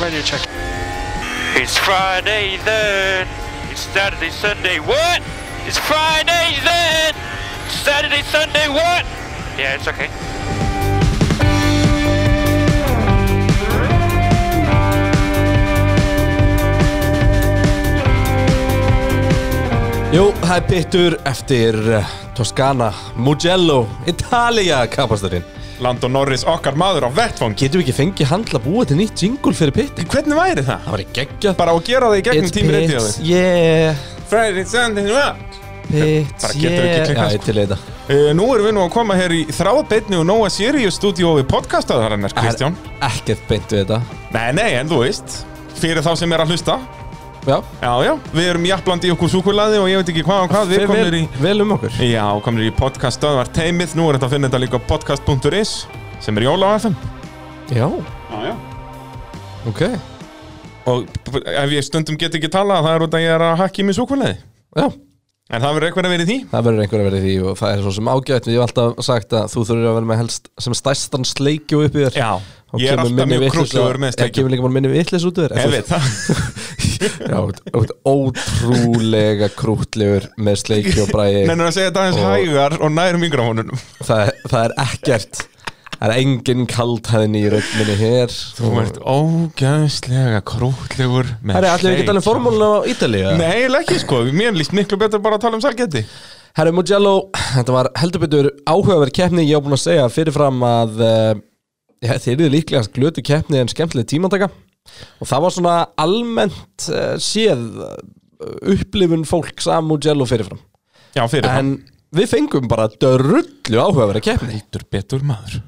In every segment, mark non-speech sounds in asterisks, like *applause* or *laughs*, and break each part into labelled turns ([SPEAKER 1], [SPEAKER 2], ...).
[SPEAKER 1] radio check.
[SPEAKER 2] It's Friday then. It's Saturday, Sunday. What? It's Friday then. Saturday, Sunday. What? Yeah, it's okay.
[SPEAKER 3] Jú, það er pittur eftir eh, Toscana, Mugello, Italia kapasturinn.
[SPEAKER 4] Landon Norris, okkar maður á vettfangi
[SPEAKER 3] Getum við ekki fengið handla búið til nýtt jingle fyrir pittin?
[SPEAKER 4] Hvernig væri það?
[SPEAKER 3] Það var ekki geggjað.
[SPEAKER 4] Bara að gera það í gegnum tími reyndi á
[SPEAKER 3] It's pits, yeah,
[SPEAKER 4] Friday, Sunday, what?
[SPEAKER 3] pits,
[SPEAKER 4] Bara getum við ekki
[SPEAKER 3] yeah. Já,
[SPEAKER 4] klikkað, sko.
[SPEAKER 3] ég til í þetta.
[SPEAKER 4] Uh, nú erum við nú að koma hér í þráðbeitni og Nóa Sirius stúdíó við podcastaðarinnar, Kristján
[SPEAKER 3] Það er Ekkert beint við þetta.
[SPEAKER 4] Nei, nei, en þú veist Fyrir þá sem er að hlusta
[SPEAKER 3] Já,
[SPEAKER 4] Já, já, við erum jafnblandi í okkur súkulaði og ég veit ekki hvað og hvað Við
[SPEAKER 3] fer
[SPEAKER 4] komum
[SPEAKER 3] vel,
[SPEAKER 4] í
[SPEAKER 3] vel um okkur.
[SPEAKER 4] Já, komum í podcaststöðvar teimið Nú er þetta að finna þetta líka á podcast.is sem er jóla á FM
[SPEAKER 3] Já,
[SPEAKER 4] Já, já
[SPEAKER 3] ok.
[SPEAKER 4] Og p- ef ég stundum get ekki talað það er út að ég er að hakka í mig súkulaði
[SPEAKER 3] Já,
[SPEAKER 4] En það verður eitthvað að vera í því
[SPEAKER 3] það verður einhver að vera í því og það er svo sem ágætt. Ég hef alltaf sagt að þú þurfir að vera með helst sem stærstan sleikju upp í þér.
[SPEAKER 4] Já,
[SPEAKER 3] Og
[SPEAKER 4] ég er
[SPEAKER 3] kemur
[SPEAKER 4] alltaf
[SPEAKER 3] minni
[SPEAKER 4] mjög
[SPEAKER 3] vitleysa-
[SPEAKER 4] krútlegur með
[SPEAKER 3] Já,
[SPEAKER 4] steikjum
[SPEAKER 3] kemur líka bara minni vitlis út úr þér. En
[SPEAKER 4] Ég
[SPEAKER 3] þú-
[SPEAKER 4] veit það
[SPEAKER 3] Já, þú ert- þú ert ótrúlega krútlegur með sleiki og
[SPEAKER 4] *laughs*
[SPEAKER 3] bræði
[SPEAKER 4] Nennir að segja þetta aðeins
[SPEAKER 3] Og-
[SPEAKER 4] hægar og nær um mikrofónunum
[SPEAKER 3] það, er- það er ekkert Það er engin kaldhæðin í rögninni hér
[SPEAKER 4] Þú
[SPEAKER 3] Og-
[SPEAKER 4] ert ógæðslega krútlegur með
[SPEAKER 3] Herri, allir við ekki
[SPEAKER 4] sleik.
[SPEAKER 3] tala um formúluna á Ítalíu
[SPEAKER 4] Nei, eiginlega ekki sko, mér líst miklu betur bara að tala um sælgæti
[SPEAKER 3] Herri Mugello, þetta var heldur betur áhugaverð keppni Ég á búin að segja fyrirfram að eh, ja, Þeir eru líklega glötu keppni en skemmtileg tímantaka Og það var svona almennt uh, séð uh, upplifun fólks að Mugello fyrirfram
[SPEAKER 4] Já, fyrir
[SPEAKER 3] En við fengum bara dörrullu áhugaverð keppni
[SPEAKER 4] Heldur betur maður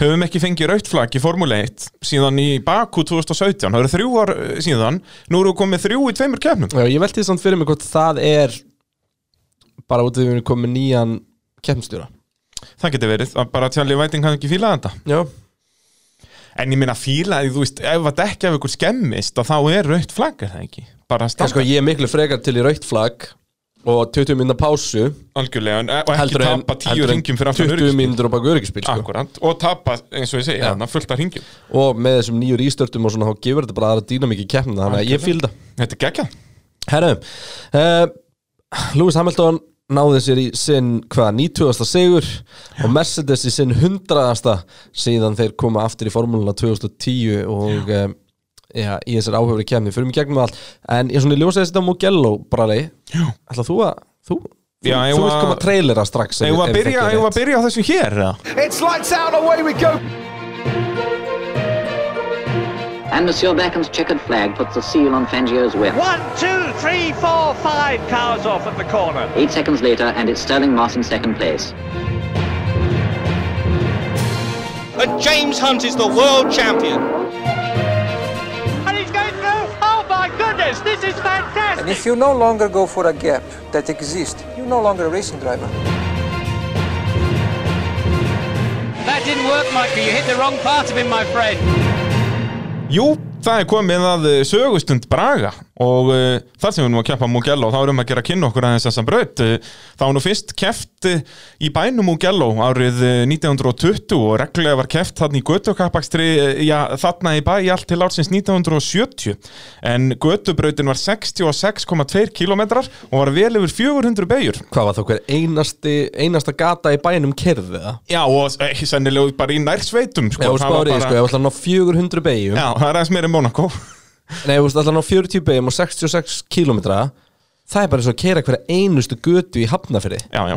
[SPEAKER 4] Höfum ekki fengið rautt flagg í Formule 1 síðan í Baku 2017 Það eru þrjú ár eh, síðan Nú eru komið þrjú í tveimur kefnum
[SPEAKER 3] Já, ég velti því samt fyrir mig hvort það er bara út af því við erum komið nýjan keppnstjóra.
[SPEAKER 4] Það getur verið, að bara tjalli væting hann ekki fílað þetta
[SPEAKER 3] Já.
[SPEAKER 4] En ég minna fílaði, þú veist, ef að dekja ef ykkur skemmist að þá er rautt flagg er það ekki Bara
[SPEAKER 3] En sko,
[SPEAKER 4] standa
[SPEAKER 3] ég er miklu frekar til í rautt flagg og 20 minna pásu
[SPEAKER 4] algjörlega en- eh, og ekki tapa tíu
[SPEAKER 3] heldur en
[SPEAKER 4] ringjum fyrir aftur
[SPEAKER 3] 20 mínútur og baka öryggisbíl sko.
[SPEAKER 4] Akkurant, og tapa, eins og ég segi,
[SPEAKER 3] Já.
[SPEAKER 4] þarna fullt af ringjum
[SPEAKER 3] og með þessum nýju ístörtum og svona þá gefur þetta bara aðra dýnamík í keppnina þannig að ég fíl það
[SPEAKER 4] Þetta er geggjað
[SPEAKER 3] Herru, uh, Lewis Hamilton náði sér í sinn hvað, 90. sigur og Mercedes í sinn 100. síðan þeir koma aftur í formúluna 2010 og já. já, í þessar áhöfri kemni, fyrir mig gegnum allt en ég svona ljósaði þetta á Mugello bara leið, ætla þú að þú,
[SPEAKER 4] Já,
[SPEAKER 3] þú,
[SPEAKER 4] ég
[SPEAKER 3] þú
[SPEAKER 4] var-
[SPEAKER 3] vilt koma að trailera strax ef-
[SPEAKER 4] Eigum
[SPEAKER 3] ef
[SPEAKER 4] við að
[SPEAKER 3] ég
[SPEAKER 4] byrja-
[SPEAKER 3] þekki
[SPEAKER 4] eigum við
[SPEAKER 3] rétt.
[SPEAKER 4] að byrja á þessu hér? eða?
[SPEAKER 5] It's lights out, away we go.
[SPEAKER 6] And Monsieur Beckham's checkered flag puts the seal on Fangio's win.
[SPEAKER 7] One, two, three, four, five cars off at the corner.
[SPEAKER 6] Eight seconds later, and it's Sterling Moss in second place.
[SPEAKER 8] and James Hunt is the world champion.
[SPEAKER 7] And he's going through. Oh my goodness, this is fantastic.
[SPEAKER 9] And if you no longer go for a gap that exists, you're no longer a racing driver.
[SPEAKER 7] That didn't work, Michael. You hit the wrong part of him, my friend.
[SPEAKER 4] Jú, það er komið að eh, sögustund Braga og uh, þar sem við nú að keppa Mugello þá erum við að gera kynna okkur aðeins þessa braut uh, þá er nú fyrst keft uh, í bænum Mugello árið uh, 1920 og reglulega var keft þarna í götukappakstri uh, já, þarna í bæ í allt til ársins 1970 en götubrautin var 66,2 kilometrar og var vel yfir 400 beigur
[SPEAKER 3] hvað var þá hver einasti, einasta gata í bænum kerfið það?
[SPEAKER 4] Já, og eh, sennilega bara í nærsveitum sko.
[SPEAKER 3] Já,
[SPEAKER 4] Það var
[SPEAKER 3] spárið,
[SPEAKER 4] bara-
[SPEAKER 3] sko, ég ætla að ná 400 beigjum
[SPEAKER 4] Já, það er aðeins meira en Monaco
[SPEAKER 3] Nei, þú veist, allan á 40 beigum og 66 kilometra Það er bara eins og að keira hverja einustu götu í hafnafyrði
[SPEAKER 4] Já, já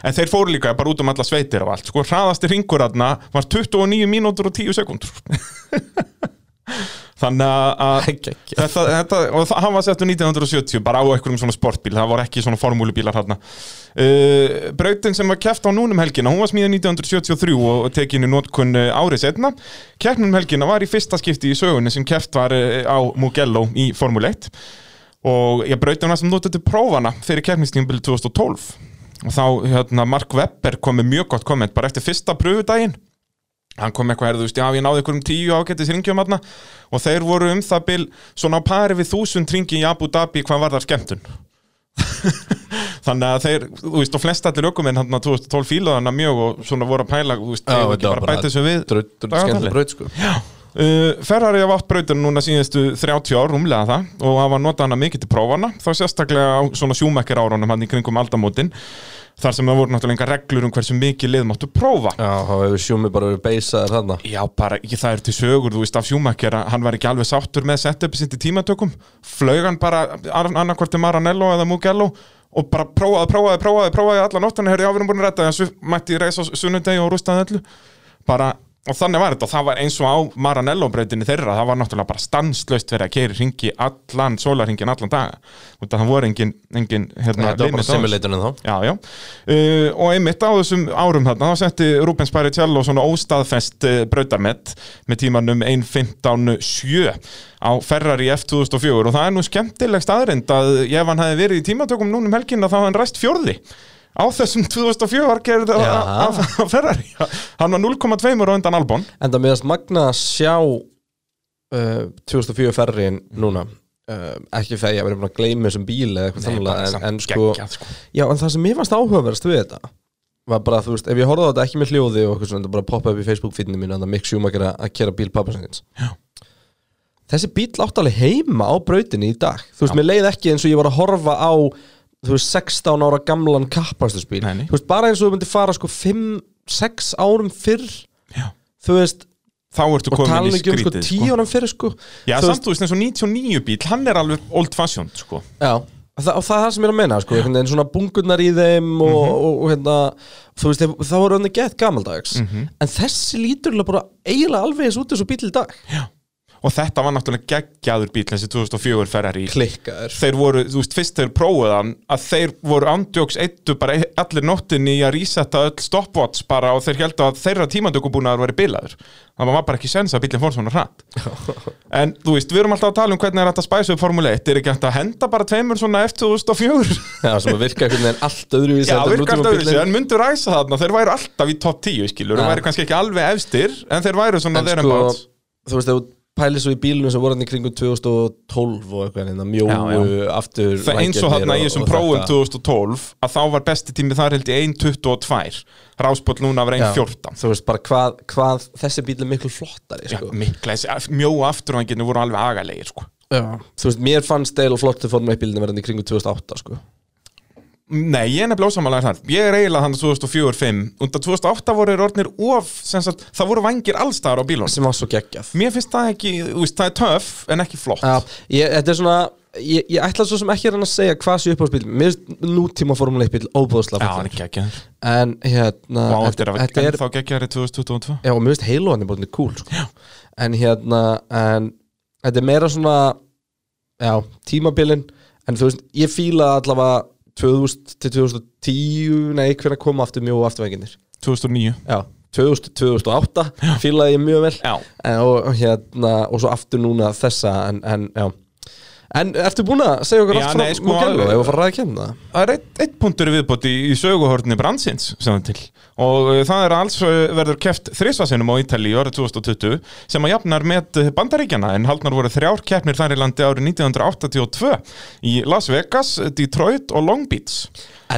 [SPEAKER 4] En þeir fóru líka bara út um alla sveitir og allt Sko, hraðasti ringur aðna var 29 mínútur og 10 sekundur *laughs* Þannig að
[SPEAKER 3] Ekki, ekki.
[SPEAKER 4] þetta, þetta, Og það, hann var settur 1970 Bara á einhverjum svona sportbíl Það voru ekki svona formúlubílar hann uh, Brautin sem var keft á núnum helgina Hún var smíða 1973 og tekinu notkun eh, árið setna Keppnum helgina var í fyrsta skipti í sögunni Sem keft var eh, á Mugello í Formule 1 og ég brauti hana sem notaði til prófana fyrir keppnistímbil 2012 og þá hérna, Mark Webber kom með mjög gott komment bara eftir fyrsta pröfudaginn hann kom með eitthvað herðu, þú veist, já, ég náði einhverjum tíu ágættis ringjum aðna og þeir voru um það bil svona á pari við þúsund ringi í Abu Dhabi hvað var þar skemmtun *laughs* þannig að þeir, þú veist, og flest allir ökumenn hann 2012 fílaðana mjög og svona voru að pæla, þú veist, þeir ekki bara að bæta þessu við
[SPEAKER 3] Drutt, drutt,
[SPEAKER 4] dagatalið.
[SPEAKER 3] skemmt braut, sko
[SPEAKER 4] Já, Uh, Ferrari hafa átt brautinu núna síðustu 30 ár, rúmlega það og hafa notað hana mikið til prófana þá sérstaklega á svona sjúmekkir árunum hann í kringum aldamótin þar sem það voru náttúrulega engar reglur um hversu mikið lið máttu prófa
[SPEAKER 3] Já, þá hefur sjúmi bara verið beisaðir þarna
[SPEAKER 4] Já, bara, ég, það er til sögur, þú veist, af Schumacher að hann var ekki alveg sáttur með setupið sitt í tímatökum flög hann bara annarkvorti Maranello eða Mugello og bara prófaði, prófaði, prófaði, prófaði allan óttan herði áfyrum búin að retta þessu, mætti í reis á sunnudegi og rústaði öllu bara, og þannig var þetta, og það var eins og á Maranello breytinni þeirra, það var náttúrulega bara stanslaust verið að keiri hringi allan sólarhingin allan daga, út að það voru engin, engin, hérna,
[SPEAKER 3] Þetta var
[SPEAKER 4] limit á
[SPEAKER 3] bara
[SPEAKER 4] þessu.
[SPEAKER 3] simulatorinn þá
[SPEAKER 4] Já, já. Uh, og einmitt á þessum árum þarna, þá setti Rubens Barrichello svona óstaðfest uh, brautarmett með tímanum 1.15.7 á Ferrari F2004 og það er nú skemmtilegst aðrind að ef hann hefði verið í tímatökum núna um helginna þá hefði hann ræst fjórði á þessum 2004 gerði
[SPEAKER 3] Já.
[SPEAKER 4] það á Ferrari hann var 0,2 á undan Albon
[SPEAKER 3] En það meðast magna að sjá uh, 2004 ferriðin
[SPEAKER 4] Mm.
[SPEAKER 3] núna uh, ekki þegar ég verið búin að gleyma þessum bíl eða eitthvað
[SPEAKER 4] Nei, bara
[SPEAKER 3] þannig en,
[SPEAKER 4] samt
[SPEAKER 3] en sko,
[SPEAKER 4] geggjað, sko.
[SPEAKER 3] Já, en það sem mér fannst áhugaverðast við þetta var bara, þú veist, ef ég horfði á þetta ekki með hljóði og eitthvað svona, þetta bara poppa upp í Facebook feedinu mínu að Mick Schumacher að- að kera bíl pappasangins Þessi bíl átt alveg heima á brautinni í dag Þú veist, mér leið ekki eins og ég var að horfa á þú veist, 16 ára gamlan kappastusbíl
[SPEAKER 4] Nei, nei.
[SPEAKER 3] Þú veist, bara eins og þú myndi fara sko 5-6 árum fyrr
[SPEAKER 4] Já.
[SPEAKER 3] Þú veist,
[SPEAKER 4] þá ertu
[SPEAKER 3] og tala
[SPEAKER 4] komin í
[SPEAKER 3] ekki um sko
[SPEAKER 4] skrítið
[SPEAKER 3] tíu árum fyrir sko
[SPEAKER 4] Já,
[SPEAKER 3] Þú
[SPEAKER 4] samt þú veist eins og 99 bíl, hann er alveg old fashioned sko.
[SPEAKER 3] já og það, og það er það sem ég er að menna sko, einhvern veginn svona bungurnar í þeim og, og, og hérna, þú veist, þeir- það voru hann gett gamaldags, en þessi lítur bara eiginlega alveg eins út þessu bíl í dag
[SPEAKER 4] og þetta var náttúrulega geggjaður bíl þessi 2004 Ferrari
[SPEAKER 3] klikkaður,
[SPEAKER 4] þeir voru, þú veist, fyrst þeir prófuð hann að þeir voru andjóks eittu bara e- allir nóttinni í að resetta öll stopwatch bara og þeir heldur að þeirra tímandöku búnaður væri bilaður. Það var bara ekki sens að bílinn fór
[SPEAKER 3] *laughs*
[SPEAKER 4] svona hratt. En þú veist, við erum alltaf að tala um hvernig er hægt að spæsa upp Formule 1, er ekki hægt að henda bara tveimur svona
[SPEAKER 3] *laughs*
[SPEAKER 4] F2004?
[SPEAKER 3] já, sem að virka einhvern veginn allt öðruvísi
[SPEAKER 4] Já,
[SPEAKER 3] heldur en
[SPEAKER 4] virka alltaf
[SPEAKER 3] nútímabíllinn.
[SPEAKER 4] öðru en myndu ræsa þarna, þeir væru alltaf í topp 10, skilur, þeir
[SPEAKER 3] Já.
[SPEAKER 4] væru kannski ekki alveg efstir, en þeir væru svona
[SPEAKER 3] en
[SPEAKER 4] þeir
[SPEAKER 3] sko, þú veist, ef þú pælir svo í bílunum sem voru hann í kringum 2012 og eitthvað, hérna,
[SPEAKER 4] Já,
[SPEAKER 3] mjóu, aftur
[SPEAKER 4] Það eins og hann í þessum prófum 2012 að þá var besti tími þar held í 1.22 Ráspóll núna var 1.14
[SPEAKER 3] þú veist, bara hvað, hvað þessi bíl er miklu flottari
[SPEAKER 4] Já,
[SPEAKER 3] sko.
[SPEAKER 4] mikla, þessi mjó afturvænginu voru alveg agalegir sko.
[SPEAKER 3] þú veist, mér fannst deil og flottu formule 1 bílinu verðan í kringu 2008 sko.
[SPEAKER 4] Nei, ég er nefnilega ósamalega þar Ég er eiginlega þannig 2004-05 Undan 2008 voru þeir orðnir of sem sagt, Það voru vangir allstaðar á bílunum
[SPEAKER 3] sem var svo geggjað
[SPEAKER 4] Mér finnst það ekki, þú veist, það er töff en ekki flott
[SPEAKER 3] Já, ég, þetta er svona ég, ég ætla svo sem ekki að reyna að segja hvað sé uppáhaldsbíl mér finnst nútíma formule 1 bíl óbúðslega
[SPEAKER 4] Já, hann er geggjaður
[SPEAKER 3] en hérna
[SPEAKER 4] Og á eftir að
[SPEAKER 3] þetta
[SPEAKER 4] vera
[SPEAKER 3] er,
[SPEAKER 4] ennþá geggjaður í 2022
[SPEAKER 3] já, og mér finnst heilu hann er bara orðinn cool sko. en hérna en, þetta er meira svona já, tímabilin en þú veist, ég fíla allavega 2000 til 2010 nei, hvernig kom aftur mjög afturvæginir
[SPEAKER 4] 2009
[SPEAKER 3] já, 2000 2008 fílaði ég mjög vel
[SPEAKER 4] Já.
[SPEAKER 3] en, og, hérna, og svo aftur núna þessa en, en já En ertu búin að segja okkur
[SPEAKER 4] Já,
[SPEAKER 3] allt frá
[SPEAKER 4] nei,
[SPEAKER 3] nei,
[SPEAKER 4] sko,
[SPEAKER 3] sko, Mugello
[SPEAKER 4] alveg.
[SPEAKER 3] ef að fara að kemna það?
[SPEAKER 4] það er eitt, eitt punktur í viðbót í, í söguhorni brandsins sem það til og uh, það er alls uh, verður keft þrisvasinum á Ítali í árið 2020 sem að jafnar með uh, bandaríkjana en haldnar voru þrjár keppnir þar í landi árið 1982 í Las Vegas, Detroit og Long Beach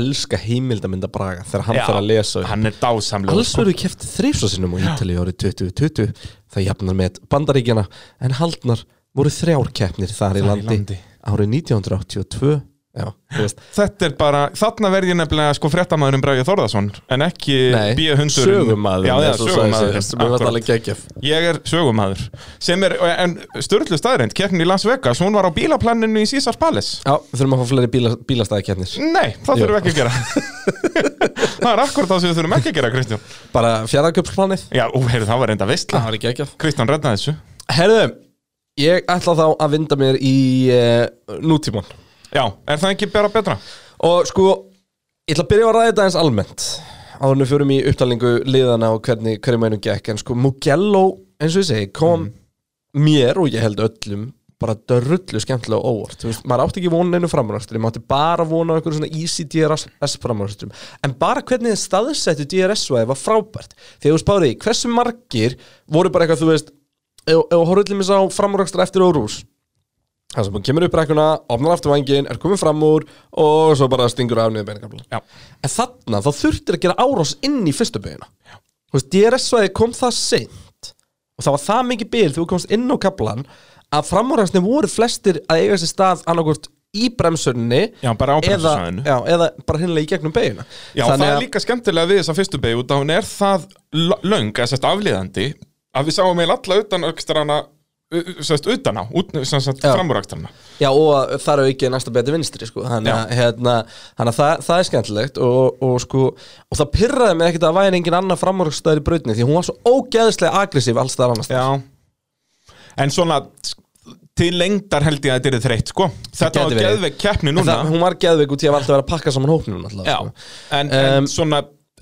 [SPEAKER 3] Elska heimildaminda Braga þegar hann þarf að lesa upp.
[SPEAKER 4] hann er sko. dásamlega
[SPEAKER 3] Alls verður kæft þreifsa sinnum á Ítali árið 2020 það jafnar með bandaríkjana en haldnar voru þrjár keppnir þar í
[SPEAKER 4] Þar í
[SPEAKER 3] landi,
[SPEAKER 4] landi.
[SPEAKER 3] árið 1982 Já, þú veist
[SPEAKER 4] Þetta er bara, þarna verð ég nefnilega sko fréttamaðurinn Bræði Þórðarsson en ekki B-hundurinn
[SPEAKER 3] sögumadur
[SPEAKER 4] Já, já, sögumaður
[SPEAKER 3] Sögumadur Já,
[SPEAKER 4] Ég er sögumadur sem er, en Sturlu staðreind keppnin í Las Vegas, hún var á bílaplaninu í Caesars Palace
[SPEAKER 3] þurfum að fá fleiri bíla, bílastæðakeppnir
[SPEAKER 4] Nei, það
[SPEAKER 3] Jú.
[SPEAKER 4] þurfum við ekki að gera
[SPEAKER 3] *laughs*
[SPEAKER 4] Það er akkurat það sem við þurfum ekki að gera, Kristján
[SPEAKER 3] Bara fjaraðköpsplanið
[SPEAKER 4] Já, ú, heyrðu, það var reynda veistla
[SPEAKER 3] var ekki ekki
[SPEAKER 4] Kristján rednaði þessu
[SPEAKER 3] Herðu, ég ætla þá að vinda mér í uh, nútíman
[SPEAKER 4] Já, er það ekki bara betra?
[SPEAKER 3] Og sko, ég ætla að byrja á að ræða þetta eins almennt Áður við förum í upptalningu liðana og hvernig hverjum einum gekk En sko, Mugello, eins og ég segi, kom mér og ég held öllum bara dörrullu skemmtilega á óvart Þú veist, maður átti ekki vona einu framröstri maður átti bara vona einhverjum svona easy DRS framröstrum en bara hvernig þeir staðsettu DRS-væði var frábært því að þú spárið í hversu margir voru bara eitthvað, þú veist ef ef þú horfðu til mér sá framröstra eftir Órús það sem hún kemur upp brekkuna, opnar aftur vangin er komið fram úr og svo bara stingur af niður beinakabla
[SPEAKER 4] Já.
[SPEAKER 3] en þarna þá þurftir að gera árás inn í fyrstu beina þú veist, DRS-væði kom það seint og það var það mikið bil þegar við komst inn á kaplan að framúræðsni voru flestir að eiga sér stað annarkvort í bremsunni
[SPEAKER 4] Já, bara á
[SPEAKER 3] eða,
[SPEAKER 4] bremsusvæðinu.
[SPEAKER 3] já, eða bara hinnlega í gegnum beigina
[SPEAKER 4] Já, það er líka skemmtilega við þessa fyrstu beig út að hún er það l- löng, eða sérst afliðandi að við sáum eiginlega alla utan aukstrana sérst utan á, út, sérst
[SPEAKER 3] Já.
[SPEAKER 4] framúr aukstrana
[SPEAKER 3] Já og þar er ekki næsta beti vinstri sko. þannig að, hérna, þannig að það, það er skemmtilegt og, og, sko, og það pyrraði mig ekkert að það væri engin annar framúrstæður í brautni því hún var svo ógeðslega aggressív alls þar annars staðar.
[SPEAKER 4] Já En svona s- til lengdar held ég að þetta er þreytt sko Þetta
[SPEAKER 3] gæti
[SPEAKER 4] var
[SPEAKER 3] verið.
[SPEAKER 4] geðveik keppni
[SPEAKER 3] En
[SPEAKER 4] núna
[SPEAKER 3] það, hún var geðveik út í að valda að vera að pakka saman hópnum alltaf,
[SPEAKER 4] Já,
[SPEAKER 3] sko.
[SPEAKER 4] en, en
[SPEAKER 3] Um,
[SPEAKER 4] svona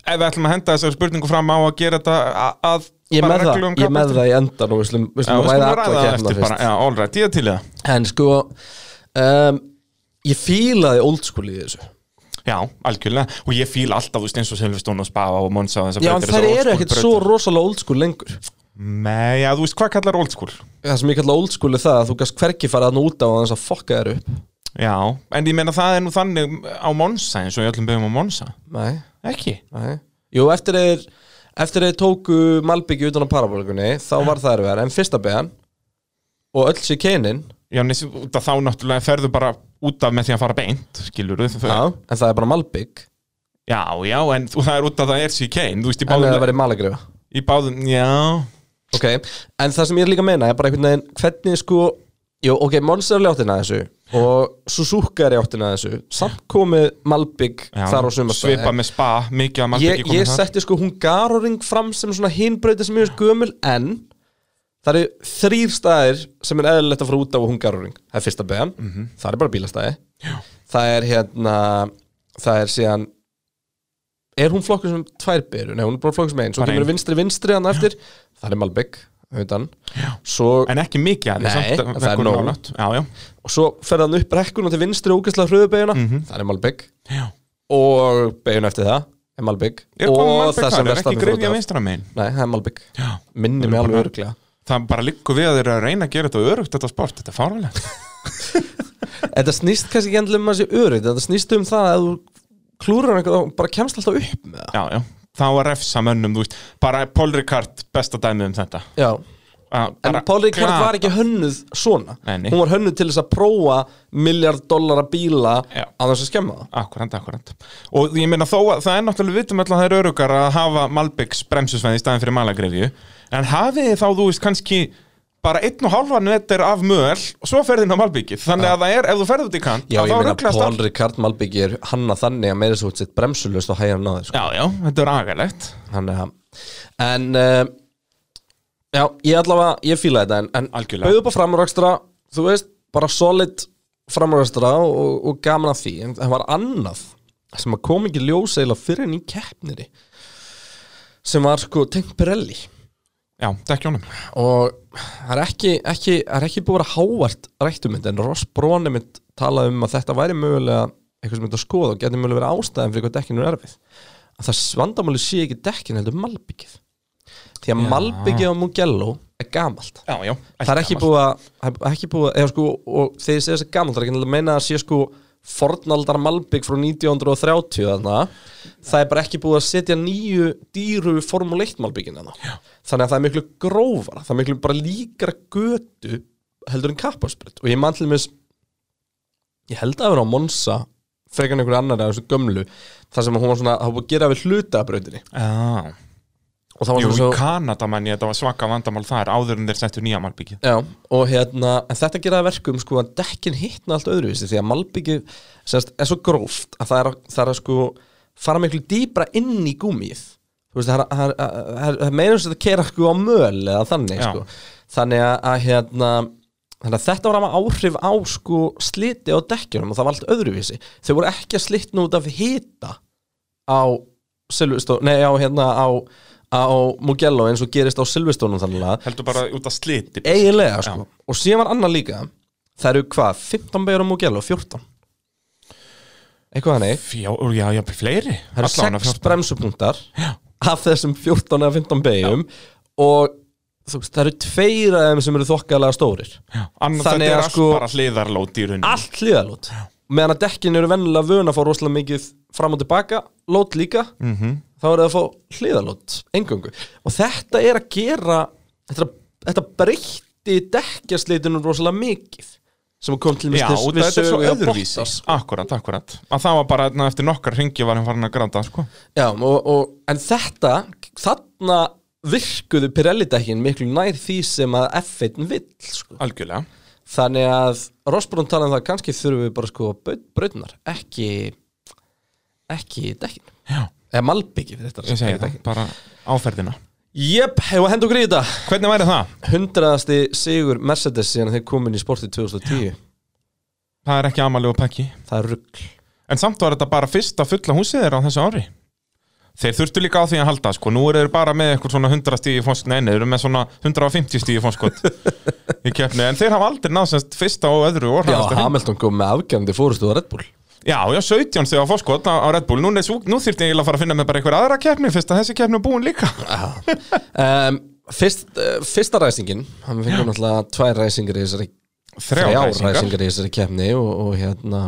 [SPEAKER 4] ef við ætlum að henda þessari spurningu fram á að gera þetta a- að
[SPEAKER 3] Ég er
[SPEAKER 4] bara
[SPEAKER 3] með það,
[SPEAKER 4] reglulegum
[SPEAKER 3] ég er með
[SPEAKER 4] kapakstri.
[SPEAKER 3] það í endan og við slum, við
[SPEAKER 4] Já,
[SPEAKER 3] slum
[SPEAKER 4] við
[SPEAKER 3] ræða
[SPEAKER 4] skulum
[SPEAKER 3] alla
[SPEAKER 4] ræða það
[SPEAKER 3] keppnina
[SPEAKER 4] eftir bara
[SPEAKER 3] fyrst
[SPEAKER 4] Já, all right, ég er til í það
[SPEAKER 3] En sko um, Ég fílaði old school í þessu
[SPEAKER 4] Já, algjörlega, og ég fíl alltaf þú veist eins og Silveston og Spafa og Monsa og þessar
[SPEAKER 3] Já, en
[SPEAKER 4] brautir,
[SPEAKER 3] þær eru
[SPEAKER 4] þessar old school
[SPEAKER 3] ekkert
[SPEAKER 4] brautir.
[SPEAKER 3] svo rosalega old school lengur
[SPEAKER 4] Nei, já, þú veist hvað kallar old school
[SPEAKER 3] Það sem ég kalla old school er það að þú gast hvergi farað hann út á þess að fokka þér upp
[SPEAKER 4] Já, en ég meina það er nú þannig á Monsa eins og ég öllum beðum á Monsa
[SPEAKER 3] Nei,
[SPEAKER 4] Ekki?
[SPEAKER 3] nei Jú, eftir þeir Eftir þeir tóku malbyggju utan á parabolikunni Þá var það erfiðar, en fyrsta beðan Og öll sér keinin
[SPEAKER 4] Já, nes, út af þá náttúrulega ferðu bara út af með því að fara beint, skilur þú?
[SPEAKER 3] Já, en það er bara malbygg
[SPEAKER 4] já, já, en þú, það er út af það er CK, þú veist, í
[SPEAKER 3] En það
[SPEAKER 4] báðum,
[SPEAKER 3] verið malagrifa
[SPEAKER 4] í báðum, já,
[SPEAKER 3] Ok, en það sem ég er líka að meina er bara einhvern veginn hvernig sko Jó, ok, Monster er ljóttin að þessu og Suzuka er ljóttin að þessu samt komið Malbygg
[SPEAKER 4] já
[SPEAKER 3] þar á sumastæði
[SPEAKER 4] Svipa með spa, mikið að maður
[SPEAKER 3] Ég, ég setti sko Hungaroring fram sem svona hinbreyta sem ég er gömul en það eru þrýr staðir sem er eðlilegt að fara út á Hungaroring Það er fyrsta beðan,
[SPEAKER 4] Mhm.
[SPEAKER 3] það er bara bílastæði Já. Það er hérna það er síðan er hún flokkur sem tvær byrju? Nei, hún er bara flokkur sem einn svo
[SPEAKER 4] Bara
[SPEAKER 3] kemur
[SPEAKER 4] ein.
[SPEAKER 3] vinstri vinstri hann eftir það er Malbygg, auðvitað svo
[SPEAKER 4] En ekki mikið að því,
[SPEAKER 3] Nei,
[SPEAKER 4] samt,
[SPEAKER 3] en það er
[SPEAKER 4] einhver
[SPEAKER 3] nóg.
[SPEAKER 4] nálægt. Já, já,
[SPEAKER 3] og svo fer hann upp rekkuna til vinstri ógæslega hröðubeiguna, mm
[SPEAKER 4] Mhm.
[SPEAKER 3] það er Malbygg
[SPEAKER 4] Já.
[SPEAKER 3] og beiguna eftir það er Malbygg
[SPEAKER 4] er komið
[SPEAKER 3] og
[SPEAKER 4] malbygg
[SPEAKER 3] það sem
[SPEAKER 4] þar, er
[SPEAKER 3] versta
[SPEAKER 4] ekki greifja vinstra megin
[SPEAKER 3] Nei, það er Malbygg
[SPEAKER 4] Já.
[SPEAKER 3] minni mig alveg örglega
[SPEAKER 4] Það bara liggur við að þeir eru að reyna að gera þetta örugt þetta sport, þetta er fárlega
[SPEAKER 3] *laughs* Þetta snýst kannski ekki endilega um að sé örygg þetta snýst um það að þú klúrar einhvern og bara kemst alltaf upp með það
[SPEAKER 4] Já, já, þá að refsa mönnum, þú veist bara Paul Ricard, besta dæmið um þetta
[SPEAKER 3] Já,
[SPEAKER 4] Að
[SPEAKER 3] en
[SPEAKER 4] bara
[SPEAKER 3] Páli Rikard
[SPEAKER 4] glata.
[SPEAKER 3] var ekki hönnuð svona
[SPEAKER 4] Nei, nei.
[SPEAKER 3] Hún var hönnuð til þess að prófa miljard dollara bíla
[SPEAKER 4] Já.
[SPEAKER 3] á þess að skemma það
[SPEAKER 4] Akkurant, akkurant Og ég meina þó að það er náttúrulega við vitum alltaf að það er örugar að hafa Malbyggs bremsusveið í staðin fyrir malagrefju En hafið þið þá, þú veist, kannski bara einn og hálfan meter af möl og svo ferðin á Malbyggið Þannig að það er, ef þú ferð út í kant
[SPEAKER 3] Já, ég
[SPEAKER 4] að þá
[SPEAKER 3] meina
[SPEAKER 4] ruglast
[SPEAKER 3] Pól
[SPEAKER 4] allt.
[SPEAKER 3] Rikard Malbygg er hanna þannig að meira svo sitt bremsulust og hægja hann á þér sko.
[SPEAKER 4] Já, já, þetta er agalegt
[SPEAKER 3] Þannig að En uh, Já, ég allavega, ég fíla þetta En, en
[SPEAKER 4] Algjörlega.
[SPEAKER 3] bauð upp á framúrakstra Þú veist, bara solid framúrakstra og, og gaman að því En það var annað Sem að kom ekki ljós eila fyrir en í keppniri Sem var sko tengt Pirelli
[SPEAKER 4] Já, dekkjónum
[SPEAKER 3] Og það er ekki, ekki, það er ekki búið að vera hávart rættumind En Ross Bróni mitt talaði um að þetta væri mögulega Eitthvað sem þetta skoða og geti mögulega verið ástæðan fyrir hvað dekkinu er erfið Að það vandamáli sé ekki dekkin heldur malbyggið Því að malbyggið á Mugello er gamalt
[SPEAKER 4] Já, já,
[SPEAKER 3] Það er ekki
[SPEAKER 4] gamalt.
[SPEAKER 3] búið að, það er ekki búið að, eða sko Og þegar ég segi þess að gamalt, það er ekki endilega að meina að sé sko Fornaldar malbygg frá 1930 þarna Það er bara ekki búið að setja nýju dýru Formule 1 malbyggin þarna Þannig að það er miklu grófara, það er miklu bara líkara götu heldur en kapparsprut og ég mann til þess ég held að vera á Monsa frekar en einhverju annar af þessu gömlu þar sem hún var svona, það var búið að gera við hluta af brautinni
[SPEAKER 4] Já,
[SPEAKER 3] og það var
[SPEAKER 4] jú,
[SPEAKER 3] svona
[SPEAKER 4] í
[SPEAKER 3] svo
[SPEAKER 4] Kanada manni, þetta var svaka vandamál þar áður en þeir settu nýja Malbyggið
[SPEAKER 3] Já, og hérna, en þetta gera það verkum sko að dekkin hittna allt öðruvísi því að malbyggið semst, er svo gróft að það er, að, það er að sko fara miklu dýbra inn í gúmið þú veist, það er- það er- það er- það er meira sem þetta kera sko á möl eða þannig
[SPEAKER 4] Já.
[SPEAKER 3] sko. þannig að, að hérna þannig að þetta var að áhrif á sko sliti á dekkinum og það var allt öðruvísi þau voru ekki að slitna út af hita á Silvestó, nei á hérna á, á Mugello eins og gerist á Silvestónum þannig að
[SPEAKER 4] Heldur bara út af sliti
[SPEAKER 3] eiginlega sko. og síðan var annar líka það eru hvað, 15 beigur á Mugello 14 eitthvað hannig
[SPEAKER 4] Fjó, já, já, fleiri
[SPEAKER 3] það eru
[SPEAKER 4] Allavega
[SPEAKER 3] 6
[SPEAKER 4] 14.
[SPEAKER 3] bremsupunktar af þessum 14 eða 15 beigum og þú veist, það eru tveir af þeim sem eru þokkalega stórir Þannig
[SPEAKER 4] Annars þetta er
[SPEAKER 3] að
[SPEAKER 4] allt
[SPEAKER 3] sko-
[SPEAKER 4] bara hliðarlót í rauninni
[SPEAKER 3] allt hliðalót meðan að dekkin eru vennilega vöna að fá rosalega mikið fram og tilbaka, lót líka
[SPEAKER 4] Mhm.
[SPEAKER 3] -hmm. þá eru það að fá hliðalót, engungu og þetta er að gera þetta er að þetta breytti dekkjarsleitinu rosalega mikið sem kom til mér
[SPEAKER 4] Já, og
[SPEAKER 3] til- við
[SPEAKER 4] þetta er svo
[SPEAKER 3] sögu hjá
[SPEAKER 4] öðruvísi sko.
[SPEAKER 3] Bottas.
[SPEAKER 4] Akkurat, akkurat Að það var bara, na, eftir nokkar hringi var hann farin að gráta sko.
[SPEAKER 3] Já, og, og, en þetta þarna virkuðu Pirelli-dekkin miklu nær því sem að F1 vill sko.
[SPEAKER 4] Algjörlega
[SPEAKER 3] þannig að Rosbrun talaði um það kannski þurfum við bara sko brautnar ekki ekki dekkin
[SPEAKER 4] Já,
[SPEAKER 3] eða malbyggið þetta
[SPEAKER 4] ég segi það, bara áferðina
[SPEAKER 3] Jep, hefur að henda okkur í þetta
[SPEAKER 4] Hvernig væri það?
[SPEAKER 3] Hundraðasti sigur Mercedes síðan þeir komin í sportið 2010
[SPEAKER 4] Það er ekki amalegu pakki
[SPEAKER 3] Það er rugl
[SPEAKER 4] En samt var þetta bara fyrsta fulla húsið þeirra á þessu ári Þeir þurftu líka á því að halda sko. Nú eru þeir bara með eitthvað svona 100 stíði fórskot Nei, nei, þeir eru með svona 150 stíði fórskot Í keppni, en þeir hafa aldrei náð semst fyrsta og öðru og
[SPEAKER 3] Já,
[SPEAKER 4] hraðasta hring.
[SPEAKER 3] Hamilton kom með afgjörandi fórustu á Red Bull
[SPEAKER 4] Já, já, 17 þegar fórskot á, á Red Bull Nú, er svo- nú þyrfti ég eiginlega að fara að finna með bara einhver aðra keppni Fyrst að þessi keppni er búin líka
[SPEAKER 3] um, fyrst, uh, Fyrsta ræsingin Hann fengur náttúrulega tvær ræsingar í þessari þrjá ræsingar í þessari kemni og, og hérna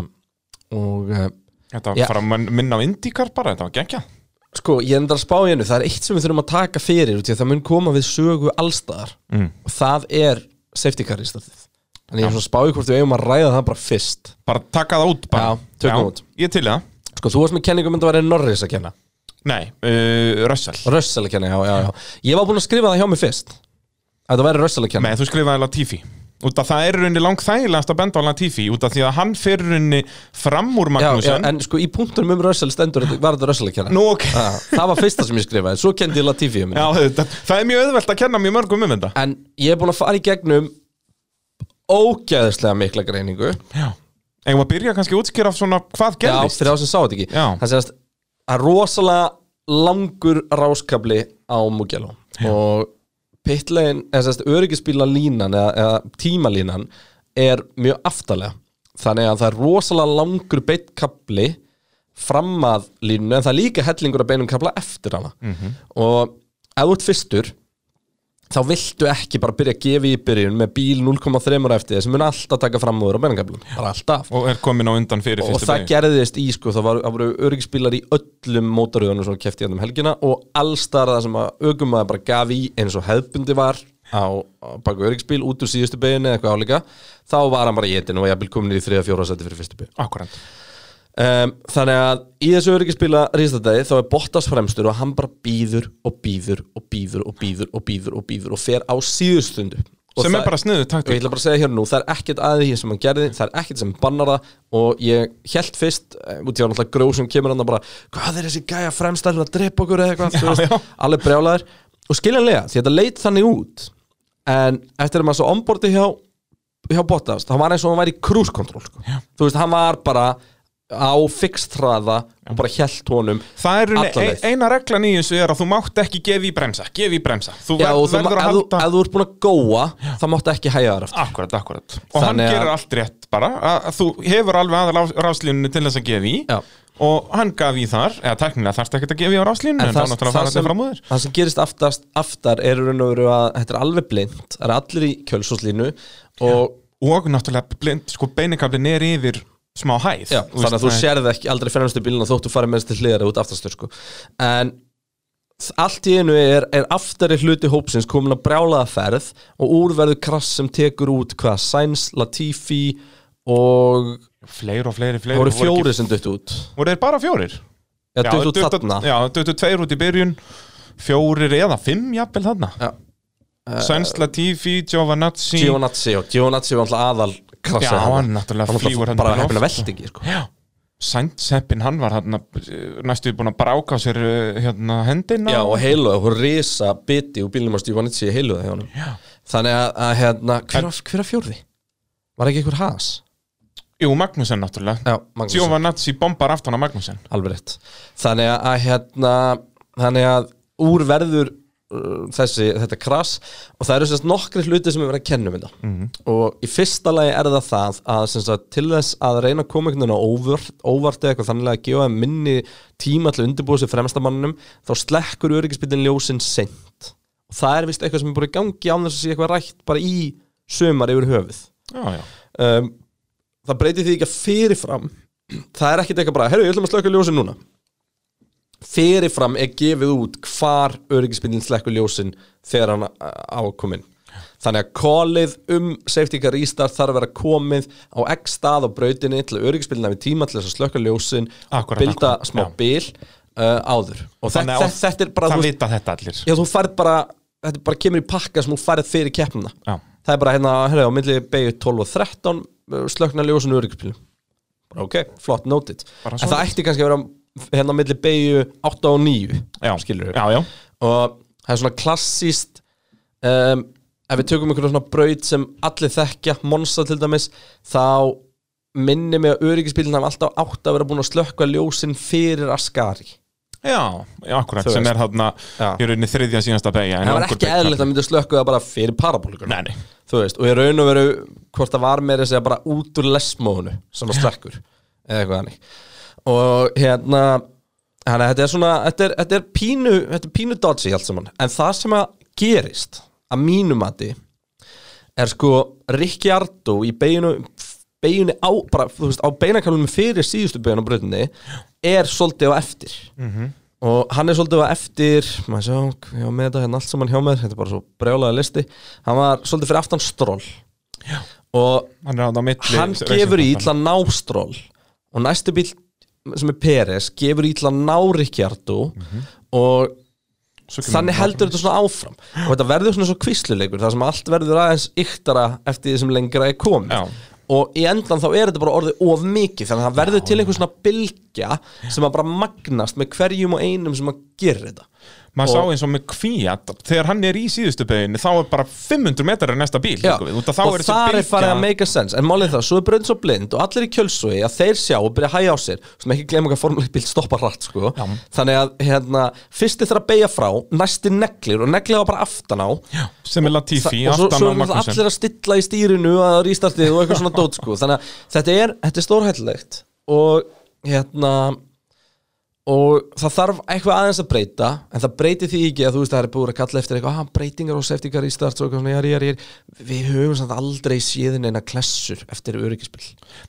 [SPEAKER 3] og uh,
[SPEAKER 4] Þetta
[SPEAKER 3] Já.
[SPEAKER 4] var bara að minna á Indikar bara, þetta var geggja
[SPEAKER 3] sko, ég endar að spá í hennu það er eitt sem við þurfum að taka fyrir út í að það mun koma við sögu allstaðar mm. og það er safety car í staðið þannig ég er svona að spá í hvort við eigum að ræða það bara fyrst
[SPEAKER 4] Bara taka það út bara
[SPEAKER 3] Já, tökum út.
[SPEAKER 4] Ég til í það
[SPEAKER 3] sko, þú varst með kenningum en það væri Norris að kenna
[SPEAKER 4] Nei, uh, Russell
[SPEAKER 3] Russell að kenna, já, já, já ég var búin að skrifa það hjá mig fyrst að það væri Russell að kenna
[SPEAKER 4] Nei, þú skrifaði Latifi Út af það er í rauninni langt þægilegast að benda á Latifi Út af því að hann fer í rauninni fram úr
[SPEAKER 3] já, já,
[SPEAKER 4] Magnussen
[SPEAKER 3] en sko, í punktunum um Russell stendur þetta- var þetta Russell að kenna
[SPEAKER 4] Nú, ok
[SPEAKER 3] Já, það var fyrsta sem ég skrifaði, svo kendi ég Latifi um
[SPEAKER 4] Já, þetta, það er mjög auðvelt að kenna mjög mörgum um þetta
[SPEAKER 3] en ég er búin að fara í gegnum ógæðislega mikla greiningu
[SPEAKER 4] Já Eða að byrja kannski að útskýra af svona hvað gerðist
[SPEAKER 3] Já, fyrir þá sem sá þetta ekki
[SPEAKER 4] Já.
[SPEAKER 3] Það séðast að rosalega langur ráskabli á Mugello og pitlegin, eða sérst öryggisbíla línan eða, eða tímalínan er mjög aftalega þannig að það er rosalega langur beitt kabli fram að línu en það er líka hellingur að beinum kabla eftir hana og ef þú ert fyrstur þá viltu ekki bara byrja að gefa í byrjun með bíl 0,3 eftir þess sem mun alltaf taka fram úr á beinumkablum, bara alltaf
[SPEAKER 4] Og er komin á undan fyrir
[SPEAKER 3] og
[SPEAKER 4] fyrstu
[SPEAKER 3] það
[SPEAKER 4] beygju.
[SPEAKER 3] gerðist í sko, það var- það voru öryggisbílar í öllum mótaröðunum sem kefti hérna um helgina og allstar það sem að ögumæður bara gaf í eins og hefbundi var á, á baku öryggisbíl út úr síðustu beginu eða eitthvað álíka þá var hann bara í etin og ég vil komin í þriða fjóra seti fyrir fyrstu beginu
[SPEAKER 4] Akkúrat.
[SPEAKER 3] um, þannig að í þessu öryggisbíla ríðstæði þá er Bottas fremstur og hann bara býður og býður og býður og býður og býður og býður og fer á síðustundu Og
[SPEAKER 4] Sem
[SPEAKER 3] það-
[SPEAKER 4] er bara sniðu
[SPEAKER 3] og ég
[SPEAKER 4] taktík
[SPEAKER 3] ætla bara að segja hér nú, það er ekkert að því sem hann gerði, það er ekkert sem bannar það og ég held fyrst, eh, út í hann alltaf gróð sem kemur hann bara, hvað er þessi gæja fremst að drepa okkur eða eitthvað, þú veist, alveg brjálæður og skiljanlega, því þetta leit þannig út en eftir að maður svo omborti hjá, hjá Bottas, hann var eins og hann væri í cruise control, sko. þú veist, hann var bara á fixtraða og bara held honum
[SPEAKER 4] Það er í rauninni-
[SPEAKER 3] alla leið.
[SPEAKER 4] ein- eina reglan í þessu er að þú mátt ekki gefa í bremsa Gefa í bremsa Þú
[SPEAKER 3] Já,
[SPEAKER 4] verð-
[SPEAKER 3] og þú, ef,
[SPEAKER 4] verður að
[SPEAKER 3] þú,
[SPEAKER 4] halda
[SPEAKER 3] ef þú ert búin að góa þá máttu ekki hægja þar aftur
[SPEAKER 4] Akkurat, akkurat Og hann
[SPEAKER 3] Þannig að-
[SPEAKER 4] gerir allt rétt bara að, að Þú hefur alveg aðal rás- ráslínunni til þess að gefa í
[SPEAKER 3] Já.
[SPEAKER 4] Og hann gaf í þar Eða teknilega þarfst ekki að gefa í á ráslínunni En, en það náttúrulega fara þetta fram úr þér
[SPEAKER 3] það sem gerist aftast, aftar er raun og veru að þetta er alveg blind, það er allir í kjölsóslínu og
[SPEAKER 4] Og náttúrulega blind, sko, beinikablin er yfir smá hæð
[SPEAKER 3] já, þannig að þú
[SPEAKER 4] það er-
[SPEAKER 3] sérð ekki aldrei fremstu bílina þóttu farið mennst til hliðar eða út aftastur sko. en þ- allt í einu er, er aftari hluti hópsins komin að brjálaða ferð og úrverðu krass sem tekur út hvað, Sainz, Latifi og
[SPEAKER 4] Fleiri og fleiri, fleiri
[SPEAKER 3] það voru
[SPEAKER 4] ekki-
[SPEAKER 3] fjóri sem duttu út
[SPEAKER 4] Voru þeir bara fjórir?
[SPEAKER 3] Já, duttu út
[SPEAKER 4] dutta-
[SPEAKER 3] þarna
[SPEAKER 4] Já, duttu tveir út í byrjun Fjórir eða fimm, jafnvel þarna
[SPEAKER 3] Já. Eh,
[SPEAKER 4] Sainz, Latifi, Giovanazzi
[SPEAKER 3] Giovinazzi og Giovinazzi var alltaf aðal krassa
[SPEAKER 4] Já, hann náttúrulega flýgur hann
[SPEAKER 3] bara
[SPEAKER 4] í
[SPEAKER 3] hefðin að
[SPEAKER 4] loft, sko.
[SPEAKER 3] veltingi sko.
[SPEAKER 4] Já Sænseppin, hann var hann næstu búin að bráka á sér eh, hérna, hendina
[SPEAKER 3] Já, og heiluða, hún risa biti úr bílnum á Stjúvanitsi í heiluða hjá honum
[SPEAKER 4] Já.
[SPEAKER 3] Þannig að, að hérna, hver, var- hver að fjórði? Var ekki einhver has?
[SPEAKER 4] Jú, Magnúsen náttúrulega
[SPEAKER 3] Já, Magnús,
[SPEAKER 4] Giovanazzi bombar aftan á Magnúsen
[SPEAKER 3] alveg rétt Þannig að, að hérna, þannig að úr verður uh, þessi, þetta krass og það eru sérst nokkri hluti sem við verðum að kenna um þetta og í fyrsta lagi er það það að sem sagt, til þess að reyna að koma einhvern veginn á óvart, óvart eða eitthvað þannig að gefa þeim minni tíma til að undirbúa sér fremstamannunum þá slekkur öryggisbyttin ljósin seint og það er vist eitthvað sem er búin í gangi án þess að sé eitthvað rætt bara í sömar yfir höfuð
[SPEAKER 4] Já, já
[SPEAKER 3] um, það breytir því ekki að fyrirfram það er ekkit eitthvað bara, herru, ég ætlum að slökka ljósin núna fyrirfram er gefið út hvar öryggisbyndin slekkur ljósin þegar hann ákominn Þannig að callið um safety car restart þarf að vera komið á x stað á brautinni til að öryggisbylina við tíma til þess að slökka ljósin
[SPEAKER 4] Akkúrat,
[SPEAKER 3] bilda
[SPEAKER 4] akkúrat,
[SPEAKER 3] smá
[SPEAKER 4] já.
[SPEAKER 3] bil uh, áður og þetta,
[SPEAKER 4] Þannig að-
[SPEAKER 3] þetta, þetta er bara
[SPEAKER 4] Það
[SPEAKER 3] þú veist-
[SPEAKER 4] vita þetta allir
[SPEAKER 3] Já, þú færð bara, þetta bara kemur í pakka sem þú færð fyrir keppnuna
[SPEAKER 4] Já.
[SPEAKER 3] Það er bara hérna, hérna, á milli beigju 12 og 13 uh, slökna ljósun öryggispilum Bara ok, flott, noted
[SPEAKER 4] Bara
[SPEAKER 3] En
[SPEAKER 4] svoleiðis.
[SPEAKER 3] það ætti kannski að vera hérna á milli beigju 8 og 9
[SPEAKER 4] Já,
[SPEAKER 3] skilurðu.
[SPEAKER 4] já, já.
[SPEAKER 3] Og það er svona klassíst um, Ef við tökum einhverjum svona braut sem allir þekkja, Monsa til dæmis Þá minni mig að öryggispilin hafa alltaf átt að vera búin að slökka ljósin fyrir Ascari
[SPEAKER 4] Já, já, akkurat,
[SPEAKER 3] Þú
[SPEAKER 4] sem
[SPEAKER 3] veist.
[SPEAKER 4] er þarna
[SPEAKER 3] Já.
[SPEAKER 4] í rauninni þriðja síðasta beigja en
[SPEAKER 3] Það var
[SPEAKER 4] okkur
[SPEAKER 3] ekki
[SPEAKER 4] beint
[SPEAKER 3] eðlilegt að myndi slökku það bara fyrir parabólikunum
[SPEAKER 4] Nei, nei.
[SPEAKER 3] Þú veist, og ég raun og veru hvort það var meira að segja bara út úr lesmóðinu sem að slökkur eða eitthvað hannig og hérna þannig að þetta er svona, þetta er, þetta er pínu þetta er pínu dodgy allt saman en það sem að gerist að mínu mati er sko Rikki Ardó í beinu, beinu á, bara, þú veist, á beinakalunum fyrir síðustu beinu á bröðinni er svolítið á eftir og hann er svolítið á eftir maður sjá, ég var með þetta hérna allt saman hjá mér þetta er bara svo brjálega listi hann var svolítið fyrir aftan stról og
[SPEAKER 4] Hann er þarna á milli
[SPEAKER 3] hann gefur í til að ná stról og næsti bíl sem er Peres gefur í til að ná Rikki Ardó og þannig heldur þetta svona áfram og þetta verður svona svo kvísluleikur þar sem allt verður aðeins yktara eftir því sem lengra er komið
[SPEAKER 4] Já.
[SPEAKER 3] og í endan þá er þetta bara orðið of mikið þannig að það verður til einhver svona bylgja sem að bara magnast með hverjum og einum sem að gera þetta
[SPEAKER 4] Maður sá
[SPEAKER 3] og-
[SPEAKER 4] eins og með kvíat Þegar hann er í síðustu beiginu þá er bara 500 metrar er næsta bíl
[SPEAKER 3] Já,
[SPEAKER 4] líka við, út að þá
[SPEAKER 3] og
[SPEAKER 4] er þessi
[SPEAKER 3] þar er
[SPEAKER 4] bylgja-
[SPEAKER 3] farið að make a sense en málið er það, svo er braun svo blind og allir í kjölsói að þeir sjá og byrja að hæja á sér sem ekki glemur hvað formuleitt bíl stoppa hratt sko. þannig að hérna, fyrsti þarf að beigja frá næsti neglir og neglir var bara aftan á Já.
[SPEAKER 4] Sem er Latifi,
[SPEAKER 3] og svo,
[SPEAKER 4] aftan
[SPEAKER 3] svo
[SPEAKER 4] á
[SPEAKER 3] er náttúrulega
[SPEAKER 4] Magnussen
[SPEAKER 3] allir að stilla í stýrinu að rístartið og eitthvað svona dót sko þannig að þetta er, þetta er stórhættulegt og hérna og það þarf eitthvað aðeins að breyta en það breytir því ekki að þú veist það er búið að kalla eftir eitthvað, að breytingar og seftingar í start og eitthvað svona, jari, jari, jari við höfum samt aldrei síðin eina klessur eftir öryggispill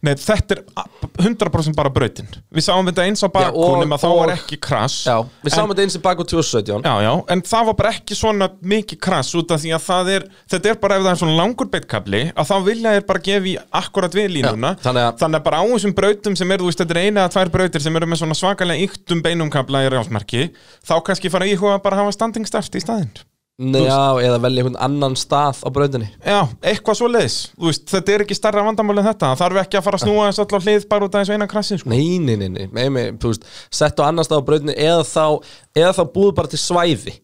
[SPEAKER 4] Nei, þetta er 100% bara brautin Við sáum þetta eins á
[SPEAKER 3] og-
[SPEAKER 4] bakkunum að þá
[SPEAKER 3] og-
[SPEAKER 4] var ekki krass
[SPEAKER 3] Já, við
[SPEAKER 4] En-
[SPEAKER 3] sáum þetta eins í bak og 2017
[SPEAKER 4] Já, já, en það var bara ekki svona mikið krass út af því að það er, þetta er bara ef það er svona langur beittkabli að þá vilja þér bara gefa í akkurat við línuna
[SPEAKER 3] Já, þannig að-
[SPEAKER 4] bara á þessum brautum sem eru, þú veist, þetta er eina að tvær brautir sem eru með svona svakalega yktum beinum kabla í rjálsmerki, þá kannski fara íhuga að bara hafa standing start í staðinn
[SPEAKER 3] Nei, já eða velja einhvern annan stað á brautinni
[SPEAKER 4] Já, eitthvað svo leiðis, þú veist, þetta er ekki starra vandamál en þetta, það þarf ekki að fara að snúa þess allar hlið bara út af þessu eina krassi, sko
[SPEAKER 3] Nei, nei, nei, nei, nei, nei þú veist, sett á annan stað á brautinni eða þá, eða þá búið bara til svæði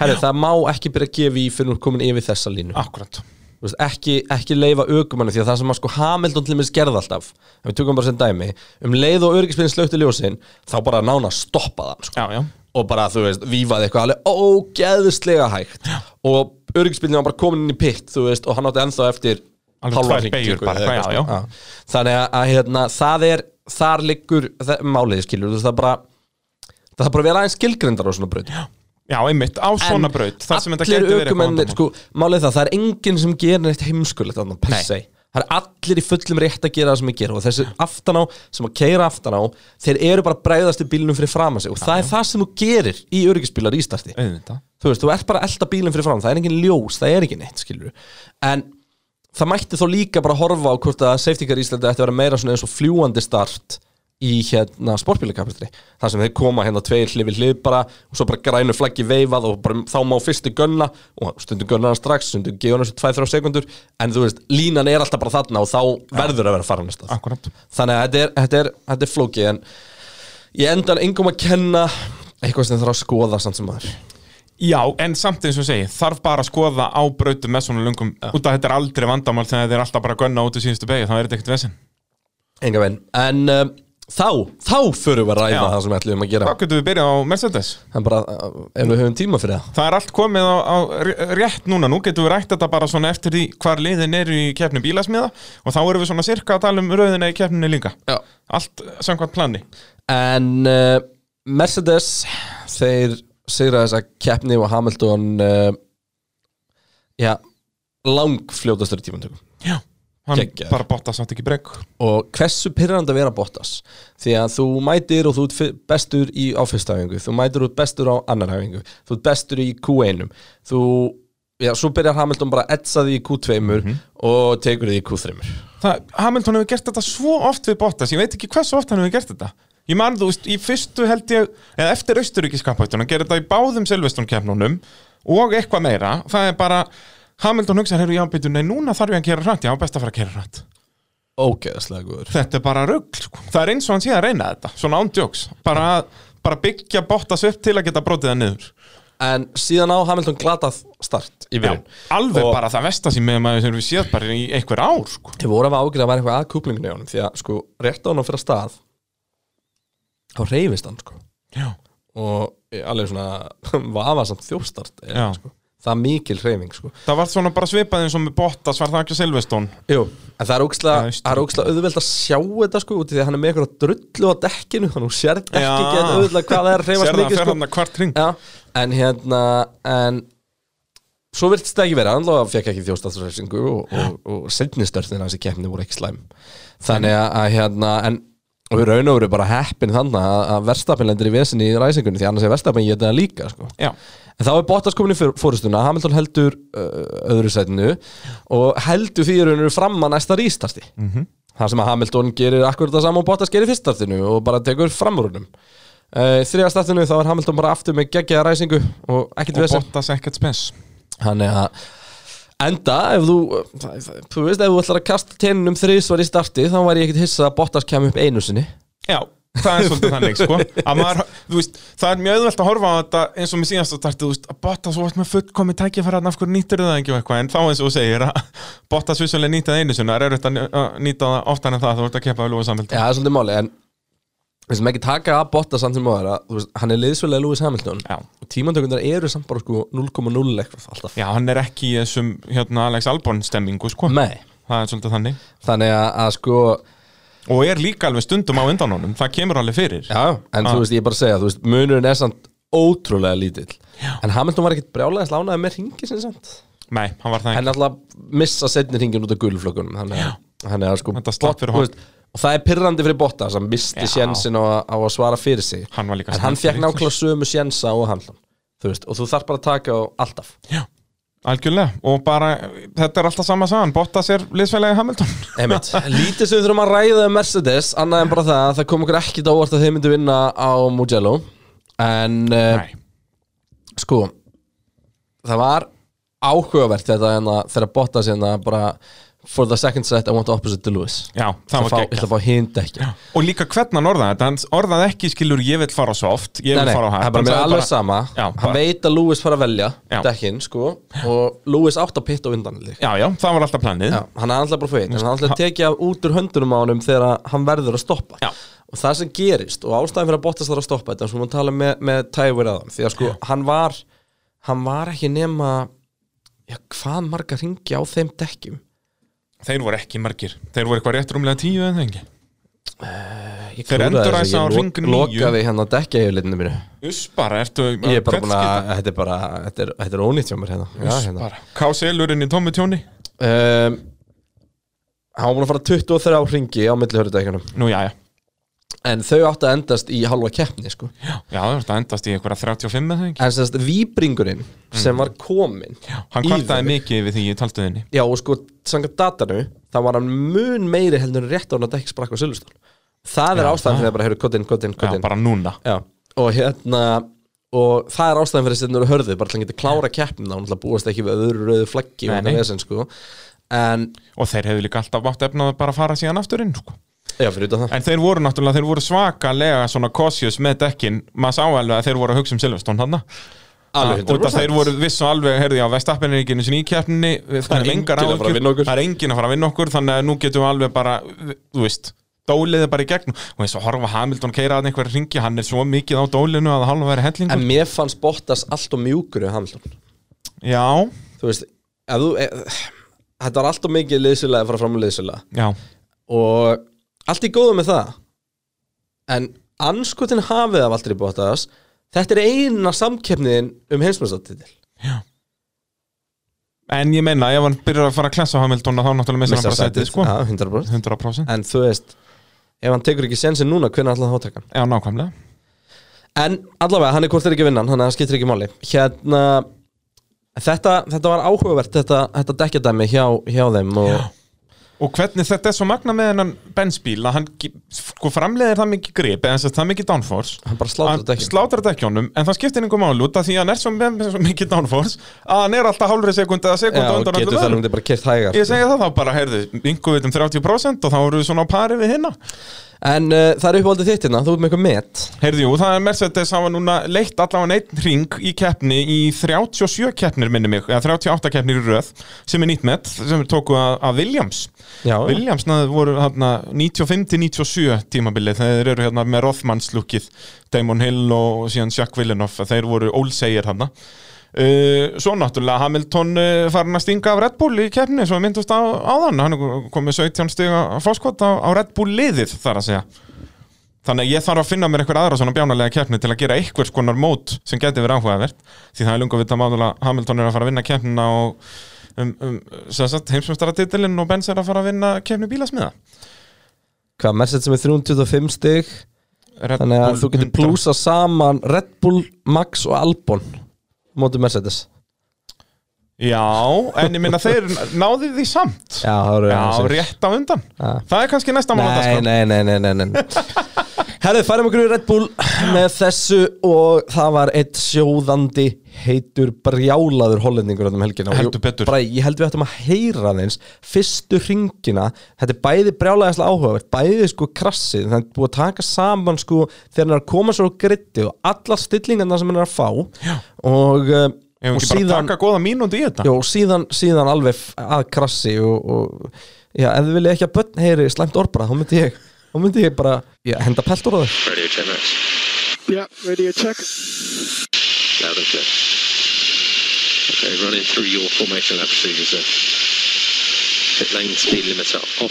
[SPEAKER 3] Herri, það má ekki byrja að gefa í fyrir hún komin yfir þessa línu
[SPEAKER 4] Akkurat,
[SPEAKER 3] Þú veist, ekki, ekki leifa aukumannu því að það sem að sko Hamilton til minns gerði alltaf ef við tökum bara sem dæmi, um leið og örgisbyrðin slökti ljósin, þá bara nána stoppaði hann sko.
[SPEAKER 4] já, já
[SPEAKER 3] og bara, þú veist, vífaði eitthvað alveg ógeðslega hægt já. og örgisbyrðin var bara komin inn í pitt þú veist, og hann átti ennþá eftir
[SPEAKER 4] Alveg
[SPEAKER 3] hálfa
[SPEAKER 4] tvær
[SPEAKER 3] hringingu
[SPEAKER 4] beygjur bara,
[SPEAKER 3] eða eitthvað,
[SPEAKER 4] já, já.
[SPEAKER 3] sko. þannig að, að hérna, það er þar liggur það, málið skilur, þú veist, það bara það þarf bara að vera aðeins skilgrindar á svona braut já
[SPEAKER 4] Já, einmitt, á svona braut, þar sem þetta geti verið eitthvað
[SPEAKER 3] ökumenn,
[SPEAKER 4] vandamál.
[SPEAKER 3] sko, málið er það, það er enginn sem gerir neitt heimskulegt þannig per se það er allir í fullum rétt að gera það sem ég gera og þessi aftan á, sem að keira aftan á þeir eru bara að bregðast í bílunum fyrir fram að sig og það er það sem þú gerir í öryggisbílar í starti
[SPEAKER 4] Auðvitað.
[SPEAKER 3] þú veist, þú ert bara að elda bílinn fyrir fram það er engin ljós, það er ekki neitt, skilur en það mætti þó líka bara horfa á hvort að safety car Íslandi ætti að vera meira svona eins og fljúandi start í hérna sportbílakapitri þar sem þeir koma hérna tveir hlið við hlið bara og svo bara grænu flaggi veifað og bara, þá má fyrstu gönna og stundum gönna hann strax, stundum gefa hann þessu 2-3 sekundur en þú veist, línan er alltaf bara þarna og þá verður að vera farin að stað
[SPEAKER 4] Akkúrat.
[SPEAKER 3] þannig að þetta er, þetta er, þetta er flókið en ég endan engum að kenna eitthvað sem þarf að skoða samt sem maður
[SPEAKER 4] Já, en samt eins og segi, þarf bara að skoða á brautum með svona lungum út af þetta er aldrei vandamál þegar þeir eru alltaf bara að gönna út í síðustu beigju, þá er þetta ekkert vesinn
[SPEAKER 3] Enga veginn En um, þá, þá förum við að ræða
[SPEAKER 4] Já.
[SPEAKER 3] það sem við ætlum að
[SPEAKER 4] Þá
[SPEAKER 3] gera
[SPEAKER 4] getum við byrjað á Mercedes
[SPEAKER 3] En bara, uh, ef við höfum tíma fyrir það
[SPEAKER 4] Það er allt komið á, á r- rétt núna, nú getum við rætt þetta bara svona eftir því hvar liðin eru í keppni bílasmiða og þá erum við svona sirka að tala um rauðina í keppninu líka
[SPEAKER 3] Já.
[SPEAKER 4] Allt samkvæmt plani
[SPEAKER 3] En uh, Mercedes, þeir sigra þessa keppni og Hamilton uh, Já, langfljótastur í tímantökum
[SPEAKER 4] Já, hann
[SPEAKER 3] Geggjaður.
[SPEAKER 4] bara botta samt ekki breg
[SPEAKER 3] og hversu pyrrandi að vera Bottas því að þú mætir og þú ert fi- bestur í á fyrsta áfyrstæfingu, þú mætir og þú ert bestur á annar áfyrstæfingu, þú ert bestur í Q1 þú já, svo byrjar Hamilton bara að etsa því í Q2
[SPEAKER 4] Mhm.
[SPEAKER 3] og tekur því í Q3
[SPEAKER 4] það, Hamilton hefur gert þetta svo oft við Bottas ég veit ekki hversu oft hann hefur gert þetta ég man þú veist, í fyrstu held ég eða eftir austuríkiskapættunum, hann gerir þetta í báðum Silveston keppnunum og eitthvað meira það er bara, Hamilton hugsaði hérna, já, byrju, nei, núna þarf ég að gera hratt já, best að fara að gera hratt
[SPEAKER 3] Ógeðslega góður
[SPEAKER 4] þetta er bara rugg, sko. það er eins og hann sé að reyna þetta svona ándjóks, bara, bara byggja Bottas upp til að geta brotið það niður
[SPEAKER 3] En síðan á Hamilton glatað start í
[SPEAKER 4] Já,
[SPEAKER 3] byrjun
[SPEAKER 4] alveg
[SPEAKER 3] Og-
[SPEAKER 4] bara það vestar sem maður sem við séð bara í einhver ár sko.
[SPEAKER 3] Þið voru að ágjörða að vera eitthvað að kúplinginu í honum Því að sko, rétt á hann að fyrir stað Þá reyfist hann sko
[SPEAKER 4] Já,
[SPEAKER 3] Og í alveg svona *laughs* vafasamt þjófstart er,
[SPEAKER 4] Já.
[SPEAKER 3] sko. Það er mikil reyfing sko
[SPEAKER 4] það var svona bara svipað eins og með Bottas var það ekki Silveston
[SPEAKER 3] Jú, en það er ókslega,
[SPEAKER 4] Já, veist.
[SPEAKER 3] það er ókslega auðveld að sjá þetta sko út í Því að hann er með eitthvað drullu á dekkinu Þannig hún sér ekki
[SPEAKER 4] Já.
[SPEAKER 3] ekki auðveld hvað það er að
[SPEAKER 4] Sér
[SPEAKER 3] reyfast
[SPEAKER 4] það
[SPEAKER 3] mikið
[SPEAKER 4] fyrir
[SPEAKER 3] sko
[SPEAKER 4] hann að hvart ring
[SPEAKER 3] Já, en hérna En Svo virtist það ekki vera, hann lofa fekk ekki þjóstaðsrefsingu og, og, og setnistörðin hans í keppni voru ekki slæm Þannig að, að hérna, en og við raun og veru bara heppin þannig að, að verstapin lendir í vesinni í ræsingunni því annars er verstapin getið það líka sko.
[SPEAKER 4] Já.
[SPEAKER 3] En þá er Bottas komin í fyr- fórustuna, Hamilton heldur uh, öðru sætinu og heldur því í raun og veru fram að næsta rístarti mm
[SPEAKER 4] Mhm.
[SPEAKER 3] -hmm. Það sem að Hamilton gerir akkurat það saman og Bottas gerir fyrstartinu og bara tekur framrúnum uh, Þriða startinu þá er Hamilton bara aftur með geggjaða ræsingu og ekkert
[SPEAKER 4] Og
[SPEAKER 3] vesinn
[SPEAKER 4] Bottas ekkert spes
[SPEAKER 3] Þannig að enda, ef þú það- það- þú veist, ef þú ætlar að kasta tennum þrísvar í starti, þá var ég ekkit hissa að Bottas kemur upp einu sinni
[SPEAKER 4] Já, það er svolítið þannig
[SPEAKER 3] *laughs*
[SPEAKER 4] sko. Að maður, þú veist, Það er mjög auðvelt að horfa á þetta eins og með síðast að starti þú veist, að Bottas vart með fullkomi tækifæra af hverju nýttir það ekki og eitthvað en þá eins og þú segir að Bottas vissulega nýtti það einu sinna er erfitt að ný- að nýta það oftar en það að þú ert að keppa við Lúi samfélta
[SPEAKER 3] Já, það er svolítið máli, en við sem ekki taka að Bottas samt sem maður að, þú veist, hann er liðsvölega Lewis Hamilton
[SPEAKER 4] Já.
[SPEAKER 3] og tímandökundar eru samt bara sko 0,0 eitthvað alltaf
[SPEAKER 4] Já, hann er ekki í þessum hérna, Alex Albon stemmingu sko.
[SPEAKER 3] Nei,
[SPEAKER 4] það er svolítið þannig
[SPEAKER 3] þannig að, að sko
[SPEAKER 4] og er líka alveg stundum á undan honum það kemur alveg fyrir
[SPEAKER 3] Já, en
[SPEAKER 4] Ah.
[SPEAKER 3] þú veist, ég er bara að segja, þú veist, munurinn er samt ótrúlega lítill Já. En Hamilton var ekkit brjálega slánaði með ringi sinni samt
[SPEAKER 4] Nei, hann var það
[SPEAKER 3] en
[SPEAKER 4] ekki
[SPEAKER 3] alltaf missa setni hringin út af gulflökunum þannig að, þannig að sko
[SPEAKER 4] Þetta slapp fyrir
[SPEAKER 3] þú og það er pirrandi fyrir Botta sem misti
[SPEAKER 4] Já.
[SPEAKER 3] sjensin á, að- á að svara fyrir sig
[SPEAKER 4] Hann var líka
[SPEAKER 3] en hann
[SPEAKER 4] snöggur
[SPEAKER 3] fekk
[SPEAKER 4] í
[SPEAKER 3] nákvæmlega sömu sjensa og hann þú veist, og þú þarf bara að taka á alltaf
[SPEAKER 4] Algjörlega, og bara, þetta er alltaf sama sagan Bottas er liðsfélagi Hamilton
[SPEAKER 3] Einmitt. lítið sem við þurfum að ræða um Mercedes annað en bara það, að það kom okkur ekkit á óvart að þeir myndu vinna á Mugello en uh,
[SPEAKER 4] Nei,
[SPEAKER 3] sko það var áhugavert þetta hérna, þegar Bottas hérna bara for the second set I want the opposite to Lewis
[SPEAKER 4] já, það var
[SPEAKER 3] fá,
[SPEAKER 4] geggjað.
[SPEAKER 3] ætla að fá hindi ekki
[SPEAKER 4] Og líka hvernig hann orðaði þetta, hann orðaði ekki skilur ég vil fara á soft, ég
[SPEAKER 3] Nei,
[SPEAKER 4] vil
[SPEAKER 3] nei,
[SPEAKER 4] fara á hægt
[SPEAKER 3] það er bara mér alveg sama
[SPEAKER 4] Já,
[SPEAKER 3] Hann
[SPEAKER 4] bara,
[SPEAKER 3] veit að Lewis fara að velja
[SPEAKER 4] Já.
[SPEAKER 3] dekkin, sko Og Lewis átt að pitta á undan líka.
[SPEAKER 4] já, já, það var alltaf planið
[SPEAKER 3] Já,
[SPEAKER 4] já.
[SPEAKER 3] Hann er alltaf bara fyrir Hann er alltaf að tekja út úr höndunum á honum Þegar að hann verður að stoppa
[SPEAKER 4] Já.
[SPEAKER 3] Og það sem gerist Og ástæðan fyrir að Bottas þarf að stoppa þetta Svo maður tala með, með Tæver að hann Því að sko, hann var Hann var ekki nema Já, hvað marga ringi á þeim dekkjum
[SPEAKER 4] Þeir voru ekki margir, þeir voru eitthvað rétt rúmlega tíu eða engi
[SPEAKER 3] Ég
[SPEAKER 4] Þeir
[SPEAKER 3] klúðraði
[SPEAKER 4] endur
[SPEAKER 3] þessu,
[SPEAKER 4] aðeins á
[SPEAKER 3] ég lo-
[SPEAKER 4] hringnum níu.
[SPEAKER 3] Lokaði hérna dekkja mínu
[SPEAKER 4] Uss bara, ertu
[SPEAKER 3] Ég er bara
[SPEAKER 4] hvert
[SPEAKER 3] búin að,
[SPEAKER 4] skipti?
[SPEAKER 3] þetta er bara Þetta er, þetta er ónýtt hjá mér hérna, Já,
[SPEAKER 4] Uss
[SPEAKER 3] hérna.
[SPEAKER 4] bara, káselurinn í tómi tjóni
[SPEAKER 3] um, Hann var búin að fara 23 ringi á milli hörðudækjunum
[SPEAKER 4] Nú, já, já,
[SPEAKER 3] En þau áttu að endast í halva keppni sko.
[SPEAKER 4] já, það var þetta endast í eitthvað 35 eða engi
[SPEAKER 3] En semst víbringurinn sem var kominn
[SPEAKER 4] Mm. Hann
[SPEAKER 3] í
[SPEAKER 4] kvartaði
[SPEAKER 3] þau-
[SPEAKER 4] mikið við því í talstöðinni
[SPEAKER 3] Já og sko, sangað datanu Það var hann mun meiri heldur en rétt á hann að dekki sprakk á Silveston Það er
[SPEAKER 4] Já,
[SPEAKER 3] ástæðan
[SPEAKER 4] það-
[SPEAKER 3] fyrir að bara hefur kotinn, kotinn,
[SPEAKER 4] Já,
[SPEAKER 3] kotinn
[SPEAKER 4] bara núna
[SPEAKER 3] Já, og hérna og það er ástæðan fyrir að setja eru hörðu bara til að geta klára keppnina, hún ætla að búast ekki við öðru rauðu flaggi og
[SPEAKER 4] Nei,
[SPEAKER 3] hann
[SPEAKER 4] nei.
[SPEAKER 3] vesen sko en,
[SPEAKER 4] og þeir hefðu líka alltaf bátt efnað að bara fara síðan aftur inn sko.
[SPEAKER 3] já fyrir utan það
[SPEAKER 4] en þeir voru náttúrulega, þeir voru svakalega svona cautious með dekkin, maður sá alveg að þeir voru að hugsa um Silveston hann
[SPEAKER 3] Alveg
[SPEAKER 4] og
[SPEAKER 3] 100%.
[SPEAKER 4] það þeir voru vissu alveg, heyrðu já, Vestappen er ekki einu sinni í keppninni, við-
[SPEAKER 3] Það er
[SPEAKER 4] við
[SPEAKER 3] enginn að
[SPEAKER 4] engar
[SPEAKER 3] fara að
[SPEAKER 4] áhyggjur,
[SPEAKER 3] vinna okkur.
[SPEAKER 4] það er engin að fara að vinna okkur þannig að nú getum við alveg bara við- þú veist, dóliði bara í gegn og eins og horfa Hamilton keira að einhver ringi hann er svo mikið á dólinu að það halva verið hellingur
[SPEAKER 3] en mér fannst Bottas allt og mjúkur í Hamilton
[SPEAKER 4] já,
[SPEAKER 3] þú veist ef þú, e, þetta var allt og mikið liðsýlega að fara fram úr liðsýlega
[SPEAKER 4] já,
[SPEAKER 3] og allt í góðu með það en anskotin hafið af aldrei bótaðas þetta er eina samkeppniðin um heimsmyndsatitil
[SPEAKER 4] en ég meina ef hann byrjar að fara að klessa Hamilton að þá náttúrulega missar hann bara setið sko,
[SPEAKER 3] 100%
[SPEAKER 4] 100%
[SPEAKER 3] en þú veist ef hann tekur ekki sensin núna hvernig ætlaði það að taka hann
[SPEAKER 4] já, nákvæmlega
[SPEAKER 3] en allavega hann er hvort er ekki vinnan þannig að það skiptir ekki máli hérna Þetta, þetta var áhugavert, þetta, þetta dekkjadæmi hjá, hjá þeim og
[SPEAKER 4] Og hvernig þetta er svo magna með hennan bensbíl að hann ge- sko framleiðir það mikið grip eða sem sagt það mikið downforce
[SPEAKER 3] Hann bara slátrar
[SPEAKER 4] Hann
[SPEAKER 3] dekkjunum.
[SPEAKER 4] slátrar dekkjónum en það skiptir einhver máli út af því að hann er svo með með svo mikið downforce að hann er alltaf hálfri sekundi eða
[SPEAKER 3] já,
[SPEAKER 4] sekundi
[SPEAKER 3] og
[SPEAKER 4] undan
[SPEAKER 3] getur
[SPEAKER 4] öllum
[SPEAKER 3] þannig
[SPEAKER 4] öðrum.
[SPEAKER 3] að bara kert hægar
[SPEAKER 4] Ég segja það þá bara, heyrðu, yngu við um 30% og þá eru við svona á pari við hinna
[SPEAKER 3] En uh, það er uppáldið þitt hérna, þú ert með eitthvað met
[SPEAKER 4] Heyrðu, jú, það er Mercedes hafa núna leitt allavega einn ring í keppni í 37 keppnir minni mig, eða 38 keppnir í röð sem er nýtt met, sem er tóku að, að Williams
[SPEAKER 3] Já, já.
[SPEAKER 4] Williams náðu voru hérna 95-97 tímabilið, þeir eru hérna með Rothmans lukkið, Damon Hill og síðan Jack Villanoff, þeir voru ólsegir hérna Uh, svo náttúrulega Hamilton uh, farin að stinga af Red Bull í keppni svo myndust á, á þann hann komið 17 stig að fórskot á, á Red Bull liðið þar að segja Þannig að ég þarf að finna mér einhver aðra svona bjánalega keppni til að gera einhvers konar mót sem geti verið áhugavert því það er lungu að vita máðulega Hamilton er að fara að vinna keppnina og um, um, sem sagt, heimsumstaratitilinn og Benz er að fara að vinna keppni bílasmiða
[SPEAKER 3] Hvað, Mercedes sem er 325 stig
[SPEAKER 4] Red
[SPEAKER 3] Þannig að
[SPEAKER 4] Bull
[SPEAKER 3] þú getur
[SPEAKER 4] 100.
[SPEAKER 3] plúsa saman Red Bull, Max og Albon Mótið Mercedes
[SPEAKER 4] Já, en ég minna þeir náðu því samt
[SPEAKER 3] Já, það eru
[SPEAKER 4] Já,
[SPEAKER 3] hérna sér.
[SPEAKER 4] rétt á undan Það er kannski næsta sko. mál á
[SPEAKER 3] Nei,
[SPEAKER 4] dagskrá.
[SPEAKER 3] nei, nei, nei, nei, nei. *laughs* Herðu, færum okkur í Red Bull með þessu og það var eitt sjóðandi heitur brjálaður hollendingur þarna um helgina Og
[SPEAKER 4] Heldur
[SPEAKER 3] ég-
[SPEAKER 4] betur.
[SPEAKER 3] bara, Ég held við ættum að heyra þeins fyrstu ringina Þetta er bæði brjálaðislega áhugavert, bæði sko krassið Það er búið að taka saman sko þegar hann er að koma svo á gritti og allar stillingarna sem hann er að fá Já. og, uh, og
[SPEAKER 4] Ef ekki bara
[SPEAKER 3] síðan
[SPEAKER 4] taka góða mínúti í þetta
[SPEAKER 3] Jó, síðan, síðan alveg f- að krassi og, og já, ef þið viljið ekki að börn heyri slæmt orðbara, þá myndi ég þá myndi ég bara já, henda pelt úr á þau
[SPEAKER 1] Radio check Max.
[SPEAKER 10] Yeah, radio check.
[SPEAKER 1] Loud and clear. Okay, running through your formation lap procedures there. Pit lane speed limiter off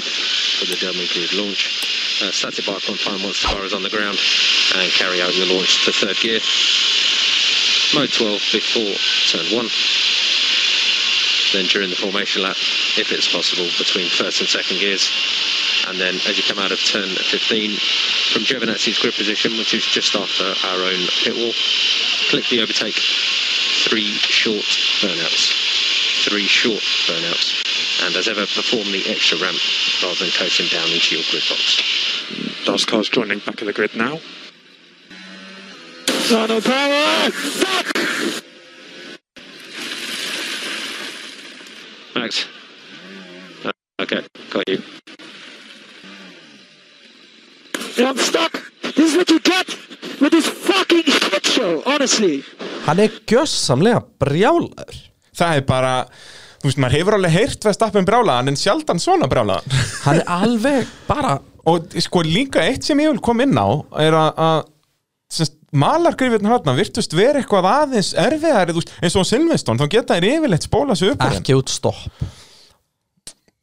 [SPEAKER 1] for the German grid launch. Uh, static bar on time once the car is on the ground and carry out your launch to third gear. Mode 12 before turn 1. Then during the formation lap, if it's possible, between first and second gears. And then as you come out of turn 15, from Giovinazzi's grid position, which is just after our own pit wall, click the overtake. Three short burnouts. Three short burnouts. And as ever, perform the extra ramp rather than coasting down into your grid box.
[SPEAKER 10] Last car's joining back of the grid now. Donald Power!
[SPEAKER 1] Max. Uh, Okay, got you.
[SPEAKER 10] I'm stuck! This is what you get with this fucking shit show, honestly!
[SPEAKER 3] Hann er gjössamlega brjálaður
[SPEAKER 4] Það er bara, þú veist, maður hefur alveg heyrt Vestappen brjálaðan en sjaldan svona brjálaðan
[SPEAKER 3] *laughs* Hann er alveg bara
[SPEAKER 4] og sko líka eitt sem ég vil koma inn á er að- að semst, malargrifirnar hérna virtust vera eitthvað aðeins erfiðari þú veist, eins og á Silveston, þá geta þér yfirleitt spóla sig upp úr þeim.
[SPEAKER 3] ekki út stopp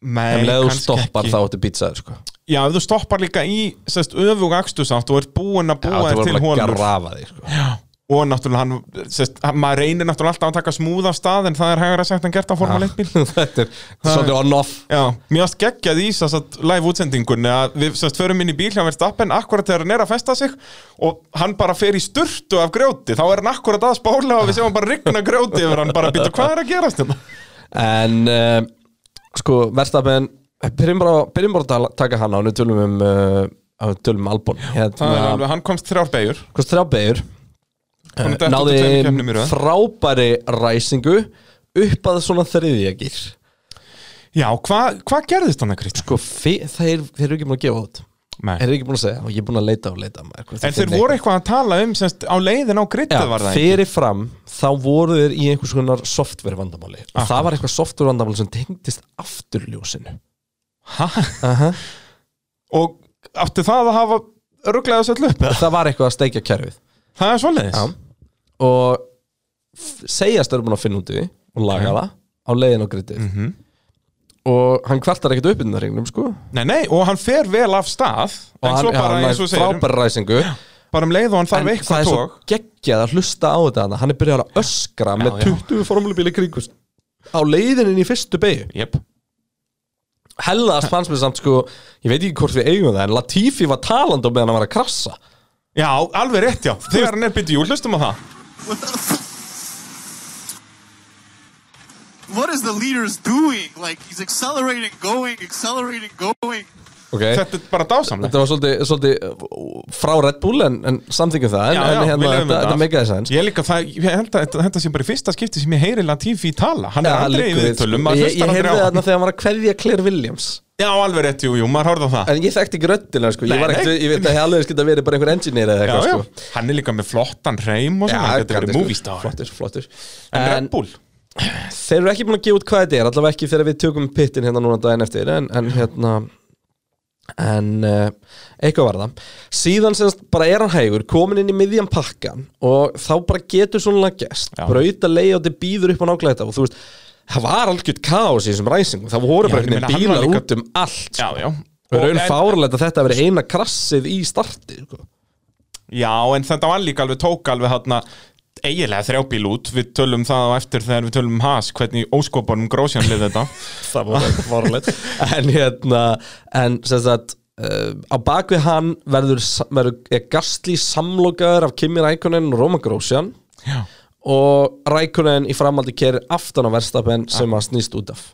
[SPEAKER 4] Nei,
[SPEAKER 3] Ah, En leðu
[SPEAKER 4] kannski
[SPEAKER 3] stoppar
[SPEAKER 4] ekki.
[SPEAKER 3] þá ertu pizzaður sko
[SPEAKER 4] Já, ef þú stoppar líka í sest, öfug akstusátt og ert búin að
[SPEAKER 3] Já,
[SPEAKER 4] búa
[SPEAKER 3] þú
[SPEAKER 4] þér til
[SPEAKER 3] verður bara að
[SPEAKER 4] hólur
[SPEAKER 3] grafa þig sko *laughs*
[SPEAKER 4] og náttúrulega hann, sest, hann maður reynir náttúrulega alltaf að taka smúð af stað en það er hægara sagt en gert á Formule 1 bíl
[SPEAKER 3] Þetta er svolítið on-off
[SPEAKER 4] Já, mér varst geggjað í þess að live útsendingunni að við semst förum inn í bíl hjá Verstappen akkurat þegar hann er að festa sig og hann bara fer í sturtu af grjóti þá er hann akkurat að spála og við séum hann bara rigna grjóti yfir hann bara býta hvað er að gerast hérna?" þetta
[SPEAKER 3] En uh, sko, Verstapen byrjum bara, byrjum bara að tala- taka hann á nú tölum um, uh, tölum um Albon
[SPEAKER 4] Það er
[SPEAKER 3] hérna,
[SPEAKER 4] alveg, hann komst þrjár beigur
[SPEAKER 3] hvort þrjá beigur
[SPEAKER 4] Hann er dettur út úr tveimur keppnum í
[SPEAKER 3] Eh, náði
[SPEAKER 4] röð.
[SPEAKER 3] frábæri ræsingu upp að svona þriðja gýr
[SPEAKER 4] Já, hvað hva gerðist hann að Krist?
[SPEAKER 3] sko, fi- þeir, þeir eru ekki búin að gefa út
[SPEAKER 4] Nei.
[SPEAKER 3] þeir eru ekki búin að segja og ég er búin að leita og leita maður, hvort
[SPEAKER 4] En
[SPEAKER 3] þeir
[SPEAKER 4] þeir
[SPEAKER 3] finni
[SPEAKER 4] voru eitthvað að tala um semst, á leiðin á grittið
[SPEAKER 3] Já,
[SPEAKER 4] var það ekki?
[SPEAKER 3] fyrir fram þá voru þeir í einhvers konar software vandamáli og það var eitthvað software vandamáli sem tengdist afturljósinu
[SPEAKER 4] Og átti það að hafa rugglega þessu allu upp?
[SPEAKER 3] það var eitthvað að steikja kerfið
[SPEAKER 4] Það er svoleiðis
[SPEAKER 3] Já. og f- segjast eru búin að finna út í því og laga það á leiðin á gritið
[SPEAKER 4] Mhm.
[SPEAKER 3] og hann kvartar ekkert upp innan hringnum sko og
[SPEAKER 4] Nei, nei, og hann fer vel af stað En
[SPEAKER 3] hann,
[SPEAKER 4] svo
[SPEAKER 3] já,
[SPEAKER 4] bara,
[SPEAKER 3] hann
[SPEAKER 4] eins og
[SPEAKER 3] er
[SPEAKER 4] segir,
[SPEAKER 3] frábæra ræsingu
[SPEAKER 4] *clears throat* bara um leið og hann
[SPEAKER 3] en
[SPEAKER 4] þarf
[SPEAKER 3] það er
[SPEAKER 4] eitthvað
[SPEAKER 3] svo
[SPEAKER 4] tók
[SPEAKER 3] geggjað að hlusta á þetta hana. hann er byrjað að öskra með
[SPEAKER 4] já.
[SPEAKER 3] 20 formulebíli kringus á leiðinni í fyrstu beigju
[SPEAKER 4] Jep
[SPEAKER 3] hellast fannst mér samt sko ég veit ekki hvort við eigum það en Latifi var talandi á meðan hann var að krassa
[SPEAKER 4] Já, alveg rétt já, þegar hann er byttið jú, hlustum á það
[SPEAKER 11] what is the leader's doing? Like he's accelerating, going, accelerating, going.
[SPEAKER 3] okay.
[SPEAKER 4] Þetta er bara
[SPEAKER 3] Eh,
[SPEAKER 4] dásamlega
[SPEAKER 3] Þetta var svolítið, svolítið uh, frá Red Bull en, en samþyngum það en,
[SPEAKER 4] Já, já,
[SPEAKER 3] en
[SPEAKER 4] við
[SPEAKER 3] hérna,
[SPEAKER 4] leyfum
[SPEAKER 3] þetta,
[SPEAKER 4] þetta.
[SPEAKER 3] þetta meikaði sens
[SPEAKER 4] Ég líka það, ég held að þetta- þetta sé bara í fyrsta skipti sem ég heyri Latifi tala Hann er
[SPEAKER 3] Já,
[SPEAKER 4] aldrei
[SPEAKER 3] liggur
[SPEAKER 4] í
[SPEAKER 3] við,
[SPEAKER 4] viðtölum,
[SPEAKER 3] sko.
[SPEAKER 4] maður
[SPEAKER 3] Ég,
[SPEAKER 4] hlustar
[SPEAKER 3] ég
[SPEAKER 4] aldrei
[SPEAKER 3] heyrði
[SPEAKER 4] á hann
[SPEAKER 3] þarna þegar hann var að kveðja Claire Williams
[SPEAKER 4] Já, alveg rétt, jú, jú, maður horfði á það
[SPEAKER 3] En ég þekkti ekki röddina, sko Ég,
[SPEAKER 4] Nei,
[SPEAKER 3] var ekkert,
[SPEAKER 4] nei.
[SPEAKER 3] ég veit að það alveg skilta verið bara einhver engineer eða
[SPEAKER 4] Já,
[SPEAKER 3] eitthvað,
[SPEAKER 4] já,
[SPEAKER 3] sko
[SPEAKER 4] hann er líka með flottan reym og
[SPEAKER 3] Já,
[SPEAKER 4] svona, þetta er
[SPEAKER 3] gæti,
[SPEAKER 4] verið
[SPEAKER 3] sko.
[SPEAKER 4] movie star
[SPEAKER 3] Flottur, flottur
[SPEAKER 4] En Red
[SPEAKER 3] En
[SPEAKER 4] Bull sko.
[SPEAKER 3] þeir eru ekki búin að gefa út hvað þetta er Allavega ekki þegar við tökum pittin hérna núna daginn eftir En, en hérna En uh, eitthvað var það Síðan semst bara er hann hægur Komin inn í miðjan pakkan Og þá bara getur svona gest
[SPEAKER 4] Já.
[SPEAKER 3] Brauta leiðjóti býður upp á nákvæmlega þetta Og þú veist, það var algjört kaos í þessum ræsingum Það voru
[SPEAKER 4] Já,
[SPEAKER 3] bara einhvern
[SPEAKER 4] ég meina, hann
[SPEAKER 3] veginn
[SPEAKER 4] var
[SPEAKER 3] bílar
[SPEAKER 4] líka-
[SPEAKER 3] út um allt
[SPEAKER 4] Já, já
[SPEAKER 3] Og raun
[SPEAKER 4] en-
[SPEAKER 3] fárlegt að þetta veri eina krassið í starti sko.
[SPEAKER 4] Já, en þetta var líka alveg tók alveg hann eiginlega þrjábíl út, við tölum það á eftir þegar við tölum um Haas, hvernig í óskopunum grósjan lið
[SPEAKER 3] *laughs*
[SPEAKER 4] þetta
[SPEAKER 3] það var fárlegt *laughs* en hérna en sem sagt Uh, á bakvið hann verður, verður er Gastli samlokaður af Kimi Rækonen og Roman Grósjan
[SPEAKER 4] Já.
[SPEAKER 3] og Rækonen í framaldi keri aftan á verstapen sem hann snýst út af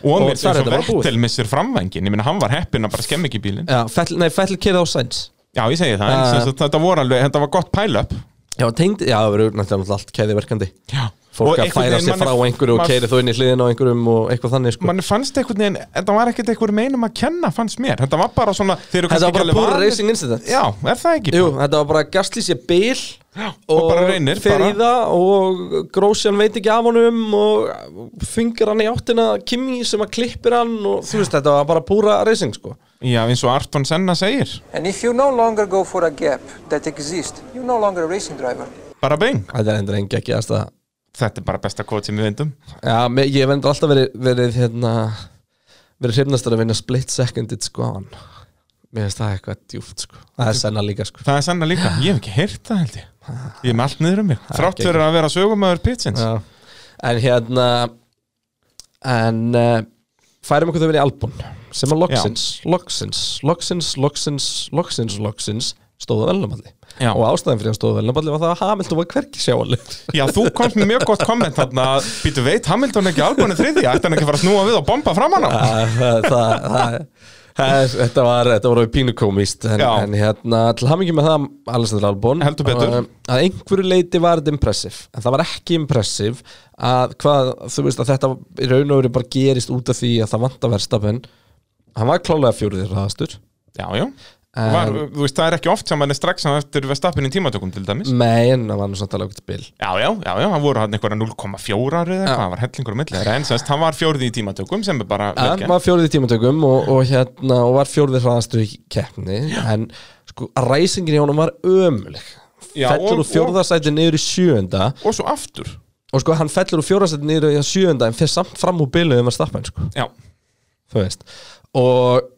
[SPEAKER 4] og
[SPEAKER 3] Og þar
[SPEAKER 4] mér
[SPEAKER 3] er
[SPEAKER 4] sem
[SPEAKER 3] þetta bara búið.
[SPEAKER 4] Vettel missir framvængin, ég meina hann var heppin að bara skemmi ekki bílinn
[SPEAKER 3] Já, fell, nei, fell kerið á Sainz
[SPEAKER 4] Já, ég segi það,
[SPEAKER 3] Já,
[SPEAKER 4] uh,
[SPEAKER 3] já.
[SPEAKER 4] að, þetta voru alveg, þetta var gott pæl-up
[SPEAKER 3] Já, tengd, já, það verður náttúrulega allt kæði verkandi
[SPEAKER 4] Já. Og
[SPEAKER 3] Fólk að
[SPEAKER 4] einhvern
[SPEAKER 3] færa
[SPEAKER 4] veginn
[SPEAKER 3] sig
[SPEAKER 4] mann er-
[SPEAKER 3] frá einhverju og
[SPEAKER 4] maður-
[SPEAKER 3] keiri þó inn í hliðin á einhverjum og eitthvað þannig sko.
[SPEAKER 4] mann fannst einhvern veginn, þetta var ekkert einhver meinum að kenna fannst mér, þetta var bara svona þeir eru
[SPEAKER 3] Þetta var
[SPEAKER 4] kannski
[SPEAKER 3] bara
[SPEAKER 4] ekki alveg
[SPEAKER 3] pure
[SPEAKER 4] vanir-
[SPEAKER 3] racing incident
[SPEAKER 4] Já, er það ekki?
[SPEAKER 3] Jú, þetta var bara Gastli sé bil
[SPEAKER 4] og bara reynir,
[SPEAKER 3] fer í
[SPEAKER 4] bara.
[SPEAKER 3] það og Grósjan veit ekki af honum og þungar hann í áttina Kimi sem að klippir hann og þú veist þetta var bara púra racing sko
[SPEAKER 4] Já, eins og Arton Senna segir,
[SPEAKER 9] And if you no longer go for a gap that exists, you're no longer a racing driver.
[SPEAKER 4] bara bein
[SPEAKER 3] Þetta er endur engi ekki aðstæða
[SPEAKER 4] Þetta er bara besta kvot sem við veitum
[SPEAKER 3] Já, me- ég vendur alltaf verið, verið hérna verið hrifnastur að vinna split seconded sko á hann Mér finnst það eitthvað djúft sko Það er senna líka sko
[SPEAKER 4] Það er Senna líka, ég hef ekki heyrt það held ég Ég er með allt niður um mig, þrátt
[SPEAKER 3] ekki-
[SPEAKER 4] fyrir að vera sögumæður pitsins
[SPEAKER 3] Já. En hérna En uh, Færum okkur þau verið í Albon Sem að loksins, loksins, loksins, loksins, loksins, loksins Stóðu velnaballi
[SPEAKER 4] Já.
[SPEAKER 3] Og ástæðan fyrir að stóðu velnaballi var það að Hamilton var hverki sjáanlegur
[SPEAKER 4] Já, þú komst með mjög gott komment þarna Býtu veit, Hamilton ekki albúinu þriði Ætti hann ekki að fara að snúa við og bomba fram hann á
[SPEAKER 3] það, það, það, það, það, þetta var þetta var alveg pínukomist en,
[SPEAKER 4] Já.
[SPEAKER 3] en hérna, til hamingi með það Alessandr Albon
[SPEAKER 4] Heldur betur.
[SPEAKER 3] að, að einhverju leiti var þetta impressiv en það var ekki impressiv að hvað, þú veist að þetta í raun og veru bara gerist út af því að það vanta verðstafinn hann var klálega fjóriðir hraðastur
[SPEAKER 4] Já, já Var,
[SPEAKER 3] Um.
[SPEAKER 4] þú veist, það er ekki oft sem hann er strax hann eftir verðstappin í tímatökum til dæmis
[SPEAKER 3] Mm. meginn, það var nú samt alveg okkur bil
[SPEAKER 4] Já, já, já, já, hann voru hann einhverja 0,4 eða eitthvað, hann var hellingur á milli þeirra, en semst, hann var fjórði í tímatökum sem er bara vel
[SPEAKER 3] hann
[SPEAKER 4] gert.
[SPEAKER 3] var fjórið í tímatökum og, og hérna og var fjórið hraðastur í keppni en sko, ræsingin í honum var ömuleg
[SPEAKER 4] Já,
[SPEAKER 3] fellur
[SPEAKER 4] og-
[SPEAKER 3] úr fjórðasæti niður í sjöunda
[SPEAKER 4] Og svo aftur
[SPEAKER 3] og sko hann fellur úr fjórasætti niður í að sjönda en fyrir samt fram úr byllu um að stappa hann sko
[SPEAKER 4] Já,
[SPEAKER 3] þú veist og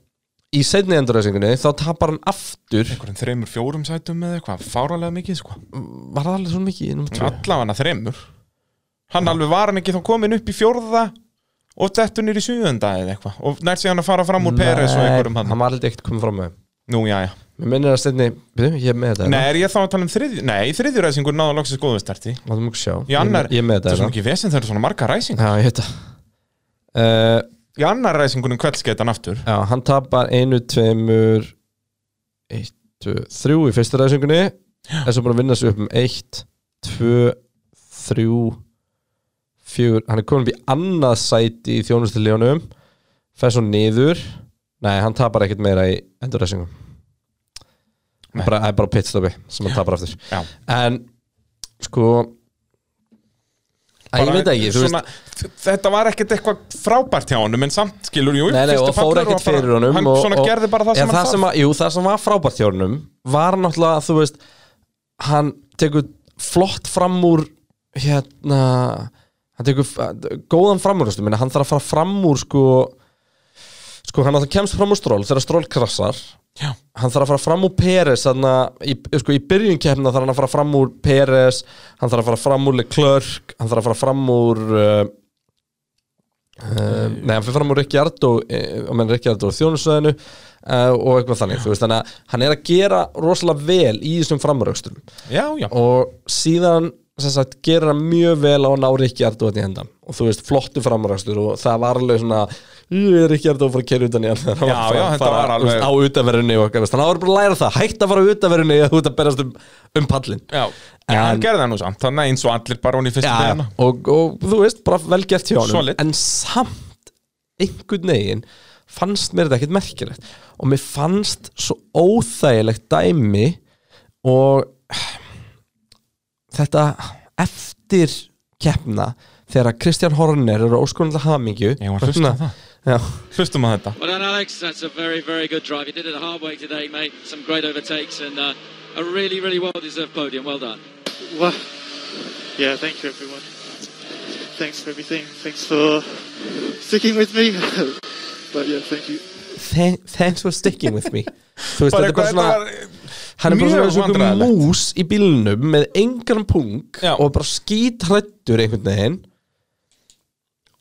[SPEAKER 3] í setni endurreysingunni þá tapar hann aftur
[SPEAKER 4] einhverjum þreymur fjórum sætum eða eitthvað, fáralega mikið sko
[SPEAKER 3] var það alveg svona mikið í nummer 2
[SPEAKER 4] Allavega þreymur Hann alveg var hann ekki þá komin upp í fjórða og dettur niður í sjöðunda eða eitthvað og nær síðan að fara fram úr Peres og einhverjum hann
[SPEAKER 3] hann var aldrei ekkert komið fram með þeim.
[SPEAKER 4] Nú, já, já
[SPEAKER 3] mér minnir að setni byrju, ég er með þetta
[SPEAKER 4] Nei, er ég þá að tala um þriðju? Nei, þriðju ræsingur náða loksins góðu starti
[SPEAKER 3] hérna. látum okkur sjá
[SPEAKER 4] Í annar,
[SPEAKER 3] ég, er með- ég
[SPEAKER 4] þetta
[SPEAKER 3] er
[SPEAKER 4] er
[SPEAKER 3] með
[SPEAKER 4] svona
[SPEAKER 3] þetta
[SPEAKER 4] ekki vesen þegar svona marga ræsing
[SPEAKER 3] hérna. já ég heita uh,
[SPEAKER 4] Í annar ræsingunum kveldskeitan aftur
[SPEAKER 3] já hann tapar einu tveimur eitt tvö, þrjú í fyrsta reysingunni þess að bara vinna sig upp um eitt tvö þrjú fjögur, hann er komin upp í annað sæti í þjónustilíunum fer svo niður nei, hann tapar ekkert meira í endurreysingum
[SPEAKER 4] Nei.
[SPEAKER 3] bara, það er bara pitstopi sem hann tapar aftur
[SPEAKER 4] Já.
[SPEAKER 3] en sko að ég
[SPEAKER 4] Bara
[SPEAKER 3] veit það ekki, þú veist
[SPEAKER 4] svona, Þetta var ekkert eitthvað frábært hjá honum en samt skilur, jú,
[SPEAKER 3] Nei, nei,
[SPEAKER 4] fyrstu
[SPEAKER 3] og fór
[SPEAKER 4] fallur
[SPEAKER 3] ekkert
[SPEAKER 4] bara-
[SPEAKER 3] fyrir honum
[SPEAKER 4] Hann
[SPEAKER 3] og,
[SPEAKER 4] svona
[SPEAKER 3] og,
[SPEAKER 4] gerði bara það
[SPEAKER 3] Já,
[SPEAKER 4] sem hann
[SPEAKER 3] að, Jú, það sem var frábært hjá honum var náttúrulega, þú veist hann tekur flott fram úr hérna hann tekur f- góðan fram úr þú veist, ég meina, hann þarf að fara fram úr sko sko, hann náttúrulega kemst fram úr stról þegar stról krassar
[SPEAKER 4] Já.
[SPEAKER 3] hann þarf að fara fram úr Peres þarna, í, sko, í byrjun keppna þarf hann að fara fram úr Peres hann þarf að fara fram úr Leclerc hann þarf að fara fram úr uh, uh, nei, hann fyrir fram úr Ricciardo uh, menn Ricciardo á þjónusöðinu uh, og eitthvað þannig, þú veist, þannig að hann er að gera rosalega vel í þessum framraukstum
[SPEAKER 4] Já, já,
[SPEAKER 3] og síðan sem sagt, gerir hann mjög vel á að ná Rikki Ardóðan í hendan og þú veist, flottu framrækstur og það var alveg svona "Ú, Rikki Ardóðan fór að kerja utan í hann *laughs* þegar hann
[SPEAKER 4] Já,
[SPEAKER 3] var að
[SPEAKER 4] já,
[SPEAKER 3] fara-
[SPEAKER 4] þetta
[SPEAKER 3] fara,
[SPEAKER 4] var
[SPEAKER 3] þú veist,
[SPEAKER 4] alveg-
[SPEAKER 3] á utaverunni og eitthvað, þannig að það var bara að læra það hægt að fara á utaverunni eða þú ert að berast um, um pallin
[SPEAKER 4] Já, en hann gerði það nú samt Þannig eins og allir bara hún í fyrstu
[SPEAKER 3] Já,
[SPEAKER 4] dagana
[SPEAKER 3] og, og þú veist, bara vel gert hjá honum
[SPEAKER 4] Hérna. Solid.
[SPEAKER 3] En samt einhvern veginn fannst mér þetta ekkert merkilegt og mér fannst svo óþægilegt dæmi og þetta eftir keppna þegar Kristján Horner er óskonlega hamingju Hérna.
[SPEAKER 4] Ég var hlusta á það.
[SPEAKER 3] Já,
[SPEAKER 4] Hlustum að þetta
[SPEAKER 12] Well done, Alex. That's a very, very good drive. You did it the hard way today, mate. Some great overtakes and uh, a really, really well-deserved podium. Well done.
[SPEAKER 13] Well, yeah, thank you everyone. Thanks for everything. Thanks for sticking with me. *laughs* but yeah, thank you.
[SPEAKER 3] Thank- thanks for sticking with me Þú veist, þetta
[SPEAKER 13] Bara
[SPEAKER 3] er bara
[SPEAKER 13] eitthvað-
[SPEAKER 3] svona
[SPEAKER 13] þetta
[SPEAKER 3] hann er bara
[SPEAKER 4] mjög
[SPEAKER 3] svona eins og einhver
[SPEAKER 4] vandræðalegt.
[SPEAKER 3] mús í bílnum með engan pung Já. og bara skítrættur einhvern veginn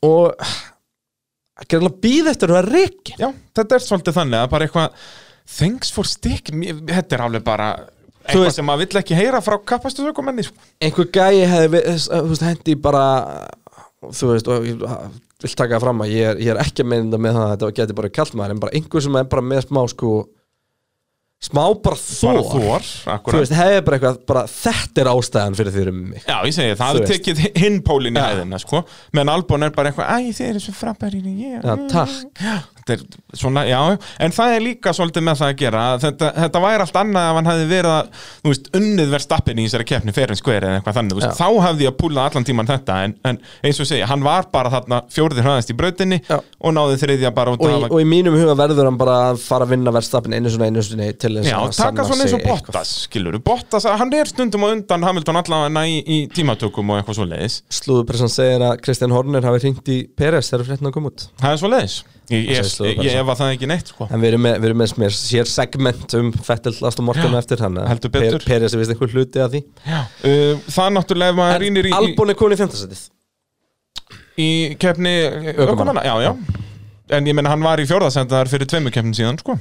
[SPEAKER 3] og að gera alveg býð eftir að reiki
[SPEAKER 4] Já, þetta er svolítið þannig að bara eitthvað Thanks for stick mér- Þetta er alveg bara Eitthvað
[SPEAKER 3] veist-
[SPEAKER 4] sem maður vill ekki heyra frá kapastusökumenni sko.
[SPEAKER 3] einhver gæi hefði við- þess- þú veist, hendi bara þú veist, og ég vil taka það fram að ég er, ég er ekki að meina með það að þetta geti bara kallt maður en bara einhver sem er bara með smá sko smá bara þor,
[SPEAKER 4] Bara þor,
[SPEAKER 3] þú
[SPEAKER 4] akkurat.
[SPEAKER 3] veist, hefði bara eitthvað bara, þetta er ástæðan fyrir því um mig
[SPEAKER 4] Já, ég segi
[SPEAKER 3] Þú
[SPEAKER 4] það Það er
[SPEAKER 3] veist.
[SPEAKER 4] tekið hinn pólinn í hæðina sko. Meðan Albon er bara eitthvað Æ, þið eru svo frabærin í ég
[SPEAKER 3] Já, takk.
[SPEAKER 4] Þetta er svona, já, já. en það er líka svolítið með það að gera að þetta, þetta væri allt annað ef hann hefði verið að, þú veist, unnið verð stappin í þessari keppni fyrir en skveri eða eitthvað þannig, þú veist,
[SPEAKER 3] Já.
[SPEAKER 4] þá hefði ég að púla allan tíman þetta en, en eins og segja, hann var bara þarna fjórði hraðast í brautinni og náði þriðja bara út
[SPEAKER 3] og,
[SPEAKER 4] af
[SPEAKER 3] í,
[SPEAKER 4] að-
[SPEAKER 3] og í mínum huga verður hann bara að fara að vinna verðstapin einu svona einu svona til þess
[SPEAKER 4] Já,
[SPEAKER 3] að
[SPEAKER 4] taka
[SPEAKER 3] sanna
[SPEAKER 4] svona eins
[SPEAKER 3] sig
[SPEAKER 4] og Bottas, skilur Bottas, hann er stundum á undan Hamilton allavega í, í tímatökum og eitthvað svo leiðis
[SPEAKER 3] Slúðupressan segir að Kristján Horner hafi hringt í Peres þegar fréttin að koma út
[SPEAKER 4] Það er svo leiðis
[SPEAKER 3] Það
[SPEAKER 4] Ég, ég,
[SPEAKER 3] segir
[SPEAKER 4] ég, ég
[SPEAKER 3] slúðurpressan.
[SPEAKER 4] efa það ekki neitt, sko
[SPEAKER 3] En við erum með, við erum með smér, sér segment um Fettel, Aston Martin
[SPEAKER 4] Já,
[SPEAKER 3] og eftir þannig
[SPEAKER 4] heldur betur.
[SPEAKER 3] Peres er vist einhver hluti að því
[SPEAKER 4] Uh, það er náttúrulega ef maður rýnir í
[SPEAKER 3] Albon er komin í fjöndarsætið
[SPEAKER 4] Í keppni
[SPEAKER 3] Ökumanna.
[SPEAKER 4] ökumanna, já, já En ég menna hann var í fjórðasendar fyrir tveimur keppnin síðan, sko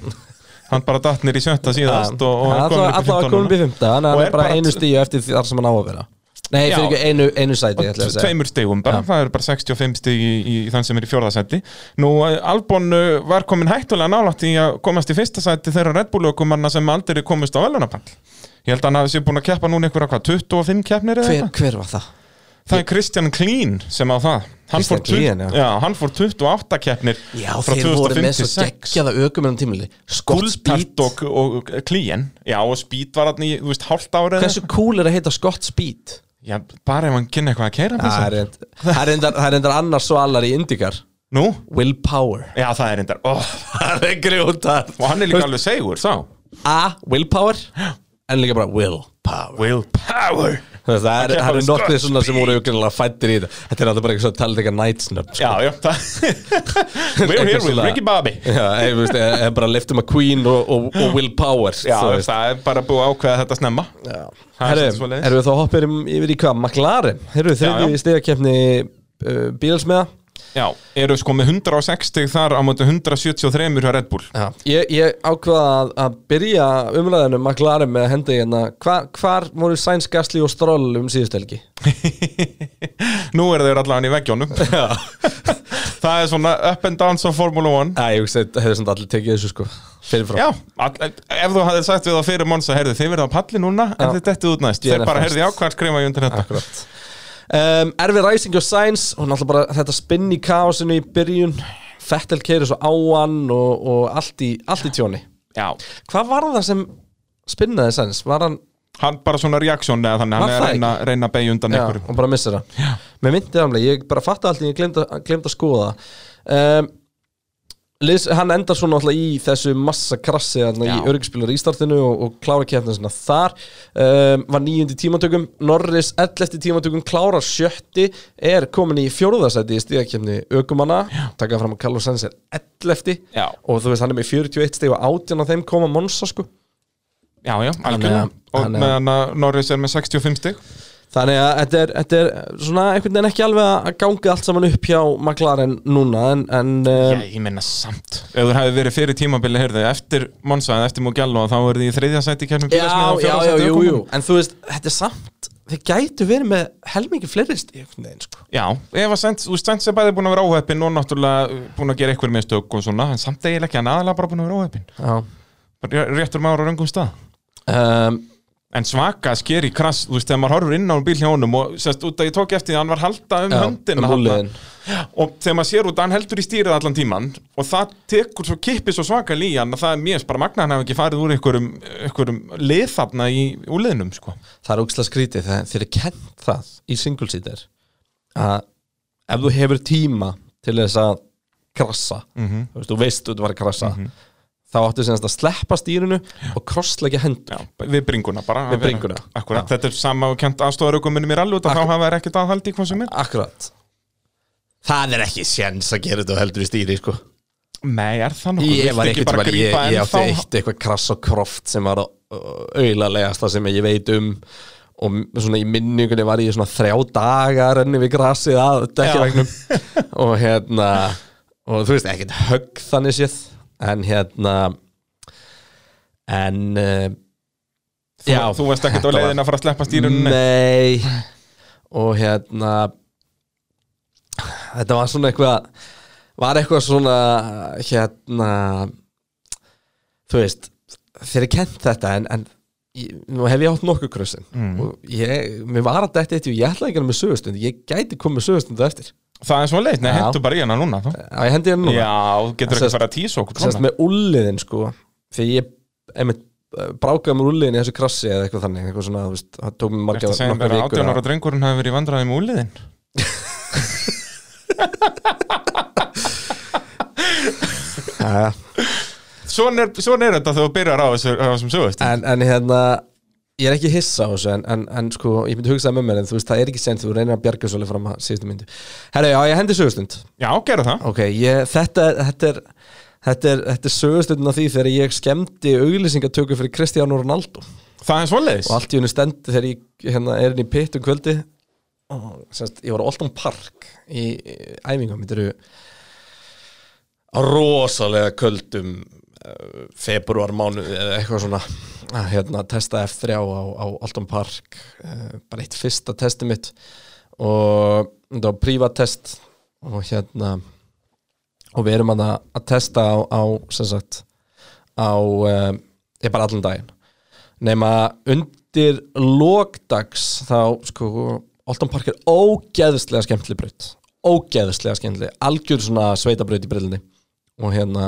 [SPEAKER 4] Hann bara datt nýr í sjötta síðast og, og hann komin upp í
[SPEAKER 3] Alltaf komin
[SPEAKER 4] 15
[SPEAKER 3] upp í
[SPEAKER 4] núna.
[SPEAKER 3] fymta Þannig að
[SPEAKER 4] Og
[SPEAKER 3] hann
[SPEAKER 4] er
[SPEAKER 3] er bara
[SPEAKER 4] bara-
[SPEAKER 3] einu stíu eftir því þar sem hann á að vera Nei,
[SPEAKER 4] Já.
[SPEAKER 3] fyrir ekki einu, einu sæti ég ætla að segja.
[SPEAKER 4] Tveimur stigum bara,
[SPEAKER 3] Já.
[SPEAKER 4] það eru bara 65 stig í, í þann sem er í fjórðasendi Nú, eh, Albon eh, var komin hættulega nálægt í að komast í fyrsta seti þeirra Red Bull ökumanna sem aldrei komust á velunapall Ég held að hann hafi sér búin að keppa núna einhverja hvað, 25 keppnir eða
[SPEAKER 3] hver,
[SPEAKER 4] eitthvað?
[SPEAKER 3] hver var það?
[SPEAKER 4] Það er Kristján Klín sem á það Hann
[SPEAKER 3] Christian
[SPEAKER 4] fór, 20
[SPEAKER 3] Klein, já.
[SPEAKER 4] já, hann fór 28 keppnir
[SPEAKER 3] Já, þeir voru með svo geggjaða ökumennum tímili Scott Speed
[SPEAKER 4] Gulpert og, og Klín Já, og Speed var hann í, þú veist, hálft ára eða
[SPEAKER 3] Hversu cool er að heita Scott Speed?
[SPEAKER 4] Já, bara ef hann kynna eitthvað að keira
[SPEAKER 3] Það er reynd- það er reyndar- það er reyndar annars svo allar í Indikar
[SPEAKER 4] Nú?
[SPEAKER 3] Willpower
[SPEAKER 4] Já, það er reyndar oh,
[SPEAKER 3] Það er grjótar
[SPEAKER 4] Og hann er líka alveg segur, sá
[SPEAKER 3] A, Willpower En líka bara Willpower
[SPEAKER 4] Willpower
[SPEAKER 3] Það er, það
[SPEAKER 4] kemur
[SPEAKER 3] er
[SPEAKER 4] við
[SPEAKER 3] nokkuð
[SPEAKER 4] Scott
[SPEAKER 3] svona sem voru aukjörlega fættir í þetta Þetta er alltaf bara eitthvað talið eitthvað sko. nætsnöpp
[SPEAKER 4] Já, já,
[SPEAKER 3] *laughs*
[SPEAKER 4] það We're here with Ricky Bobby
[SPEAKER 3] Já, ég veist, ég, ég bara liftum að Queen og, og, og Willpower
[SPEAKER 4] Já, það er bara búið að ákveða þetta snemma
[SPEAKER 3] Já,
[SPEAKER 4] Það er
[SPEAKER 3] Herru,
[SPEAKER 4] svolítið svoleiðis.
[SPEAKER 3] erum við þá hoppir yfir í hvað? McLaren, herru,
[SPEAKER 4] Já, já.
[SPEAKER 3] þriðju stegakefni uh, bílsmeða
[SPEAKER 4] Já, eru sko með 160 þar á móti 173 hjá Red Bull
[SPEAKER 3] Já. Ég, ég ákvaða að, að byrja umræðinu McLaren með að henda í hérna hva, Hvar voru Sainz, Gasly og Stroll um síðust helgi?
[SPEAKER 4] *laughs* Nú eru þeir allavega í veggjónum *laughs* Það er svona up and downs of Formula 1
[SPEAKER 3] Æ, ég hugsa, þetta hefur samt allir tekið þessu sko Fyrirfrá
[SPEAKER 4] Já, all, ef þú hafði sagt við það fyrir Monsa, heyrðu, þið verða á palli núna en
[SPEAKER 3] Já.
[SPEAKER 4] þið dettið út næst,
[SPEAKER 3] Ég
[SPEAKER 4] þeir
[SPEAKER 3] er
[SPEAKER 4] bara
[SPEAKER 3] fremst.
[SPEAKER 4] heyrðu ákvæðan skrifa ég undir þetta
[SPEAKER 3] Akkurat um, Erfið ræsing og Sainz og náttúrulega bara þetta spinn í kaosinu í byrjun Fettel keiri svo áan og, og allt, í, allt í tjóni
[SPEAKER 4] Já
[SPEAKER 3] Hvað var það sem spinnaði Sainz? Var hann,
[SPEAKER 4] Hann bara svona reaksjón eða þannig,
[SPEAKER 3] Var
[SPEAKER 4] hann er
[SPEAKER 3] það
[SPEAKER 4] að reyna, reyna að beigja undan
[SPEAKER 3] já,
[SPEAKER 4] ykkur
[SPEAKER 3] og bara missir það já. Mér myndi það alveg, ég bara fatta allt í einu, ég glemd, glemd að skoða það. um, Liz, hann endar svo náttúrulega í þessu massa krassi þarna í
[SPEAKER 4] Já.
[SPEAKER 3] öryggisbílar í startinu og, og klára keppnið svona þar um, var nýjundi tímatökum, Norris 11. tímatökum, klára sjötti er komin í fjóruðarsæti í stíðakefni ökumanna, taka fram að Carlos Sainz er 11.
[SPEAKER 4] Já.
[SPEAKER 3] og þú veist hann er með 41 stig og 18 af þeim koma Monsa sko
[SPEAKER 4] Já, já,
[SPEAKER 3] Þannig
[SPEAKER 4] algjörlega
[SPEAKER 3] að-
[SPEAKER 4] Og
[SPEAKER 3] þannig að-
[SPEAKER 4] meðan að Norris er með 65 stig
[SPEAKER 3] Þannig að þetta er, þetta er svona einhvern veginn ekki alveg að ganga allt saman upp hjá McLaren núna en, en um,
[SPEAKER 4] Ég menna samt Ef þú hefði verið fyrir tímabili, heyrðu, eftir Monsa eða eftir Mugello, þá verði í þriðja sæti í kefnum
[SPEAKER 3] já, já, já, jú, jú En þú veist, þetta er samt þeir gætu verið með helmingi fleiri stík neðin sko
[SPEAKER 4] Já, ef að Sainz, þú veist, Sainz er bæði búin að vera óheppin og náttúrulega uh, búin að gera eitthvað með stök og svona, en samt eiginlega ekki, hann er aðalega bara búin að vera óheppin
[SPEAKER 3] Já.
[SPEAKER 4] Bara ré- réttur maður á röngum stað
[SPEAKER 3] um,
[SPEAKER 4] En svaka skeri krass, þú veist, þegar maður horfur inn á bíl hjá honum og sérst, út að ég tók eftir því að hann var halda um
[SPEAKER 3] Já,
[SPEAKER 4] höndina
[SPEAKER 3] um
[SPEAKER 4] þarna.
[SPEAKER 3] úlnliðin.
[SPEAKER 4] og þegar maður sér út að hann heldur í stýrið allan tíman og það tekur svo kippi svo svaka líjan að það er mjög bara magna að hann hafi ekki farið úr einhverjum, einhverjum lið þarna í úliðnum sko.
[SPEAKER 3] það er ógislega skrítið þegar þeir eru kent það í single seater að ef þú hefur tíma til þess að krassa
[SPEAKER 4] Mhm.
[SPEAKER 3] þú, veist, þú veist þú var að krassa þá áttu semast að sleppa stýrinu og krossleggja hendur
[SPEAKER 4] Já, við bringuna bara
[SPEAKER 3] Við bringuna.
[SPEAKER 4] Akkurat, þetta er sama og kent aðstofaraukumunum í rallu og þá hafa þær ekkert aðhaldi í hvað sem er
[SPEAKER 3] Akkurat
[SPEAKER 14] Það er ekki séns að gera þetta og heldur í stýri sko.
[SPEAKER 4] Nei, er það nokkuð?
[SPEAKER 3] ég
[SPEAKER 4] Viltu
[SPEAKER 3] var
[SPEAKER 4] ekki
[SPEAKER 3] ekkert
[SPEAKER 4] bara
[SPEAKER 3] tíma, ég,
[SPEAKER 4] grípa
[SPEAKER 3] ég átti
[SPEAKER 4] ennþá?
[SPEAKER 3] eitt eitthvað krass og kroft sem var auðarlegasta sem ég veit um og m- svona í minningunni var ég svona þrjá daga að renni við grassið að
[SPEAKER 4] *laughs*
[SPEAKER 3] dekkjavegnum og hérna og þú veist ekkert högg þannig séð en hérna en uh,
[SPEAKER 4] Þú- þú varst ekkert á
[SPEAKER 3] þetta var-
[SPEAKER 4] leiðinni að fara að sleppa stýrinu,
[SPEAKER 3] nei og hérna þetta var svona eitthvað var eitthvað svona hérna þú veist þeir eru kent þetta en, en ég, nú hef ég átt nokkuð krössin
[SPEAKER 4] Mm.
[SPEAKER 3] og ég, mér var að þetta eitt og ég ætlaði ekki að gera með sögustund ég gæti komið með sögustund eftir
[SPEAKER 4] Það er svo leið, nei,
[SPEAKER 3] Já.
[SPEAKER 4] hendur bara í hana núna þá.
[SPEAKER 3] Já, ég hendi hérna núna
[SPEAKER 4] Já, þú getur
[SPEAKER 3] En
[SPEAKER 4] ekki
[SPEAKER 3] sérst-
[SPEAKER 4] bara að tísa okkur
[SPEAKER 3] Sérst
[SPEAKER 4] svona.
[SPEAKER 3] með úlliðin sko Þegar ég einmitt, eh, brákaði mér úlliðin í þessu krassi eða eitthvað þannig eitthvað svona, þú veist, það tók mér
[SPEAKER 4] Ertu
[SPEAKER 3] marga
[SPEAKER 4] að segja mér að 18 ára drengurinn hafi verið í vandræði með úliðin? Svona er, svona er þetta þegar þú byrjar á þessu, á þessum sögust
[SPEAKER 3] en, en hérna Ég er ekki hissa á þessu en, en, en sko Ég myndi hugsa það með mér en þú veist það er ekki sent Þú reynir að bjarga svolítið fram að síðustu myndu Herra já ég hendi sögustund
[SPEAKER 4] Já gera það
[SPEAKER 3] Ok ég, þetta, þetta er Þetta er, þetta er sögustundin af því þegar ég skemmti auglýsingatöku fyrir Cristiano Ronaldo
[SPEAKER 4] Það er svoleiðis
[SPEAKER 3] Og allt í hennu stendi þegar ég hérna, er inn í pitt um kvöldi og, semst, Ég var á Oldham Park í í æfingum Þetta eru á rosalega köldum uh, februarmánu eða eitthvað svona að hérna, testa F3 á, á Oldham Park uh, bara eitt fyrsta testi mitt og þetta var prívatest og hérna og við erum að, að testa á, á sem sagt á um, ég bara allan daginn nema undir lokdags þá sko Oldham Park er ógeðslega skemmtileg braut ógeðslega skemmtileg algjör svona sveitabraut í brillunni og hérna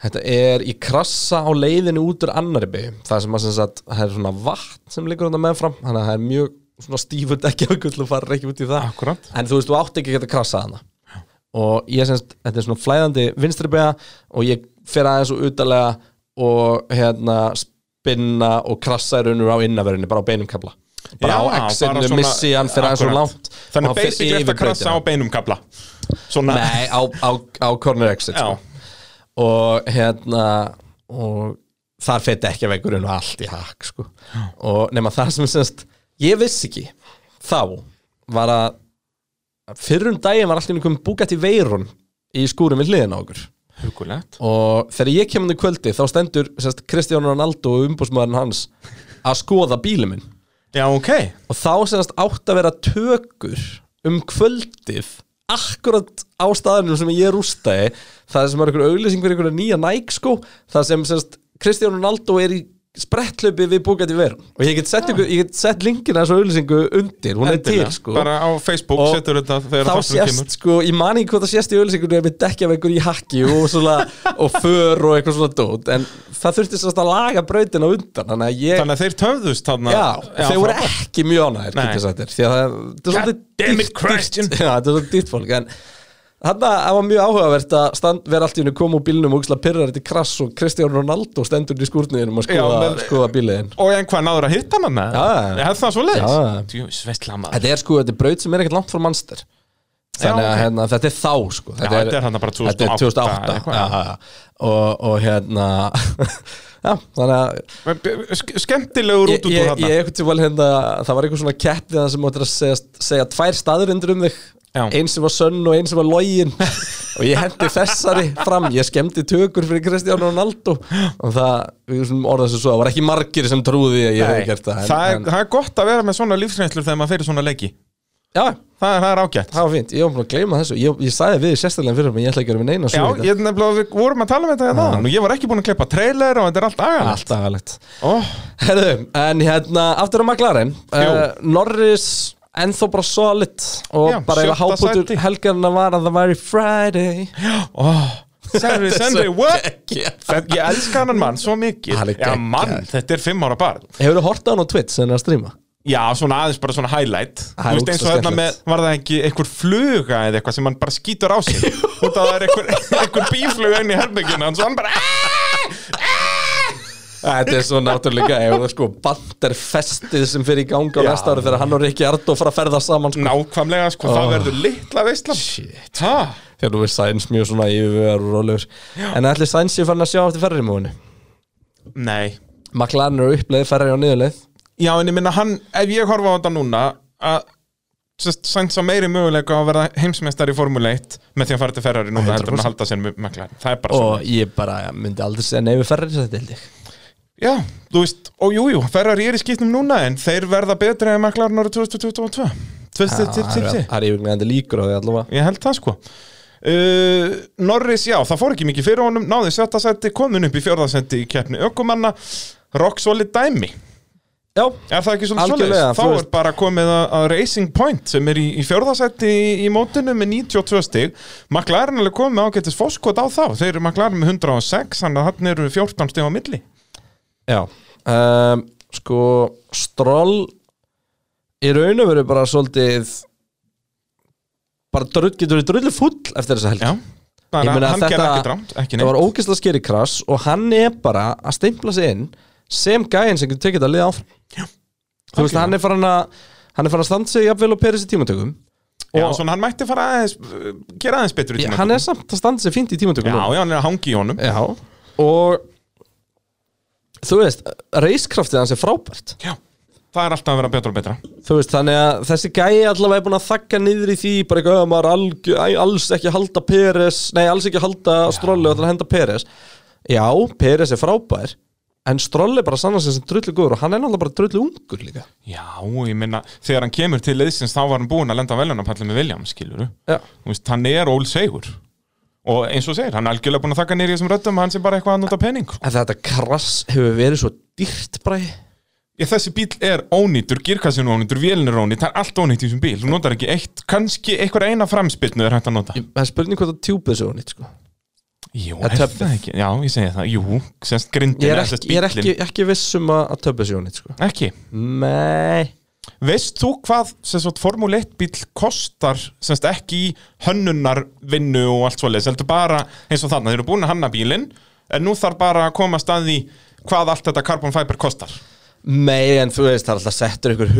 [SPEAKER 3] þetta er í krassa á leiðinu út úr annari byggju það sem að sem sagt, það er svona vatn sem liggur hann meðfram þannig að það er mjög svona stífur ekki okkur til að fara ekki út í það
[SPEAKER 4] Akkurat.
[SPEAKER 3] en þú veist, þú átt ekki að geta krassað hana og ég semst, þetta er svona flæðandi vinstri bega og ég fer aðeins og utalega og hérna spinna og krassa í raunur á innaverinni, bara á beinum kabla bara á exinu, missi hann fyrir aðeins og
[SPEAKER 4] Akkurat.
[SPEAKER 3] langt
[SPEAKER 4] Þannig
[SPEAKER 3] og hann
[SPEAKER 4] að
[SPEAKER 3] fer
[SPEAKER 4] basic eftir
[SPEAKER 3] yfir
[SPEAKER 4] að krasa á
[SPEAKER 3] brautina.
[SPEAKER 4] beinum kabla Svona
[SPEAKER 3] Nei, á, á, á corner exit sko. og hérna og þar fætti ekki að vegurinn og allt í hakk sko. og nema það sem semst ég vissi ekki þá var að fyrrum daginn var allir einhverjum búgat í veirun í skúrum við hliðina á okkur
[SPEAKER 4] Hugulegt
[SPEAKER 3] og þegar ég kemur í kvöldi þá stendur semst, Kristján Ronaldo og umbúsmaðurinn hans að skoða bílið minn
[SPEAKER 4] Já, ok
[SPEAKER 3] og þá semst átt að vera tökur um kvöldið akkurat á staðanum sem ég rústaði það sem er einhver auglýsing fyrir einhverja nýja Nike sko það sem semst Kristján Ronaldo er í sprettlöpi við búkandi verun og ég get sett, ykkur, ég get sett linkina þessu auglýsingu undir, hún er
[SPEAKER 4] Endilega.
[SPEAKER 3] til sko
[SPEAKER 4] Bara á Facebook
[SPEAKER 3] Og
[SPEAKER 4] setur þetta þegar
[SPEAKER 3] þá
[SPEAKER 4] þátturinn
[SPEAKER 3] sést
[SPEAKER 4] kemur.
[SPEAKER 3] sko, ég man ekki hvað það sést í auðlýsingunni með dekkjaveggur í hakki og, svona, og för og eitthvað svona dót en það þurfti sérst að laga brautin á undan þannig að ég
[SPEAKER 4] Þannig að þeir töfðust þarna
[SPEAKER 3] Já,
[SPEAKER 4] Já,
[SPEAKER 3] þeir voru
[SPEAKER 4] frábært.
[SPEAKER 3] ekki mjög ánægir
[SPEAKER 4] Nei.
[SPEAKER 3] getur þess að þér því að það það er svolítið dýrt- dýrt- Já, þetta er svolítið dýrt fólk en hann var mjög áhugavert að stand, vera allt í hennu koma úr bílnum og úkslega pyrrar þetta í krass og Kristján Ronaldo stendur í skúrniðinum að skoða,
[SPEAKER 4] Já,
[SPEAKER 3] Já,
[SPEAKER 4] menn-
[SPEAKER 3] skoða bíliðin
[SPEAKER 4] Og en hvað náður að hitta hann með
[SPEAKER 3] Já, já.
[SPEAKER 4] Er það svo leiðis?
[SPEAKER 3] Já, já.
[SPEAKER 4] Djöfis, vestlama
[SPEAKER 3] Þetta er sko, þetta er braut sem er ekkert langt frá mannster Þannig að
[SPEAKER 4] ok.
[SPEAKER 3] hérna, þetta er þá sko
[SPEAKER 4] Já, þetta er þarna bara 2008
[SPEAKER 3] Þetta er 2008
[SPEAKER 4] eitthvað,
[SPEAKER 3] já, já, já. Og, og hérna *laughs* Já, þannig að
[SPEAKER 4] Skemmtilegur
[SPEAKER 3] Ég-
[SPEAKER 4] út út úr
[SPEAKER 3] ég-
[SPEAKER 4] þarna
[SPEAKER 3] Ég eitthvað tíma hérna, það var eitthvað svona keppni þar sem áttir að segja, segja tvær staðurindur um þig einn sem var sönn og einn sem var
[SPEAKER 4] *laughs*
[SPEAKER 3] login og ég hendi þessari fram ég skemmti tökur fyrir Kristján Ronaldo og það við svona orðað sem svo það var ekki margir sem trúði að ég hefði
[SPEAKER 4] Nei,
[SPEAKER 3] gert það en-
[SPEAKER 4] það, er,
[SPEAKER 3] en-
[SPEAKER 4] það er gott að vera með svona lífsreynslur þegar maður fyrir svona leiki
[SPEAKER 3] Já,
[SPEAKER 4] það er, það er ágætt
[SPEAKER 3] Það var fínt, ég var búin að gleyma þessu Ég, ég sagði við sérstaklega fyrir mig, ég ætla ekki að vera með neina
[SPEAKER 4] Já,
[SPEAKER 3] sögur í dag.
[SPEAKER 4] ég er nefnilega, við vorum að tala með þetta hérna og ég var ekki búin að klippa trailer og þetta er allt agalegt
[SPEAKER 3] Allt agalegt Herðu, en hérna, aftur á McLaren uh, Norris, ennþá bara solid Og
[SPEAKER 4] Já,
[SPEAKER 3] bara
[SPEAKER 4] sjötta
[SPEAKER 3] eiginlega háputur
[SPEAKER 4] sæti.
[SPEAKER 3] helgarna var að það væri Friday
[SPEAKER 4] oh,
[SPEAKER 3] *laughs*
[SPEAKER 4] Saturday, Sunday, what?
[SPEAKER 3] geggjað.
[SPEAKER 4] Þetta- Ég elska hann mann svo mikið
[SPEAKER 3] Hann er
[SPEAKER 4] Já, mann, þetta er fimm ára barn
[SPEAKER 3] Hefurðu hortað hann á Twitch sem hann er að stríma?
[SPEAKER 4] Já, svona aðeins bara svona highlight
[SPEAKER 3] Það er
[SPEAKER 4] Þú veist eins og
[SPEAKER 3] ógeðslega
[SPEAKER 4] þarna með, var það ekki einhver fluga eða eitthvað sem hann bara skýtur á
[SPEAKER 3] *laughs*
[SPEAKER 4] sig Út að það er einhver, einhver bífluga inn í herbygginu hans og hann bara
[SPEAKER 3] Þetta er svo náttúrulega ef það sko banderfestið sem fyrir í ganga á
[SPEAKER 4] Já.
[SPEAKER 3] næsta ári þegar hann og Rikki Ardó fara að ferða saman sko.
[SPEAKER 4] Nákvæmlega, sko, það verður litla veistla
[SPEAKER 3] Shit
[SPEAKER 4] Ha?
[SPEAKER 3] Þegar þú er Sainz mjög svona yfirvegar og rólegur En ætli Sainz ég fann að sjá eftir ferri múinu
[SPEAKER 4] Nei
[SPEAKER 3] McLaren eru uppleið, ferri á niðurleið
[SPEAKER 4] Já, en ég minna hann, ef ég horfa á þetta núna að sérst, Sainz á meiri möguleika á að verða heimsmeistar í Formule 1 með því að fara til Ferrari núna heldur en
[SPEAKER 3] 100%.
[SPEAKER 4] að halda sér maklæðin, það er bara
[SPEAKER 3] Og
[SPEAKER 4] svona
[SPEAKER 3] ég bara ja, myndi aldrei segja neyfi ferri þetta held ég
[SPEAKER 4] Já, þú veist, og jújú, jú, Ferrari er í skýtnum núna en þeir verða betri en maklæðin árið 2022 2022
[SPEAKER 3] Það er yfirlegandi líkur á því allavega
[SPEAKER 4] Ég held það sko uh, Norris, já, það fór ekki mikið fyrir honum Náði sjötta seti, komin upp í fjórða seti í keppni ökumanna Rock solid dæmi
[SPEAKER 3] Já
[SPEAKER 4] Er það ekki svona
[SPEAKER 3] Algjörlega,
[SPEAKER 4] svoleiðis? Þá
[SPEAKER 3] þú
[SPEAKER 4] er
[SPEAKER 3] veist-
[SPEAKER 4] bara komið að, að Racing Point sem er í, í fjórða seti í, í mótinu með 92 stig McLaren er alveg komið með ágættis fóskot á þá Þeir eru McLaren með 106 Þannig að hann eru 14 stig á milli
[SPEAKER 3] Já um, Sko, Stroll í raun og veru bara svolítið bara drull, getur við drullu full eftir þessa helgi Já,
[SPEAKER 4] bara hann gerði ekkert rangt, ekki
[SPEAKER 3] Það var
[SPEAKER 4] neitt.
[SPEAKER 3] ógeðslega skeri krass og hann er bara að steimpla sig inn sem gæinn sem getur tekið þetta lið áfram Já, Þú veist, hann er farin að hann er farin að standa sig jafnvel og perið sér tímatökum
[SPEAKER 4] Já,
[SPEAKER 3] Og-
[SPEAKER 4] svona hann mætti fara aðeins uh, Gera aðeins betur í
[SPEAKER 3] Já,
[SPEAKER 4] tíma
[SPEAKER 3] hann er samt að standa sig fínt í tímatökum
[SPEAKER 4] Já,
[SPEAKER 3] núna.
[SPEAKER 4] já, hann er að hangi í honum
[SPEAKER 3] Já, og þú veist, reiskraftið hans er frábært
[SPEAKER 4] Já, það er alltaf að vera betra og betra
[SPEAKER 3] þú veist, þannig að þessi gæi allavega er búin að þakka niður í því, bara eitthvað að maður algjö, æ, alls ekki að halda Peres nei, alls ekki að halda Strolli og ætlar að henda Peres já, Peres er frábær en Strolli bara sannar sig sem drullu góður og hann er náttúrulega bara drullu ungur líka
[SPEAKER 4] Já, ég minna, þegar hann kemur til liðsins þá var hann búinn að lenda veljónapallið með Williams, skilur
[SPEAKER 3] Já.
[SPEAKER 4] Þú veist, hann er ól segur og eins og segir, hann er algjörlega búinn að þakka nýri þessum röddum, hann sé bara eitthvað að nota pening
[SPEAKER 3] en þetta krass hefur verið svo dýrt bara
[SPEAKER 4] Ég, þessi bíl er ónýtur, girkassin er ónýtur, vélin er ónýt, það er allt ónýtt í þessum bíl þú notar ekki eitt, kannski einhver eina framspilnu er hægt að nota
[SPEAKER 3] það er spurning hvort að tjúpið þessu hún sko.
[SPEAKER 4] Jú,
[SPEAKER 3] Eða
[SPEAKER 4] er
[SPEAKER 3] töflið.
[SPEAKER 4] það ekki? Já, ég segi það, jú, semst grindin
[SPEAKER 3] ég er
[SPEAKER 4] eða
[SPEAKER 3] ekki,
[SPEAKER 4] semst
[SPEAKER 3] ég er ekki,
[SPEAKER 4] bíllinn.
[SPEAKER 3] ekki viss um að að töfbið sér hún sko.
[SPEAKER 4] ekki
[SPEAKER 3] Nei
[SPEAKER 4] Veist þú hvað sem sagt Formule 1 bíl kostar sem sagt ekki í hönnunarvinnu og allt svoleiðis, heldur bara eins og þarna, þeir eru búin að hanna bílinn en nú þarf bara að koma að staði hvað allt þetta carbon fiber kostar
[SPEAKER 3] Nei, en þú veist, það er alltaf settur ykkur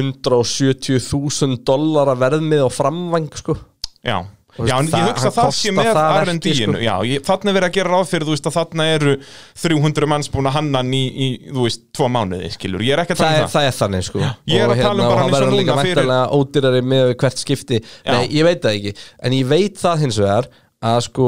[SPEAKER 3] 170.000 dollara verðmið á framvang, sko
[SPEAKER 4] Já,
[SPEAKER 3] Þú veist,
[SPEAKER 4] já en ég
[SPEAKER 3] það-
[SPEAKER 4] hugsa
[SPEAKER 3] hann
[SPEAKER 4] að það sé
[SPEAKER 3] kostar
[SPEAKER 4] með
[SPEAKER 3] það
[SPEAKER 4] R&D
[SPEAKER 3] verkið, sko.
[SPEAKER 4] sko. Já, ég, þarna er verið að gera ráð fyrir, þú veist að þarna eru 300 manns búin að hanna hann í, í, þú veist, tvo mánuði, skilur Ég er ekki
[SPEAKER 3] það
[SPEAKER 4] að tala
[SPEAKER 3] er,
[SPEAKER 4] um það
[SPEAKER 3] það er þannig sko
[SPEAKER 4] Ég er að tala um bara
[SPEAKER 3] og
[SPEAKER 4] eins og
[SPEAKER 3] það verður líka
[SPEAKER 4] núna fyrir-
[SPEAKER 3] væntanlega ódýrari með hvert skipti Nei, ég veit það ekki En ég veit það hins vegar að sko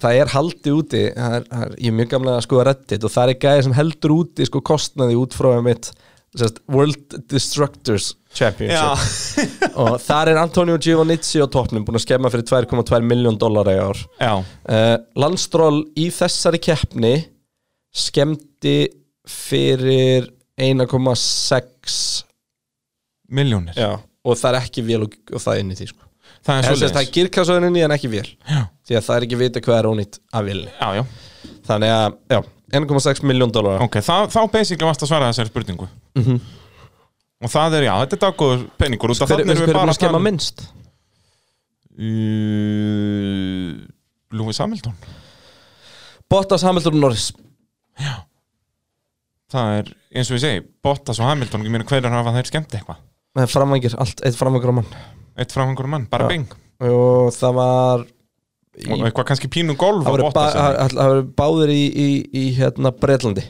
[SPEAKER 3] Það er haldið úti, það er, það er, ég er mjög gamlega að skoða reddit og það er gæði sem heldur úti sko kostnaði út frá að mitt sérst, World Destructors Championship og þar er Antonio Giovannizzi á toppnum búin að skemma fyrir 2,2 miljón dólar í ár
[SPEAKER 4] Já.
[SPEAKER 3] uh, Landstról í þessari keppni skemmti fyrir 1,6
[SPEAKER 4] Miljónir
[SPEAKER 3] Já, og það er ekki vél og, og það inn í því sko.
[SPEAKER 4] Það er
[SPEAKER 3] En sem
[SPEAKER 4] svoleiðis.
[SPEAKER 3] sagt, Það er girkasöðun inn í en ekki vél
[SPEAKER 4] Já.
[SPEAKER 3] Því að það er ekki vita hvað er ónýtt af vélni
[SPEAKER 4] Já, já
[SPEAKER 3] Þannig að, já, 1,6 miljón dólar
[SPEAKER 4] Ok, þá, þá basically varst að svara þessari spurningu
[SPEAKER 3] Mhm.
[SPEAKER 4] Og það er, já, þetta er daggóður peningur út af
[SPEAKER 3] Hver, hver,
[SPEAKER 4] þarna erum
[SPEAKER 3] hver
[SPEAKER 4] við
[SPEAKER 3] er
[SPEAKER 4] bara
[SPEAKER 3] maður
[SPEAKER 4] að tala
[SPEAKER 3] skemma
[SPEAKER 4] um-
[SPEAKER 3] minnst?
[SPEAKER 4] Uh, Lewis Hamilton
[SPEAKER 3] Bottas, Hamilton og Norris
[SPEAKER 4] Það er, eins og ég segi, Bottas og Hamilton Ég meina hverjar hafa þeir skemmt eitthvað
[SPEAKER 3] Nei, Framvængir, allt, eitt framvængir á mann
[SPEAKER 4] Eitt frá einhverjum mann, bara
[SPEAKER 3] Já.
[SPEAKER 4] bing
[SPEAKER 3] Og það var í-
[SPEAKER 4] Og eitthvað kannski pínu golf
[SPEAKER 3] Það
[SPEAKER 4] á
[SPEAKER 3] voru ba
[SPEAKER 4] Bottas eða-
[SPEAKER 3] það- það voru báðir í, í, í hérna Breitlandi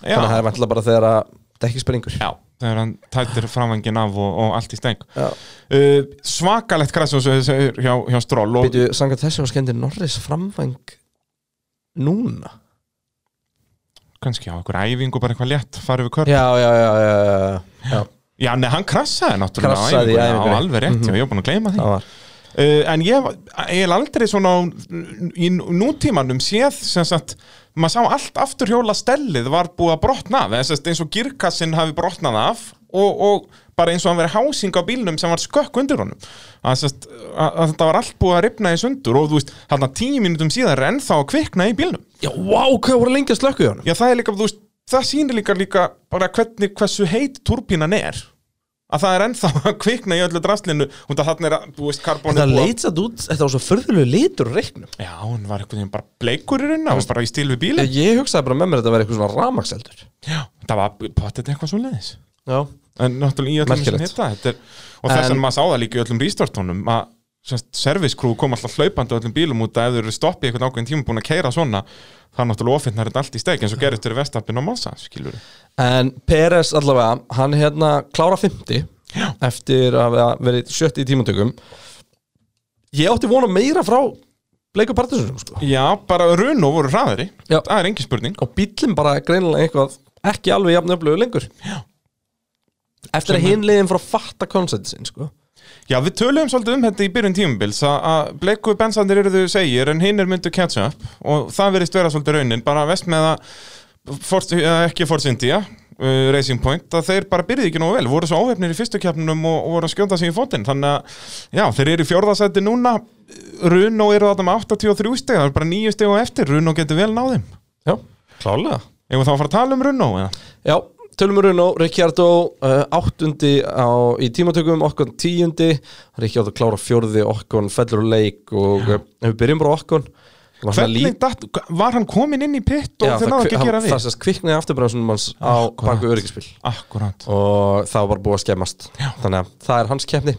[SPEAKER 4] Já.
[SPEAKER 3] Þannig að það er vantilega bara þegar að það ekki springur
[SPEAKER 4] Já, þegar hann tættir framvangin af og, og allt í steng
[SPEAKER 3] Já.
[SPEAKER 4] uh, svakalegt græs eins og þessi er hjá, hjá Stroll og
[SPEAKER 3] Býtu, sanga þessi var skemmtir Norris framvæng núna
[SPEAKER 4] kannski á einhver æfingu bara eitthvað létt farið við körn
[SPEAKER 3] Já, já, já, já, já, já.
[SPEAKER 4] Já, nei, hann krassaði náttúrulega á
[SPEAKER 3] Krassaði í
[SPEAKER 4] æfingunni,
[SPEAKER 3] æfingunni.
[SPEAKER 4] á alveg rétt, mm
[SPEAKER 3] Mhm.
[SPEAKER 4] ég var búin að gleyma því
[SPEAKER 3] Það var.
[SPEAKER 4] uh, En ég er aldrei svona á- í nú- nútímanum séð sem sagt, maður sá allt afturhjóla stellið var búið að brotna af eða sem sagt, eins og girkassinn hafi brotnað af og, og bara eins og hann verið hásing á bílnum sem var skökk undir honum að, sem sagt, að, að þetta var allt búið að ripna í sundur og þú veist, hann að tíu mínutum síðan er ennþá að kvikna í bílnum
[SPEAKER 3] Já, vá, hvað voru lengi að slökku í honum
[SPEAKER 4] Já, það er líka, þú veist, það sýnir líka líka bara hvernig, hversu heit turbínan er að það er ennþá að kvikna í öllu draslinu og það þannig er, þú veist, karbonið
[SPEAKER 3] Þetta leitsat út, þetta var svo förðulegu litur úr reiknum
[SPEAKER 4] Já, hún var einhvern veginn bara bleikur í raunna, bara í stíl við bílinn.
[SPEAKER 3] Ég, ég hugsaði bara með mér að þetta væri eitthvað svona ramakseldur
[SPEAKER 4] Það var potið eitthvað svo leiðis
[SPEAKER 3] Já
[SPEAKER 4] En náttúrulega í öllum
[SPEAKER 3] Merkilegt.
[SPEAKER 4] sem hitta þetta er, Og þess
[SPEAKER 3] En-
[SPEAKER 4] vegna maður sá það líka í öllum rístortunum að semst, service crew kom alltaf hlaupandi á öllum bílum út að ef þau eru stoppið eitthvað ákveðin tíma búin að keira svona það er náttúrulega ofinnar þetta allt í steik eins og gerist fyrir vestappin og massa, skilur
[SPEAKER 3] En Peres allavega, hann hérna klára 50 Já. eftir að hafa verið sjött í tímantökum Ég átti vona meira frá Blake og Partisunum sko.
[SPEAKER 4] Já, bara runu voru hraðari
[SPEAKER 3] Já.
[SPEAKER 4] Það er engin spurning
[SPEAKER 3] Og bíllinn bara greinilega eitthvað ekki alveg jafn öflugur lengur Já. Eftir að
[SPEAKER 4] Sem-
[SPEAKER 3] hinn leiðin frá að fatta konceptin sko.
[SPEAKER 4] Já, við töluðum svolítið um þetta í byrjun tímubils að- að bleiku bensandir eru þau segir en hinn er myndu catch up og það verðist vera svolítið raunin, bara vest með að Force- eða ekki Force India uh, Racing Point, að þeir bara byrjuðu ekki nógu vel voru svo áhefnir í fyrstu keppnum og, og voru að skjóta sig í fótinn, þannig að já, þeir eru í fjórðasætti núna Runo eru þetta með 83 steg, það er bara nýju steg og eftir, Runo getur vel náðum
[SPEAKER 3] Já, klálega
[SPEAKER 4] Ef við þá að fara að tala um Runo eða?
[SPEAKER 3] Já, tölum við Runo, Ricciardo uh, áttundi á, í tímatökum okkon tíundi, Ricciardo klára fjórði okkon, fellur úr leik og uh, við byrjum bara á okkon var svona
[SPEAKER 4] Hvernig
[SPEAKER 3] lít-
[SPEAKER 4] datt, var hann kominn inn í pitt og
[SPEAKER 3] Já,
[SPEAKER 4] þeir náðu ekki
[SPEAKER 3] hann-
[SPEAKER 4] að gera við?
[SPEAKER 3] það sérst kviknaði afturbremsunum hans á baku öryggispil
[SPEAKER 4] Akkurát
[SPEAKER 3] og það var bara búið að skemmast Já. þannig að það er hans keppni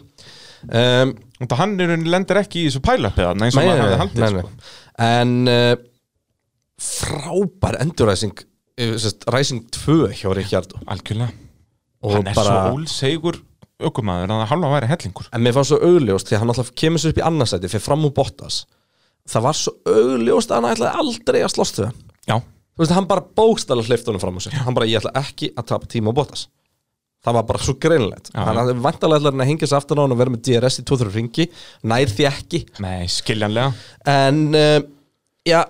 [SPEAKER 3] um,
[SPEAKER 4] og það hann er lendir ekki í þessu pælapið þarna eins og maður hafði haldið, sko.
[SPEAKER 3] en uh, frábær enduræsing eh, sérst, Ræsing 2 hjá Ríkjardó
[SPEAKER 4] algjörlega
[SPEAKER 3] og
[SPEAKER 4] hann er
[SPEAKER 3] bara,
[SPEAKER 4] svo ólsegur ökumæður að það halva væri hellingur
[SPEAKER 3] en mér fannst svo augljóst því að hann alltaf kemur sér upp í annarsæti fyrir fram úr Bottas það var svo augljóst að hann ætlaði aldrei að slóst við hann
[SPEAKER 4] Já.
[SPEAKER 3] þú veist, hann bara bókstæla hleyft honum fram úr sér hann bara, ég ætla ekki að tapa tíma á Bottas það var bara svo greinlegt
[SPEAKER 4] Já,
[SPEAKER 3] hann
[SPEAKER 4] já.
[SPEAKER 3] hafði vantalega ætlaði hann að hengja sér aftan á hann og vera með DRS í 2-3 ringi nær því ekki
[SPEAKER 4] Nei, skiljanlega
[SPEAKER 3] en uh, já,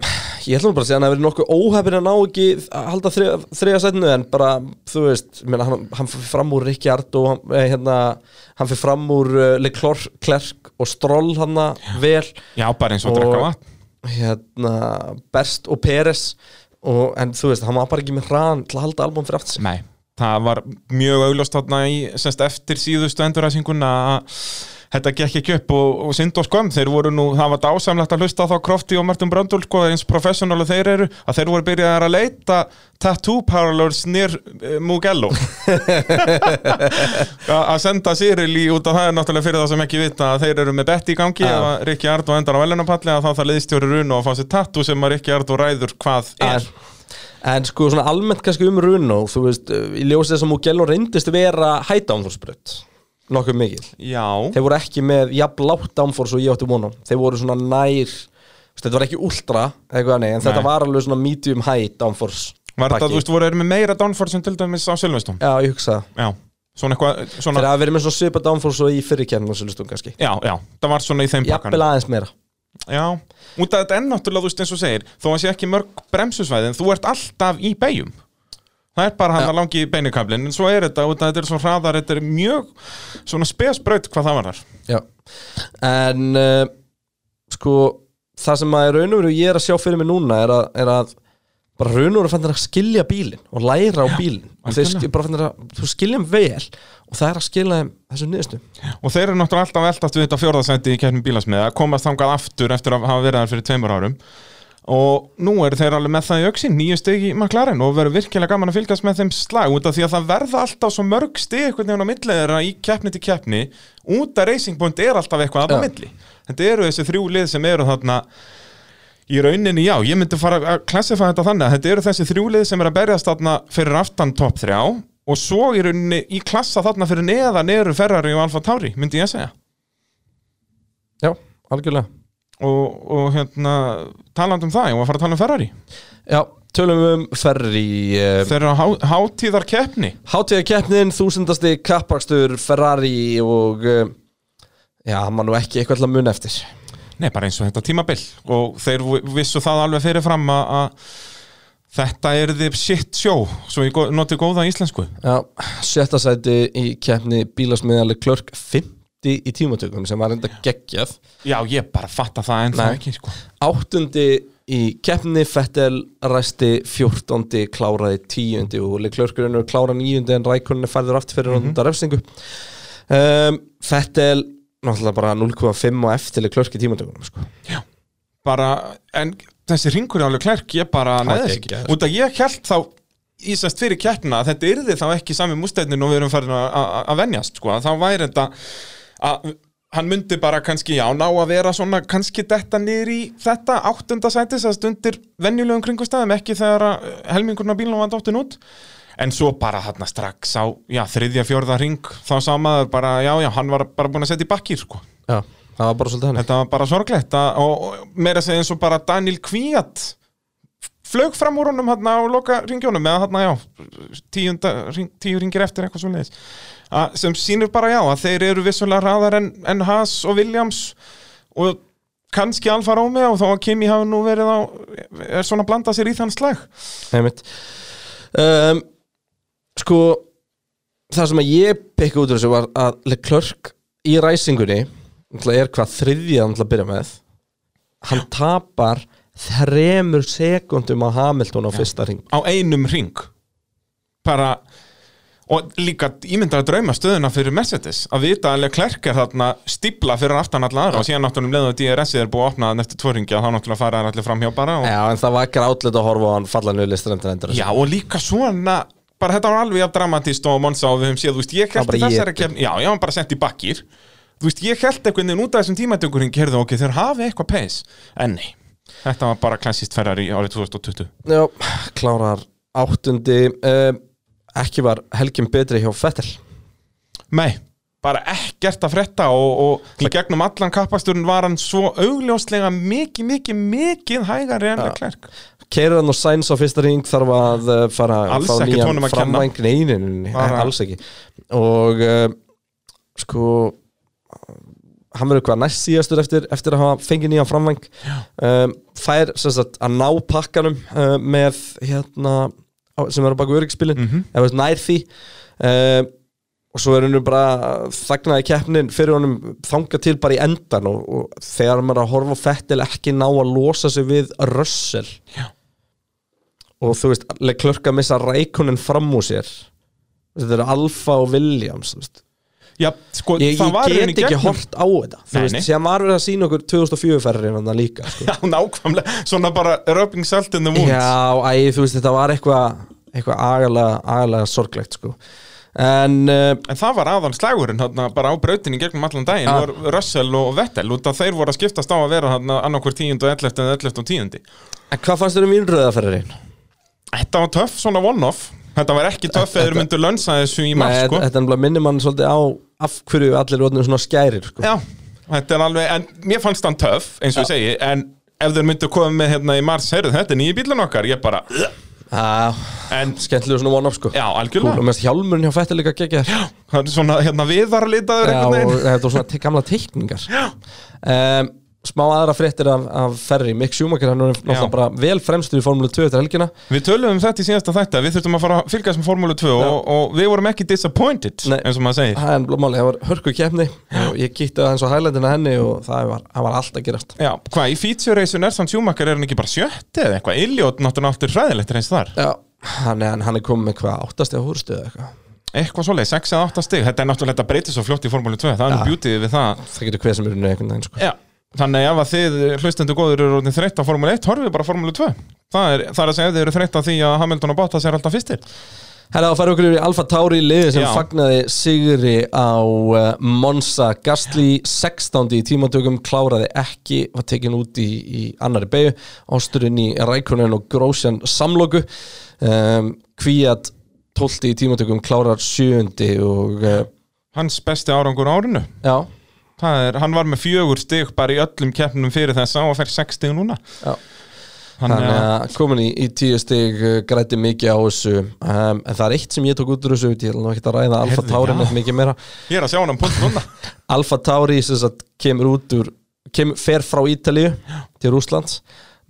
[SPEAKER 3] ég ætla nú bara að segja hann að verið nokkuð óhefin að ná ekki að halda þriða, þriða setnu en bara, þú veist ég meina, hann, hann fyrir fram úr Ríkjart og hann, eh, hérna, hann fyrir fram úr uh, Leclerc Klerk og Stroll hann vel
[SPEAKER 4] Já, bara eins og að drekka vatn
[SPEAKER 3] hérna, Best og Peres og, en þú veist, hann var bara ekki með hraðan til að halda albúm fyrir aftur sig
[SPEAKER 4] Nei, það var mjög augljóst þarna í, semst, eftir síðustu enduræsinguna að þetta gekk ekki upp og, og synd og skömm þeir voru nú, það var dásamlegt að hlusta á þá Krofti og Martin Bröndul sko, eins professional og þeir eru að þeir voru byrjaðar að leita tattoo parlors nýr uh, Mugello A- að senda Cyril í út af það er náttúrulega fyrir það sem ekki vita að þeir eru með bett í gangi
[SPEAKER 3] Já.
[SPEAKER 4] ef að Rikki Ardó endar á velunapalli að þá það leiðstjóri runu að fá sér tattoo sem að Rikki Ardó ræður hvað er
[SPEAKER 3] en, en sko svona almennt kannski um Runo þú veist, uh, í ljósið þess að Mugello reyndist vera hædánþórsbrödd nokkuð mikil
[SPEAKER 4] Já
[SPEAKER 3] þeir voru ekki með jafn látt downforce og ég átti vonum þeir voru svona nær þú veist, þetta var ekki ultra eitthvað nei, en
[SPEAKER 4] Nei.
[SPEAKER 3] þetta var alveg svona medium high downforce
[SPEAKER 4] Var þetta,
[SPEAKER 3] pakki.
[SPEAKER 4] þú veist, voru þeir með meira downforce en til dæmis á Silveston?
[SPEAKER 3] já, ég hugsa það.
[SPEAKER 4] Já, svona eitthvað, svona,
[SPEAKER 3] þeir hafa verið með svona svipa downforce og í fyrirkjærnum og svolítið kannski
[SPEAKER 4] já, já, það var svona í þeim
[SPEAKER 3] jafnvel aðeins meira
[SPEAKER 4] Já, út af þetta enn náttúrulega, þú veist, eins og segir, þó að sé ekki mörg bremsusvæði, en þú ert alltaf í beigjum. Það er bara hann að langi í beinikablin, en svo er þetta, út af þetta er svona hraðar, þetta er mjög svona spesbraut hvað það var þar.
[SPEAKER 3] Já. en uh, sko það sem að í raun og veru ég er að sjá fyrir mig núna er að, er að bara raun og veru fannir að skilja bílinn og læra á bílinn og þeir
[SPEAKER 4] algjörlega.
[SPEAKER 3] sk- bara fannir að þú skilja þeim vel og það er að skilja þeim þessu niðurstu
[SPEAKER 4] Og þeir eru náttúrulega alltaf eldast við þetta fjórðasendi í kjærnum bílasmiða, komast þangað aftur eftir að hafa verið þar fyrir tveimur árum. Og nú eru þeir alveg með það í auksin, nýju stig í McLaren og verður virkilega gaman að fylgjast með þeim slag út af því að það verða alltaf svo mörg stig einhvern veginn á milli þeirra í keppni til keppni út af Racing Point er alltaf eitthvað að á
[SPEAKER 3] Já.
[SPEAKER 4] milli. Þetta eru þessi þrjú lið sem eru þarna í rauninni, já, ég myndi fara að klassifa þetta þannig að þetta eru þessi þrjú lið sem eru að berjast þarna fyrir aftan topp þrjá og svo í rauninni í klassa þarna fyrir neðan eru Ferrari og Alfa Tauri, myndi ég að segja
[SPEAKER 3] Já, algjörlega
[SPEAKER 4] og, og hérna, talandi um það ég var að fara að tala um Ferrari
[SPEAKER 3] Já, tölum við um Ferrari
[SPEAKER 4] Þeir eru há, hátíðar keppni
[SPEAKER 3] Hátíðar keppnin, þúsundasti kappakstur Ferrari og eh, já, mann og ekki eitthvað til að muna eftir
[SPEAKER 4] Nei, bara eins og þetta tímabil og þeir vi- vissu það alveg fyrirfram að- að þetta er þið shit show svo ég go- noti góða íslensku
[SPEAKER 3] Já, sjötta sæti í keppni bílasmiðanlega klörk 50 í tímatökum sem var enda geggjað
[SPEAKER 4] Já, ég bara fatta það ennþá
[SPEAKER 3] Nei.
[SPEAKER 4] ekki sko.
[SPEAKER 3] Áttundi í keppni Fettel ræsti 14. kláraði 10. og Leclercurinn er klára 9. en Rækonin er færður aftur fyrir mm -hmm. refsingu um, Fettel náttúrulega bara 0,5 og eftir Leclerc í tímatökunum sko.
[SPEAKER 4] bara, en þessi ringur er alveg klærk, ég bara
[SPEAKER 3] Það
[SPEAKER 4] næði
[SPEAKER 3] er
[SPEAKER 4] ekki
[SPEAKER 3] geggjað.
[SPEAKER 4] út að ég held þá ísast fyrir keppna að þetta yrði þá ekki sami mústæðnin og við erum farin að- að að venjast sko. að þá væri þetta að hann myndi bara kannski já, ná að vera svona kannski detta niður í þetta áttunda sæti sem stundir venjulegum kringustæðum ekki þegar að eh, helmingurna bílum var dóttin út en svo bara þarna strax á já, þriðja, fjórða ring þá samaður bara, já, já, hann var bara búin að setja í bakkir sko.
[SPEAKER 3] Já, það var bara svolítið hann
[SPEAKER 4] Þetta var bara sorglegt að, og, og meira að segja eins og bara Daniel Kvíat flög fram úr honum hérna á loka ringjónum eða hérna, já, tíunda, ring, tíu ringir eftir eitthvað svo leiðis sem sýnir bara, já, að þeir eru vissulega raðar en, en Haas og Williams og kannski Alfa Romeo og þá að Kimi hafi nú verið á er svona að blanda sér í þann slag
[SPEAKER 3] Einmitt. um, Sko Það sem að ég pekka út úr þessu var að Leclerc í ræsingunni náttúrulega er hvað þriðja hann til að byrja með hann tapar þremur sekundum á Hamilton á fyrsta ring
[SPEAKER 4] á einum ring bara og líka ímyndaði drauma stöðuna fyrir Mercedes að vita að Leclerc er þarna stípla fyrir aftan alla aðra og síðan náttúrulega um leiðu að DRS-ið er búið að opna þann eftir tvö ringi að þá náttúrulega fara þær allir framhjá bara og,
[SPEAKER 3] Já, en það var ekki átlet að horfa á hann falla njöli strendur endur
[SPEAKER 4] já, og líka svona bara þetta var alveg að dramatist og Monsa og við höfum séð, þú veist, ég
[SPEAKER 3] Það var
[SPEAKER 4] held
[SPEAKER 3] bara
[SPEAKER 4] þessari
[SPEAKER 3] étið.
[SPEAKER 4] kefni, já, já, hann bara sett í bakkir þú veist, ég held einhvern veginn út af þessum tímatökurinn gerðu ok, þeir hafi eitthvað pes en nei, þetta var bara klassist Ferrari árið 2020
[SPEAKER 3] Já, klárar áttundi um, ekki var helgin betri hjá Fettel
[SPEAKER 4] Nei, bara ekkert að frétta og, og í gegnum allan kappasturinn var hann svo augljóslega mikið, mikið, mikið hægari en Leclerc.
[SPEAKER 3] Keirðan og Sainz á fyrsta ring þarf að uh, fara
[SPEAKER 4] Alls
[SPEAKER 3] fá
[SPEAKER 4] ekkert
[SPEAKER 3] nýjan
[SPEAKER 4] honum að kenna.
[SPEAKER 3] framvæng neinin,
[SPEAKER 4] Bara-
[SPEAKER 3] alls ekki og uh, sko hann verður hvað næst síðastur eftir, eftir að hafa fengið nýjan framvæng um, fær sem sagt að ná pakkanum uh, með hérna á- sem eru baku öryggspilin mm
[SPEAKER 4] Mhm.
[SPEAKER 3] -hmm. eða þú veist, nær því um, og svo er hennu bara þagnaði keppnin fyrir honum þanga til bara í endan og, og þegar maður er að horfa á fettil ekki ná að losa sig við rössel
[SPEAKER 4] Já.
[SPEAKER 3] og þú veist klörk að missa rækunin fram úr sér þetta eru Alfa og Williams þú veist.
[SPEAKER 4] Já, sko,
[SPEAKER 3] ég,
[SPEAKER 4] það
[SPEAKER 3] ég
[SPEAKER 4] var
[SPEAKER 3] get
[SPEAKER 4] í rauninni
[SPEAKER 3] ekki
[SPEAKER 4] gegnum-
[SPEAKER 3] hort á þetta
[SPEAKER 4] Nei,
[SPEAKER 3] þú veist,
[SPEAKER 4] nei.
[SPEAKER 3] sem var verið að sína okkur 2004 ferrið hann líka sko.
[SPEAKER 4] Já, *laughs* nákvæmlega, svona bara rubbing salt in the wound.
[SPEAKER 3] Já, æ, þú veist, þetta var eitthvað eitthvað agalega, agalega sorglegt sko. en uh,
[SPEAKER 4] En það var aðan slagurinn þarna, bara á brautinni gegnum allan daginn
[SPEAKER 3] Já.
[SPEAKER 4] var Russell og Vettel út að þeir voru að skiptast á að vera þarna annarkur tíund og 11 en 11 og 10.
[SPEAKER 3] en hvað fannst þér um vínröðaferriðin?
[SPEAKER 4] Þetta var töff, svona one-off. Þetta var ekki töff eða þeir myndu lönsa þessu í marg,
[SPEAKER 3] Nei,
[SPEAKER 4] sko.
[SPEAKER 3] þetta- Þetta er nefnilega minnir mann svolítið á af hverju allir er orðnir svona skærir sko.
[SPEAKER 4] Já, þetta er alveg, en mér fannst hann töff, eins og ég segi, en ef þeir myndu að koma með hérna í mars, heyrðu, þetta er nýji bílun okkar, ég bara,
[SPEAKER 3] ah,
[SPEAKER 4] en,
[SPEAKER 3] Skemmtilega svona one-up sko
[SPEAKER 4] já,
[SPEAKER 3] Kúl, og
[SPEAKER 4] algjörlega,
[SPEAKER 3] mér finnst hjálmurinn hjá fætti líka geggja Já,
[SPEAKER 4] það er svona, hérna, viðarlitaður
[SPEAKER 3] Já,
[SPEAKER 4] einhvern
[SPEAKER 3] og
[SPEAKER 4] veginn.
[SPEAKER 3] þetta var svona te- gamla teikningar um, Smá aðra fréttir af, af Ferri Mick Schumacher, hann er
[SPEAKER 4] Já.
[SPEAKER 3] náttúrulega bara vel fremstur í Formule 2 eftir helgina
[SPEAKER 4] Við töluðum um þetta í síðasta þetta, við þurftum að fara að fylgjast með Formúlu 2 og, og við vorum ekki disappointed,
[SPEAKER 3] Nei.
[SPEAKER 4] eins og maður segir.
[SPEAKER 3] Það er blómáli, það var hörku kefni og ég kýtti aðeins á hæglendina henni og það var, það var allt að gerast
[SPEAKER 4] Já, hvað, í feature racun er samt sjúmakar, er hann ekki bara sjötti eða eitthvað, Iliot náttúrulega áttur hræðilegt reyns þar,
[SPEAKER 3] Já, hann er, hann er komið með hvað áttast eða húrstuð eða eitthvað
[SPEAKER 4] eitthvað svoleið, 6 eða 8 stig, þetta er náttúrulega þetta breytið svo fljótt í Formúlu 2, það er nú bjútið við það
[SPEAKER 3] Það getur hver sem er unni einhvern veginn sko.
[SPEAKER 4] Já, þannig ef að þið hlustendur góður eru orðin þreytt á Formule 1, horfið bara á Formule 2 Það er, það er að segja að þið eru þreytt á því að Hamilton og Bottas er alltaf fyrstir
[SPEAKER 3] Herra, þá færum við okkur yfir í Alfa Tauri liðið sem
[SPEAKER 4] Já.
[SPEAKER 3] fagnaði sigri á uh, Monza Gastli 16. í tímatökum, kláraði ekki var tekin út í, í annari beigju ásturinn í Rækunin og Grósjan samloku um, Kvíat 12. í tímatökum klárar 7. og uh,
[SPEAKER 4] Hans besti árangur á árinu
[SPEAKER 3] Já
[SPEAKER 4] er, Hann var með fjögur stig bara í öllum keppnum fyrir þessa og fær sex stig núna
[SPEAKER 3] Já
[SPEAKER 4] Þannig
[SPEAKER 3] Þannig
[SPEAKER 4] að-
[SPEAKER 3] að komin í, í tíu stig uh, græti mikið á þessu um, en það er eitt sem ég tók út úr þessu ég ætla nú ekki að ræða Alfa
[SPEAKER 4] Heyrðu,
[SPEAKER 3] Tauri
[SPEAKER 4] já.
[SPEAKER 3] neitt mikið meira
[SPEAKER 4] Ég er að sjá hann um punkt núna
[SPEAKER 3] *laughs* Alfa Tauri sem sagt, kemur út úr kemur, fer frá Ítalíu til Rúslands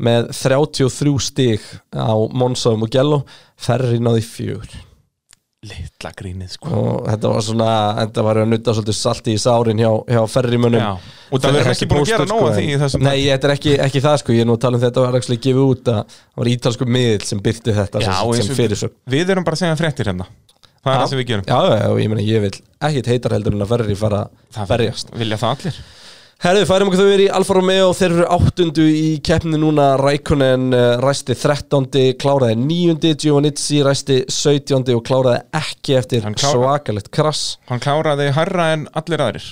[SPEAKER 3] með 33 stig á Monza og Mugello Ferri náði fjögur
[SPEAKER 4] Litla grínið sko
[SPEAKER 3] og þetta var svona þetta var að nutta svolítið salti í sárin hjá, hjá ferrimönnum
[SPEAKER 4] Já, og það verður ekki búin að gera nóg af því í þessum
[SPEAKER 3] sko, Nei, þetta er ekki, ekki það sko, ég er nú að tala um þetta var ekki gefið út að það var ítalsku miðill sem byrti þetta
[SPEAKER 4] Já,
[SPEAKER 3] sem,
[SPEAKER 4] eins
[SPEAKER 3] sem
[SPEAKER 4] og-
[SPEAKER 3] fyrir svo
[SPEAKER 4] Við erum bara að segja fréttir hérna Það er það sem við gerum
[SPEAKER 3] Já, já, já, og ég meina ég vil ekkit heitar heldur en að ferri fara að berjast
[SPEAKER 4] Vilja það allir
[SPEAKER 3] Herðu, færum okkur þau verið í Alfa Romeo þeir eru áttundu í keppni núna Rækunen ræsti 13. kláraði 9. Giovannizzi ræsti 17. og kláraði ekki eftir svakalegt krass
[SPEAKER 4] Hann kláraði hærra en allir aðrir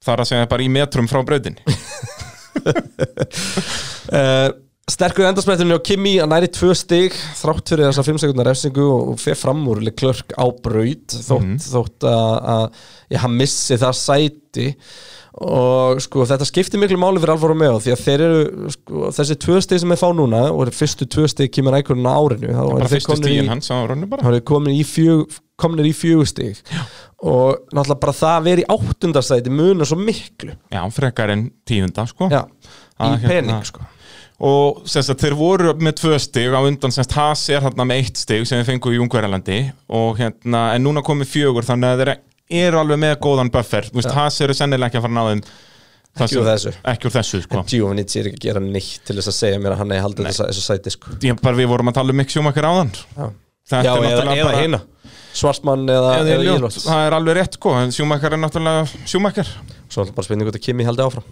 [SPEAKER 4] Það er að segja bara í metrum frá brautinni
[SPEAKER 3] uh, Sterkur endarsprettunni á Kimi að næri tvö stig þrátt fyrir þessa 5 sekundar refsingu og og fer fram úr klörk á braut þótt,
[SPEAKER 4] Mhm.
[SPEAKER 3] þótt að- að já, hann missi það sæti og sko þetta skiptir miklu máli fyrir alvor og með því að þeir eru sko, þessi tvö stig sem þeir fá núna og eru fyrstu tvö stig Kimi Rækurinn á árinu þá
[SPEAKER 4] Bara
[SPEAKER 3] eru þeir
[SPEAKER 4] fyrstu
[SPEAKER 3] komnir í-
[SPEAKER 4] stíðin hans á rauninu bara
[SPEAKER 3] Það eru komin í fjög, komnir í fjögustig og náttúrulega bara það að vera í áttundastæti munar svo miklu
[SPEAKER 4] Já, frekar en tíðunda sko Já, hérna-
[SPEAKER 3] í pening, sko.
[SPEAKER 4] Og semst að þeir voru með tvö stig á undan semst Haas er hérna með eitt stig sem þeir fengu í Ungverjalandi og hérna, en núna komið fjögur þannig að þeir eru alveg með góðan buffer Þú veist, Haas eru sennilega ekki að fara að ná þeim það
[SPEAKER 3] ekki úr
[SPEAKER 4] sem-
[SPEAKER 3] þessu
[SPEAKER 4] Ekki úr þessu, sko
[SPEAKER 3] Giovannizzi er ekki að gera neitt til þess að segja mér að hann er haldið þess að þessu sæti, sko
[SPEAKER 4] Ég bara við vorum að tala um Mick Schumacher áðan
[SPEAKER 3] Já,
[SPEAKER 4] Þetta
[SPEAKER 3] Já
[SPEAKER 4] er
[SPEAKER 3] eða,
[SPEAKER 4] náttúrulega
[SPEAKER 3] eða
[SPEAKER 4] bara-
[SPEAKER 3] hina Svartmann eða,
[SPEAKER 4] Eða
[SPEAKER 3] eða
[SPEAKER 4] Elliot,
[SPEAKER 3] Írlótt
[SPEAKER 4] Það er alveg rétt, sko en Schumacher er náttúrulega Schumacher
[SPEAKER 3] Svo er bara spurning út að Kimi haldi áfram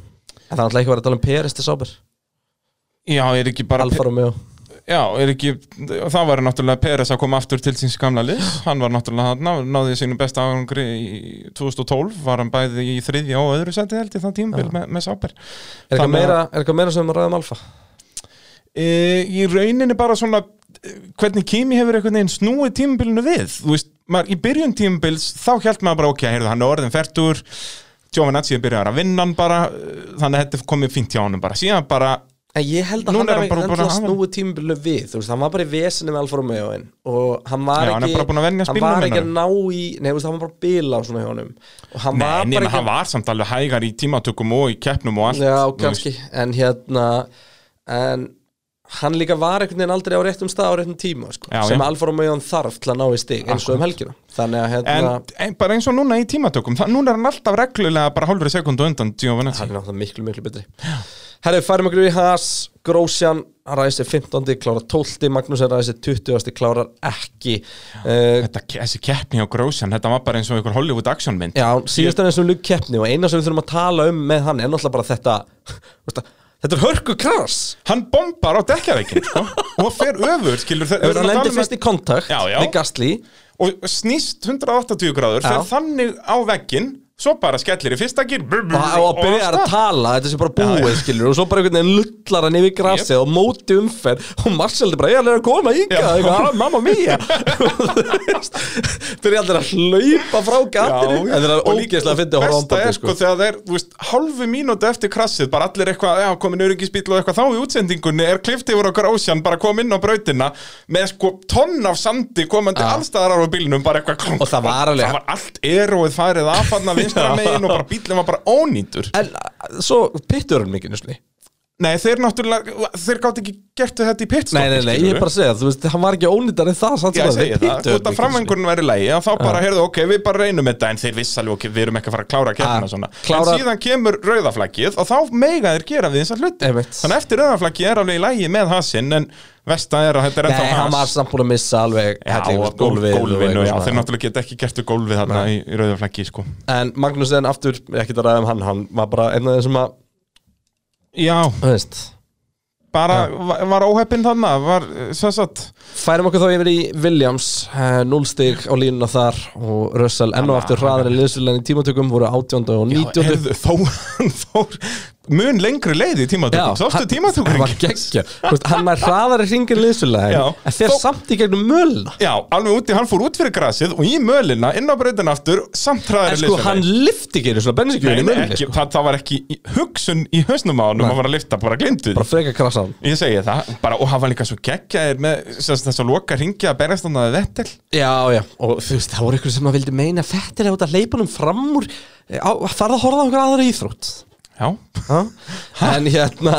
[SPEAKER 3] En það er alltaf ekki verið að tala um PRS til Sáber
[SPEAKER 4] Já, er ekki bara
[SPEAKER 3] Alfa Romeo
[SPEAKER 4] Já, er ekki, það var náttúrulega Peres að koma aftur til síns gamla lið hann var náttúrulega, ná, náði sínum besta árangri í 2012, var hann bæði í þriðja og öðru seti held ég það tímabil með, með Sáber
[SPEAKER 3] Er eitthvað meira, er eitthvað meira sem við ræðum um Alfa?
[SPEAKER 4] e, Í rauninni bara svona eh, hvernig Kimi hefur einhvern veginn snúið tímabilinu við þú veist, maður, í byrjun tímabils þá held maður bara, ok, heyrðu, hann er orðin fertur Tjófanatsi er byrjar að vinna hann bara eh, þannig að þetta komið fínt hjá honum bara síðan bara
[SPEAKER 3] En ég held að
[SPEAKER 4] Núna er
[SPEAKER 3] hann
[SPEAKER 4] hann bara
[SPEAKER 3] hafi
[SPEAKER 4] búinn að
[SPEAKER 3] endla
[SPEAKER 4] hafa-
[SPEAKER 3] snúið tímabilið við Þú veist, hann var bara í vesinu með Alfa Romeo og hann var
[SPEAKER 4] Já,
[SPEAKER 3] ekki
[SPEAKER 4] hann er bara búinn að venjast
[SPEAKER 3] hann
[SPEAKER 4] bílnum,
[SPEAKER 3] var ekki að ná í Nei, þú veist, hann var bara bila á svona hjá honum og hann
[SPEAKER 4] Nei,
[SPEAKER 3] var
[SPEAKER 4] nema
[SPEAKER 3] bara
[SPEAKER 4] hann var samt alveg hægar í tímatökum og í keppnum og allt
[SPEAKER 3] Já,
[SPEAKER 4] þú veist.
[SPEAKER 3] kannski, en hérna en hann líka var einhvern veginn aldrei á réttum stað á réttum tíma sko,
[SPEAKER 4] Já,
[SPEAKER 3] sem
[SPEAKER 4] já.
[SPEAKER 3] Alfa Romeo þarf til að ná í stig eins og um helgina þannig að
[SPEAKER 4] en,
[SPEAKER 3] hérna
[SPEAKER 4] en bara eins og núna í tímatökum það, núna er hann alltaf reglulega bara hálfri sekundu undan Giovinazzi
[SPEAKER 3] hann er náttúrulega miklu, miklu betri Herri, færum okkur í Haas, Grósjan hann ræsir 15, klárar 12 Magnús ræsir 20, klárar ekki uh,
[SPEAKER 4] þetta, þessi keppni á Grósjan, þetta var bara eins og einhver Hollywood actionmynd
[SPEAKER 3] Já, síðast er eins og ljúk keppni og eina sem við þurfum að tala um með hann er náttúrulega bara þetta *laughs* veist það, Þetta er hörku krass
[SPEAKER 4] hann bombar á dekkjaveikin sko, og fer öfur skilur þe-
[SPEAKER 3] Ef
[SPEAKER 4] við erum
[SPEAKER 3] hann
[SPEAKER 4] að tala
[SPEAKER 3] lendir
[SPEAKER 4] um
[SPEAKER 3] fyrst í kontakt
[SPEAKER 4] Já, já.
[SPEAKER 3] við Gastli
[SPEAKER 4] og snýst 180 gráður
[SPEAKER 3] Já.
[SPEAKER 4] fer þannig á vegginn svo bara skellir í fyrsta gýr
[SPEAKER 3] og og byrjar að tala, þetta sé bara búið skilur og svo bara einhvern veginn lullar hann yfir grasið og móti umferð og Marcel er bara, ég er að koma
[SPEAKER 4] Já.
[SPEAKER 3] ykkar, mamma mía Þeir eru allir að hlaupa frá gatinu en þeir eru ógeðslega að finna að horfa á
[SPEAKER 4] besta
[SPEAKER 3] ámbandi
[SPEAKER 4] er sko þegar þeir, þú veist, hálfu mínúti eftir krassið bara allir eitthvað, já, komin öryggisbíl og eitthvað þá í útsendingunni er klift yfir okkur ósjan bara kom inn á brautina með sko tonn af sandi komandi allstaðar á bílnum bara eitthvað klunk,
[SPEAKER 3] Og það var alveg-
[SPEAKER 4] það var allt eróið farið aðfanna vinstra
[SPEAKER 3] Já.
[SPEAKER 4] megin og bara bílinn var bara ónýtur
[SPEAKER 3] En uh, svo pittur hann mikið njöfni
[SPEAKER 4] Nei, þeir náttúrulega, þeir gátt ekki gert við þetta í pitstoppi
[SPEAKER 3] Nei, nei, nei, ég er bara að segja, þú veist, hann var ekki ónýttar en það, samt sem
[SPEAKER 4] Já, ég
[SPEAKER 3] að
[SPEAKER 4] segi
[SPEAKER 3] þeir
[SPEAKER 4] það,
[SPEAKER 3] pittu
[SPEAKER 4] út af framvengurinn væri lægi þá bara, heyrðu, ok, við bara reynum þetta en þeir vissaljú, ok, við erum ekki að fara að klára keppna
[SPEAKER 3] Ah,
[SPEAKER 4] svona,
[SPEAKER 3] klára-
[SPEAKER 4] en síðan kemur rauðaflaggið og þá mega þeir gera við þessar hluti
[SPEAKER 3] Einmitt.
[SPEAKER 4] þannig að eftir rauðaflaggið er alveg í lægi með hasinn en vesta er að þetta er
[SPEAKER 3] Nei,
[SPEAKER 4] ennþá
[SPEAKER 3] hann var
[SPEAKER 4] has
[SPEAKER 3] samt búin að missa alveg helling,
[SPEAKER 4] og
[SPEAKER 3] veist, gólfið og
[SPEAKER 4] gólfinu,
[SPEAKER 3] eitthvað
[SPEAKER 4] já,
[SPEAKER 3] svona.
[SPEAKER 4] þeir náttúrulega geta ekki gert við gólfið þarna í, í rauðaflaggi, sko
[SPEAKER 3] En Magnús en aftur, ekkert að ræða um hann Hann var bara einn af þeir sem að
[SPEAKER 4] Já,
[SPEAKER 3] þú veist,
[SPEAKER 4] bara var, var óheppin þarna, var, svo satt
[SPEAKER 3] Færum okkur þá yfir í Williams eh, 0 stig á línuna þar og Russell enn og aftur hraðar en liðsvillan í tímatökum voru 18 og 19
[SPEAKER 4] Heyrðu, þó, *laughs* þó mun lengri leið í tímatökum Sástu tímatökum
[SPEAKER 3] var geggja Hann er hraðari hringin liðsulega En þeir samt í gegnum mölna
[SPEAKER 4] Já, alveg úti, hann fór út fyrir grasið og í mölina, inn á breytin aftur samt hraðari
[SPEAKER 3] En sko, hann lifti ekki einu svona bensinkjöfin í sko.
[SPEAKER 4] Nei, nei,
[SPEAKER 3] mölni
[SPEAKER 4] ekki, það, það var ekki í- hugsun í hausnum á hann um
[SPEAKER 3] Nei.
[SPEAKER 4] að fara að lifta, bara glindu
[SPEAKER 3] Bara freka krasa hann
[SPEAKER 4] Ég segi það, bara, og hann var líka svo geggjaðir með sem sagt, þess að loka ringja að berjast hann að vettel
[SPEAKER 3] Já, já, og þú veist, það voru ykkur sem að vildi meina Fettir hefur þetta leipunum fram úr Farða að horfa á einhver aðra íþrótt
[SPEAKER 4] Já
[SPEAKER 3] En hérna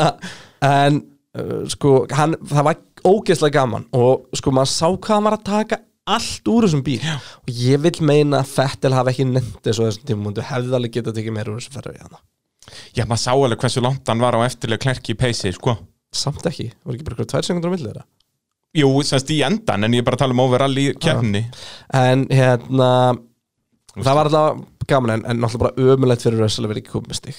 [SPEAKER 3] En uh, sko, hann, það var ógeðslega gaman Og sko, maður sá hvað hann var að taka allt úr þessum bíl já. Og ég vil meina að Fettil hafi ekki nefnt þessu á þessum tímumundu Hefði alveg getað tekið meira úr þessum ferri hana.
[SPEAKER 4] Já, maður sá alveg hversu langt hann var á eftirlega klerki í peysi, sko
[SPEAKER 3] Samt ekki, voru ekki bara ykkur tvær sekundur á milli þeirra
[SPEAKER 4] Jú, semst í endan, en ég er bara að tala um overall í kefni
[SPEAKER 3] En hérna Það var alltaf gaman en, en náttúrulega bara ömulegt fyrir Russell að vera ekki komið með stig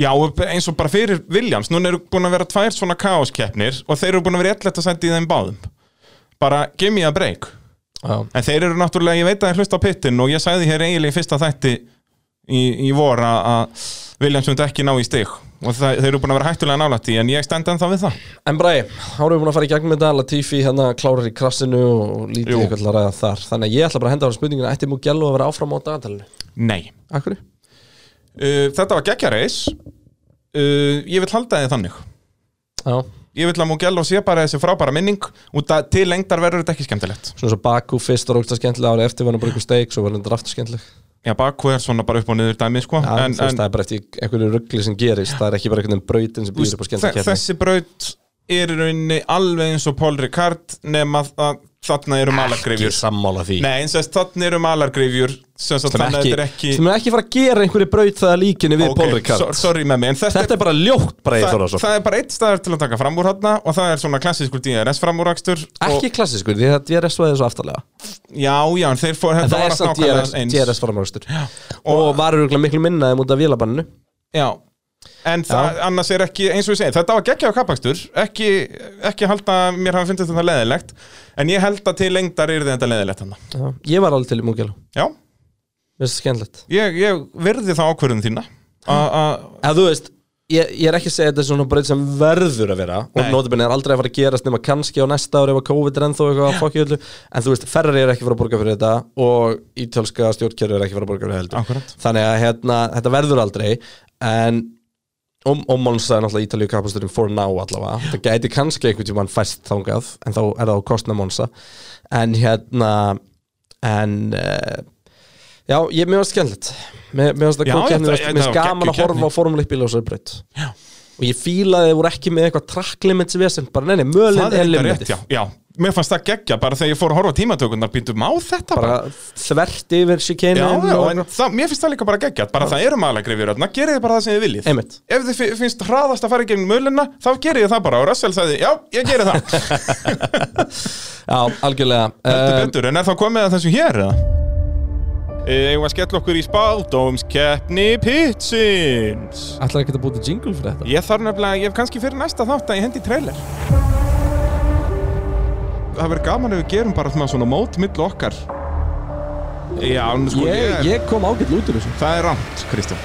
[SPEAKER 4] Já, og eins og bara fyrir Williams, núna eru búin að vera tvær svona kaoskeppnir og þeir eru búin að vera eitthvað að senda í þeim báðum Bara, give me a break
[SPEAKER 3] Já.
[SPEAKER 4] En þeir eru náttúrulega, ég veit að þeir hlusta á pittin og ég sagði hér eiginlega í fyrsta þætti í, í vor að- að Williams myndi ekki ná í stig og það, þeir eru búin að vera hættulega nálætt í en ég stend ennþá við það
[SPEAKER 3] En Bræði, þá erum við búin að fara í gegnum þetta Latifi hérna klárar í krassinu og lítið
[SPEAKER 4] Jú.
[SPEAKER 3] eitthvað til að ræða þar Þannig að ég ætla bara að henda á hann spurninguna Ætti mú gælu að vera áfram á dagatalinu?
[SPEAKER 4] Nei
[SPEAKER 3] Akkur?
[SPEAKER 4] uh, Þetta var geggjareis uh, Ég vil halda þið þannig
[SPEAKER 3] Já
[SPEAKER 4] Ég vil að Mugello sé bara þessi frábæra minning út að til lengdar verður þetta ekki skemmtilegt
[SPEAKER 3] Svona svo Baku fyrst og róksta skemmtilega árið eftir var hann bara ykkur steik Svo var hann draftur skemmtileg
[SPEAKER 4] Já, Baku er svona bara upp og niður dæmi sko.
[SPEAKER 3] Já,
[SPEAKER 4] en,
[SPEAKER 3] þú veist,
[SPEAKER 4] en
[SPEAKER 3] Það er bara eftir einhverju ruggli sem gerist Það er ekki bara einhvern brautin sem býður upp á skemmtileg
[SPEAKER 4] þe- þessi braut er í rauninni alveg eins og Paul Ricard nema að þarna eru malargrifjur
[SPEAKER 3] sammála því
[SPEAKER 4] Nei, eins og þess, þarna eru malargrifjur sem sagt,
[SPEAKER 3] sem
[SPEAKER 4] þannig að
[SPEAKER 3] ekki,
[SPEAKER 4] þetta er ekki
[SPEAKER 3] sem er ekki fara að gera einhverju braut það líkinni við
[SPEAKER 4] Ok,
[SPEAKER 3] okay, Paul Ricard
[SPEAKER 4] so- sorry með mig, en þetta,
[SPEAKER 3] Þetta er bara ljótt Bragi
[SPEAKER 4] það,
[SPEAKER 3] Þórðarsson
[SPEAKER 4] það er bara eitt staðar til að taka fram úr hana og það er svona klassískur DRS framúrakstur
[SPEAKER 3] Ekki klassískur, því það er svo aðeins aftalega
[SPEAKER 4] Já, já, en þeir fór
[SPEAKER 3] En það er samt DRS, DRS framröstur Og, og var öruglega miklu minnaði mútið að vélabannu
[SPEAKER 4] Já, en það, annars er ekki, eins og ég segi, þetta var geggjaðu kappakstur ekki, ekki halda að mér hafa fundið þetta leðilegt en ég held að til lengdar er þetta leðilegt hann
[SPEAKER 3] Já, Ég var alveg til í Mugello
[SPEAKER 4] Já.
[SPEAKER 3] Mér finnst það skemmtilegt
[SPEAKER 4] ég, ég verði það ákvörðun þína
[SPEAKER 3] Ef þú veist, ég, ég er ekki að segja þetta er svona braut sem verður að vera
[SPEAKER 4] Nei.
[SPEAKER 3] Og notabene er aldrei að fara að gerast nema kannski á næsta ári ef að COVID er ennþá eitthvað að fokki öllu En þú veist, Ferrari er ekki að fara að borga fyrir þetta Og ítölska stjórnkerfi er ekki að fara að borga fyrir þetta heldur.
[SPEAKER 4] Akkurat
[SPEAKER 3] Þannig að hérna, þetta verður aldrei En og og Monza er náttúrulega Ítalíu kapasturinn for now allavega það gæti kannski einhvern tímann fæst þangað en þá er það á kostna Monza en hérna en uh, já, ég mér varst skemmtilegt mér mér varst það
[SPEAKER 4] Já,
[SPEAKER 3] góð
[SPEAKER 4] já,
[SPEAKER 3] kemni
[SPEAKER 4] það-
[SPEAKER 3] mér
[SPEAKER 4] þetta
[SPEAKER 3] varst
[SPEAKER 4] var
[SPEAKER 3] gaman
[SPEAKER 4] geggjuð
[SPEAKER 3] að horfa
[SPEAKER 4] keppni.
[SPEAKER 3] á formulipbíl á þessari braut og ég fílaði að þeir voru ekki með eitthvað track limits vesend bara neini, mölin
[SPEAKER 4] Það er
[SPEAKER 3] er
[SPEAKER 4] þetta
[SPEAKER 3] limitið
[SPEAKER 4] rétt, já, já Mér fannst það geggja bara þegar ég fór að horfa á tímatökunar býtum á þetta
[SPEAKER 3] bara þvert yfir
[SPEAKER 4] Já,
[SPEAKER 3] sikenin
[SPEAKER 4] já, en það, mér finnst það líka bara geggjað bara það eru malargrifjur þarna, gerið þið bara það sem þið viljið
[SPEAKER 3] Einmitt.
[SPEAKER 4] Ef þið fi- finnst hraðast að fara í gegnum mölina þá gerið þið það bara og Russell sagði, já, ég gerið það
[SPEAKER 3] *laughs* já, algjörlega
[SPEAKER 4] Heldur
[SPEAKER 3] Um,
[SPEAKER 4] betur, en er þá komið að þessu hér eða? Eða að skella okkur í spáldómskeppni Pitsins
[SPEAKER 3] Ætlaði ekki að búta jingle fyrir þetta?
[SPEAKER 4] Ég þarf nefnilega, ég hef kannski fyrir næsta þátt að ég hendi í trailer Það verður gaman ef við gerum bara svona- svona mót millu okkar Já, en sko
[SPEAKER 3] Ég, ég kom ágætt út úr þessu
[SPEAKER 4] Það er rámt, Kristján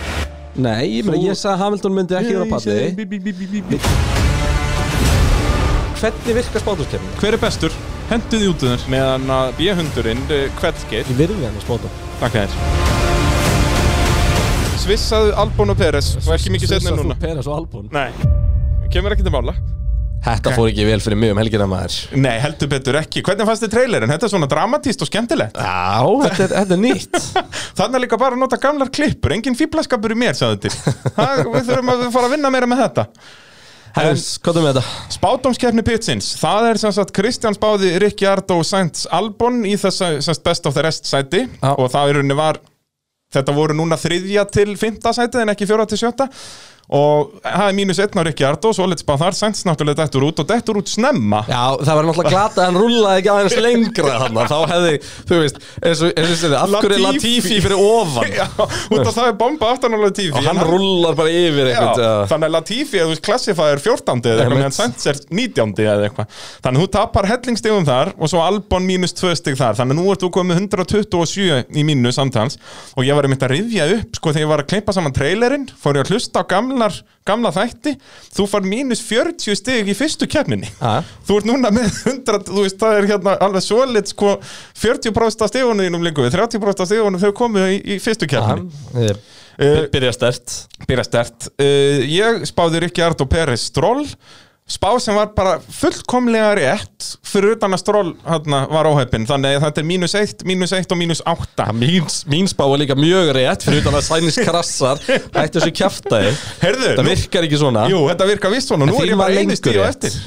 [SPEAKER 3] Nei, ég meina,
[SPEAKER 4] Þú-
[SPEAKER 3] ég sagði að Hamilton myndi ekki vera á palli
[SPEAKER 4] palli
[SPEAKER 3] Hvernig virkar spátumskefni?
[SPEAKER 4] Hver er bestur? Hendu því út um þér Meðan að B-hundurinn, Kveldgeir
[SPEAKER 3] Ég virði hann að spáta
[SPEAKER 4] Takk að þér Svissaðu Albon og Peres Og ekki mikið setna
[SPEAKER 3] Svissar þú
[SPEAKER 4] núna
[SPEAKER 3] Peres og Albon?
[SPEAKER 4] Nei Kemur ekki til mála
[SPEAKER 3] Þetta fór ekki vel fyrir mig um helgina maður
[SPEAKER 4] Nei, heldur betur ekki Hvernig fannst þið trailerinn? Þetta er svona dramatíst og skemmtilegt
[SPEAKER 3] Já, þetta er, þetta er *laughs* nýtt
[SPEAKER 4] Þannig er líka bara að nota gamlar klippur Engin fýblaskapur í mér, sagði til Það- Við þurfum að fara að vinna meira með þetta
[SPEAKER 3] Herres, hvað er með þetta?
[SPEAKER 4] Spátumskeppni Pitsins, það er sem sagt Kristján spáði Ricciardo og Sainz Albon í þessa sem sagt best of the rest sæti og það í rauninni var þetta voru núna þriðja til fymta sæti en ekki fjóra til sjötta og það er mínus einn á Ricciardo svo leitt spáð þar, Sainz náttúrulega dettur út og dettur út snemma
[SPEAKER 3] Já, það var náttúrulega glata að hann rúlaði ekki aðeins lengra þannig þá hefði, þú veist, eins og eins og segði, af hverju er Latifi fyrir *laughs* ofan
[SPEAKER 4] *laughs* Já, út af það er bomba aftan á Latifi
[SPEAKER 3] og hann
[SPEAKER 4] en
[SPEAKER 3] rúlar bara yfir
[SPEAKER 4] Já,
[SPEAKER 3] eitthvað já.
[SPEAKER 4] þannig að Latifi eða þú veist klassifaður 14. eða eitthvað
[SPEAKER 3] Einmitt.
[SPEAKER 4] meðan Sainz er 19. eða eitthvað þannig að þú tapar hellingstegum þar og svo Albon mínus 2 stig þar þannig að nú ert þú komið 127 í mínu samtals og ég var einmitt að rifja upp sko þegar ég var að klippa saman trailerinn fór ég að hlusta á gamla gamlar, gamla þætti þú far mínus 40 stig í fyrstu keppninni þú ert núna með 100 þú veist, það er hérna alveg svoleitt sko, 40% af stigunum þínum líka 30% af stigunum þau komu í, í fyrstu keppninni
[SPEAKER 3] By- Byrja stert
[SPEAKER 4] Eh, Byrja stert uh, Ég spáði Rikki Ardó Peres Stroll Spá sem var bara fullkomlega rétt Fyrir utan að Stroll hana, var óheppin Þannig að þetta er mínus 1, mínus 1 og mínus 8
[SPEAKER 3] mín, mín spá var líka mjög rétt Fyrir utan að sænis krassar Hætti þessu kjaftaði
[SPEAKER 4] Heyrðu,
[SPEAKER 3] Það
[SPEAKER 4] nú-
[SPEAKER 3] virkar ekki svona
[SPEAKER 4] Jú, þetta virkar vist svona
[SPEAKER 3] En
[SPEAKER 4] Nú
[SPEAKER 3] þín
[SPEAKER 4] er ég
[SPEAKER 3] var
[SPEAKER 4] bara einu
[SPEAKER 3] lengur
[SPEAKER 4] stíu
[SPEAKER 3] rétt.
[SPEAKER 4] eftir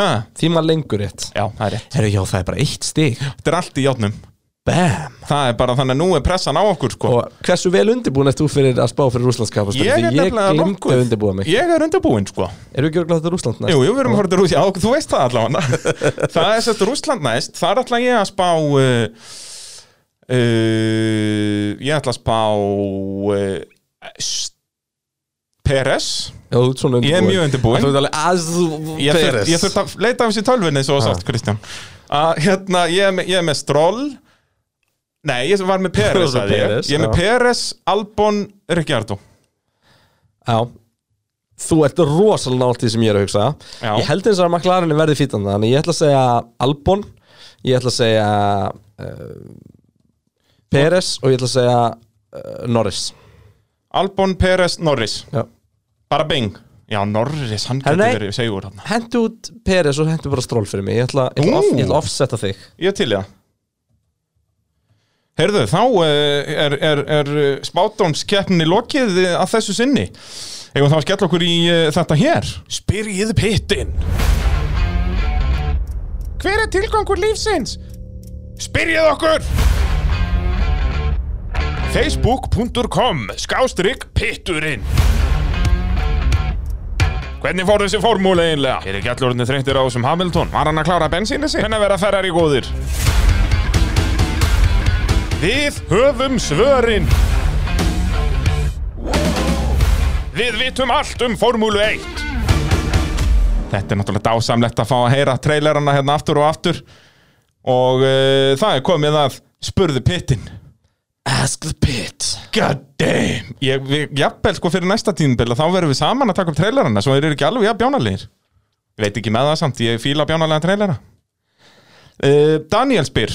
[SPEAKER 4] ha.
[SPEAKER 15] Tíma lengur rétt
[SPEAKER 4] Já, það er rétt
[SPEAKER 3] Herru, já, það er bara eitt stig
[SPEAKER 4] Þetta er allt í játnum
[SPEAKER 3] Bam
[SPEAKER 4] Það er bara þannig að nú er pressan á okkur sko
[SPEAKER 3] Og hversu vel undirbúin ert þú fyrir að spá fyrir Rúslandskapastönd
[SPEAKER 4] Ég er nefnilega
[SPEAKER 3] Ég glemdi
[SPEAKER 4] nokkuð.
[SPEAKER 3] að undirbúa mig
[SPEAKER 4] Ég er undirbúinn sko
[SPEAKER 3] Erum við ekki örglátt að Rúsland næst?
[SPEAKER 4] Jú, jú, við erum að fara til Rúsland, já, þú veist það allavega *laughs* Það er sett Rúsland næst, þar ætla ég að spá uh, uh, Ég ætla að spá uh, Peres
[SPEAKER 3] Já, þú ert svona
[SPEAKER 4] Ég er mjög undirbúinn
[SPEAKER 3] Þú ert alveg að þú
[SPEAKER 4] Ég þurft- ég þurft að leita af þessi tölvinni svo
[SPEAKER 3] Ha.
[SPEAKER 4] sátt, Kristján að, hérna, ég, er með- ég er með Stroll Nei, ég var
[SPEAKER 3] *laughs*
[SPEAKER 4] með
[SPEAKER 3] Þú
[SPEAKER 4] Peres,
[SPEAKER 3] ert með
[SPEAKER 4] sagði ég.
[SPEAKER 3] Perez,
[SPEAKER 4] ég er með
[SPEAKER 3] já.
[SPEAKER 4] Peres, Albon, Ricciardo
[SPEAKER 3] Já Þú ert rosalega nált því sem ég er að hugsa
[SPEAKER 4] Já.
[SPEAKER 3] Ég held eins og að maklarinn verði fýtan það Þannig ég ætla að segja Albon Ég ætla að segja uh, Peres og ég ætla að segja uh, Norris
[SPEAKER 4] Albon, Peres, Norris
[SPEAKER 3] Já.
[SPEAKER 4] Bara bing Já, Norris, hann
[SPEAKER 3] Herra,
[SPEAKER 4] getur
[SPEAKER 3] nei.
[SPEAKER 4] verið segur hann
[SPEAKER 3] Hentu út Peres og hentu bara stról fyrir mig Ég ætla, ég ætla, off,
[SPEAKER 4] Nú.
[SPEAKER 3] ég ætla að offsetta þig
[SPEAKER 4] Ég er til í það Heyrðu, þá eh, er, er, er spátdómskeppni lokið eh, að þessu sinni Eigum þá að skella okkur í eh, þetta hér Spyrjið pittin Hver er tilgangur lífsins? Spyrjið okkur Facebook.com Skástrygg pitturinn Hvernig fór þessi formúli eiginlega? Er ekki allur orðinni þreyttir á þessum Hamilton? Var hann að klára bensínu sig? Hvernig verða Ferrari góðir? Við höfum svörin Við vitum allt um formúlu 1 Þetta er náttúrulega dásamlegt að fá að heyra trailerana hérna aftur og aftur og uh, það er komið að spurðu pittin
[SPEAKER 3] Ask the pit
[SPEAKER 4] God damn ég, við, Jafnvel sko fyrir næsta tíðinbilla þá verðum við saman að taka upp trailerana svo þeir eru ekki alveg jafn bjánalegir Ég veit ekki með það samt, ég fíla bjánalega trailera uh, Daniel spyr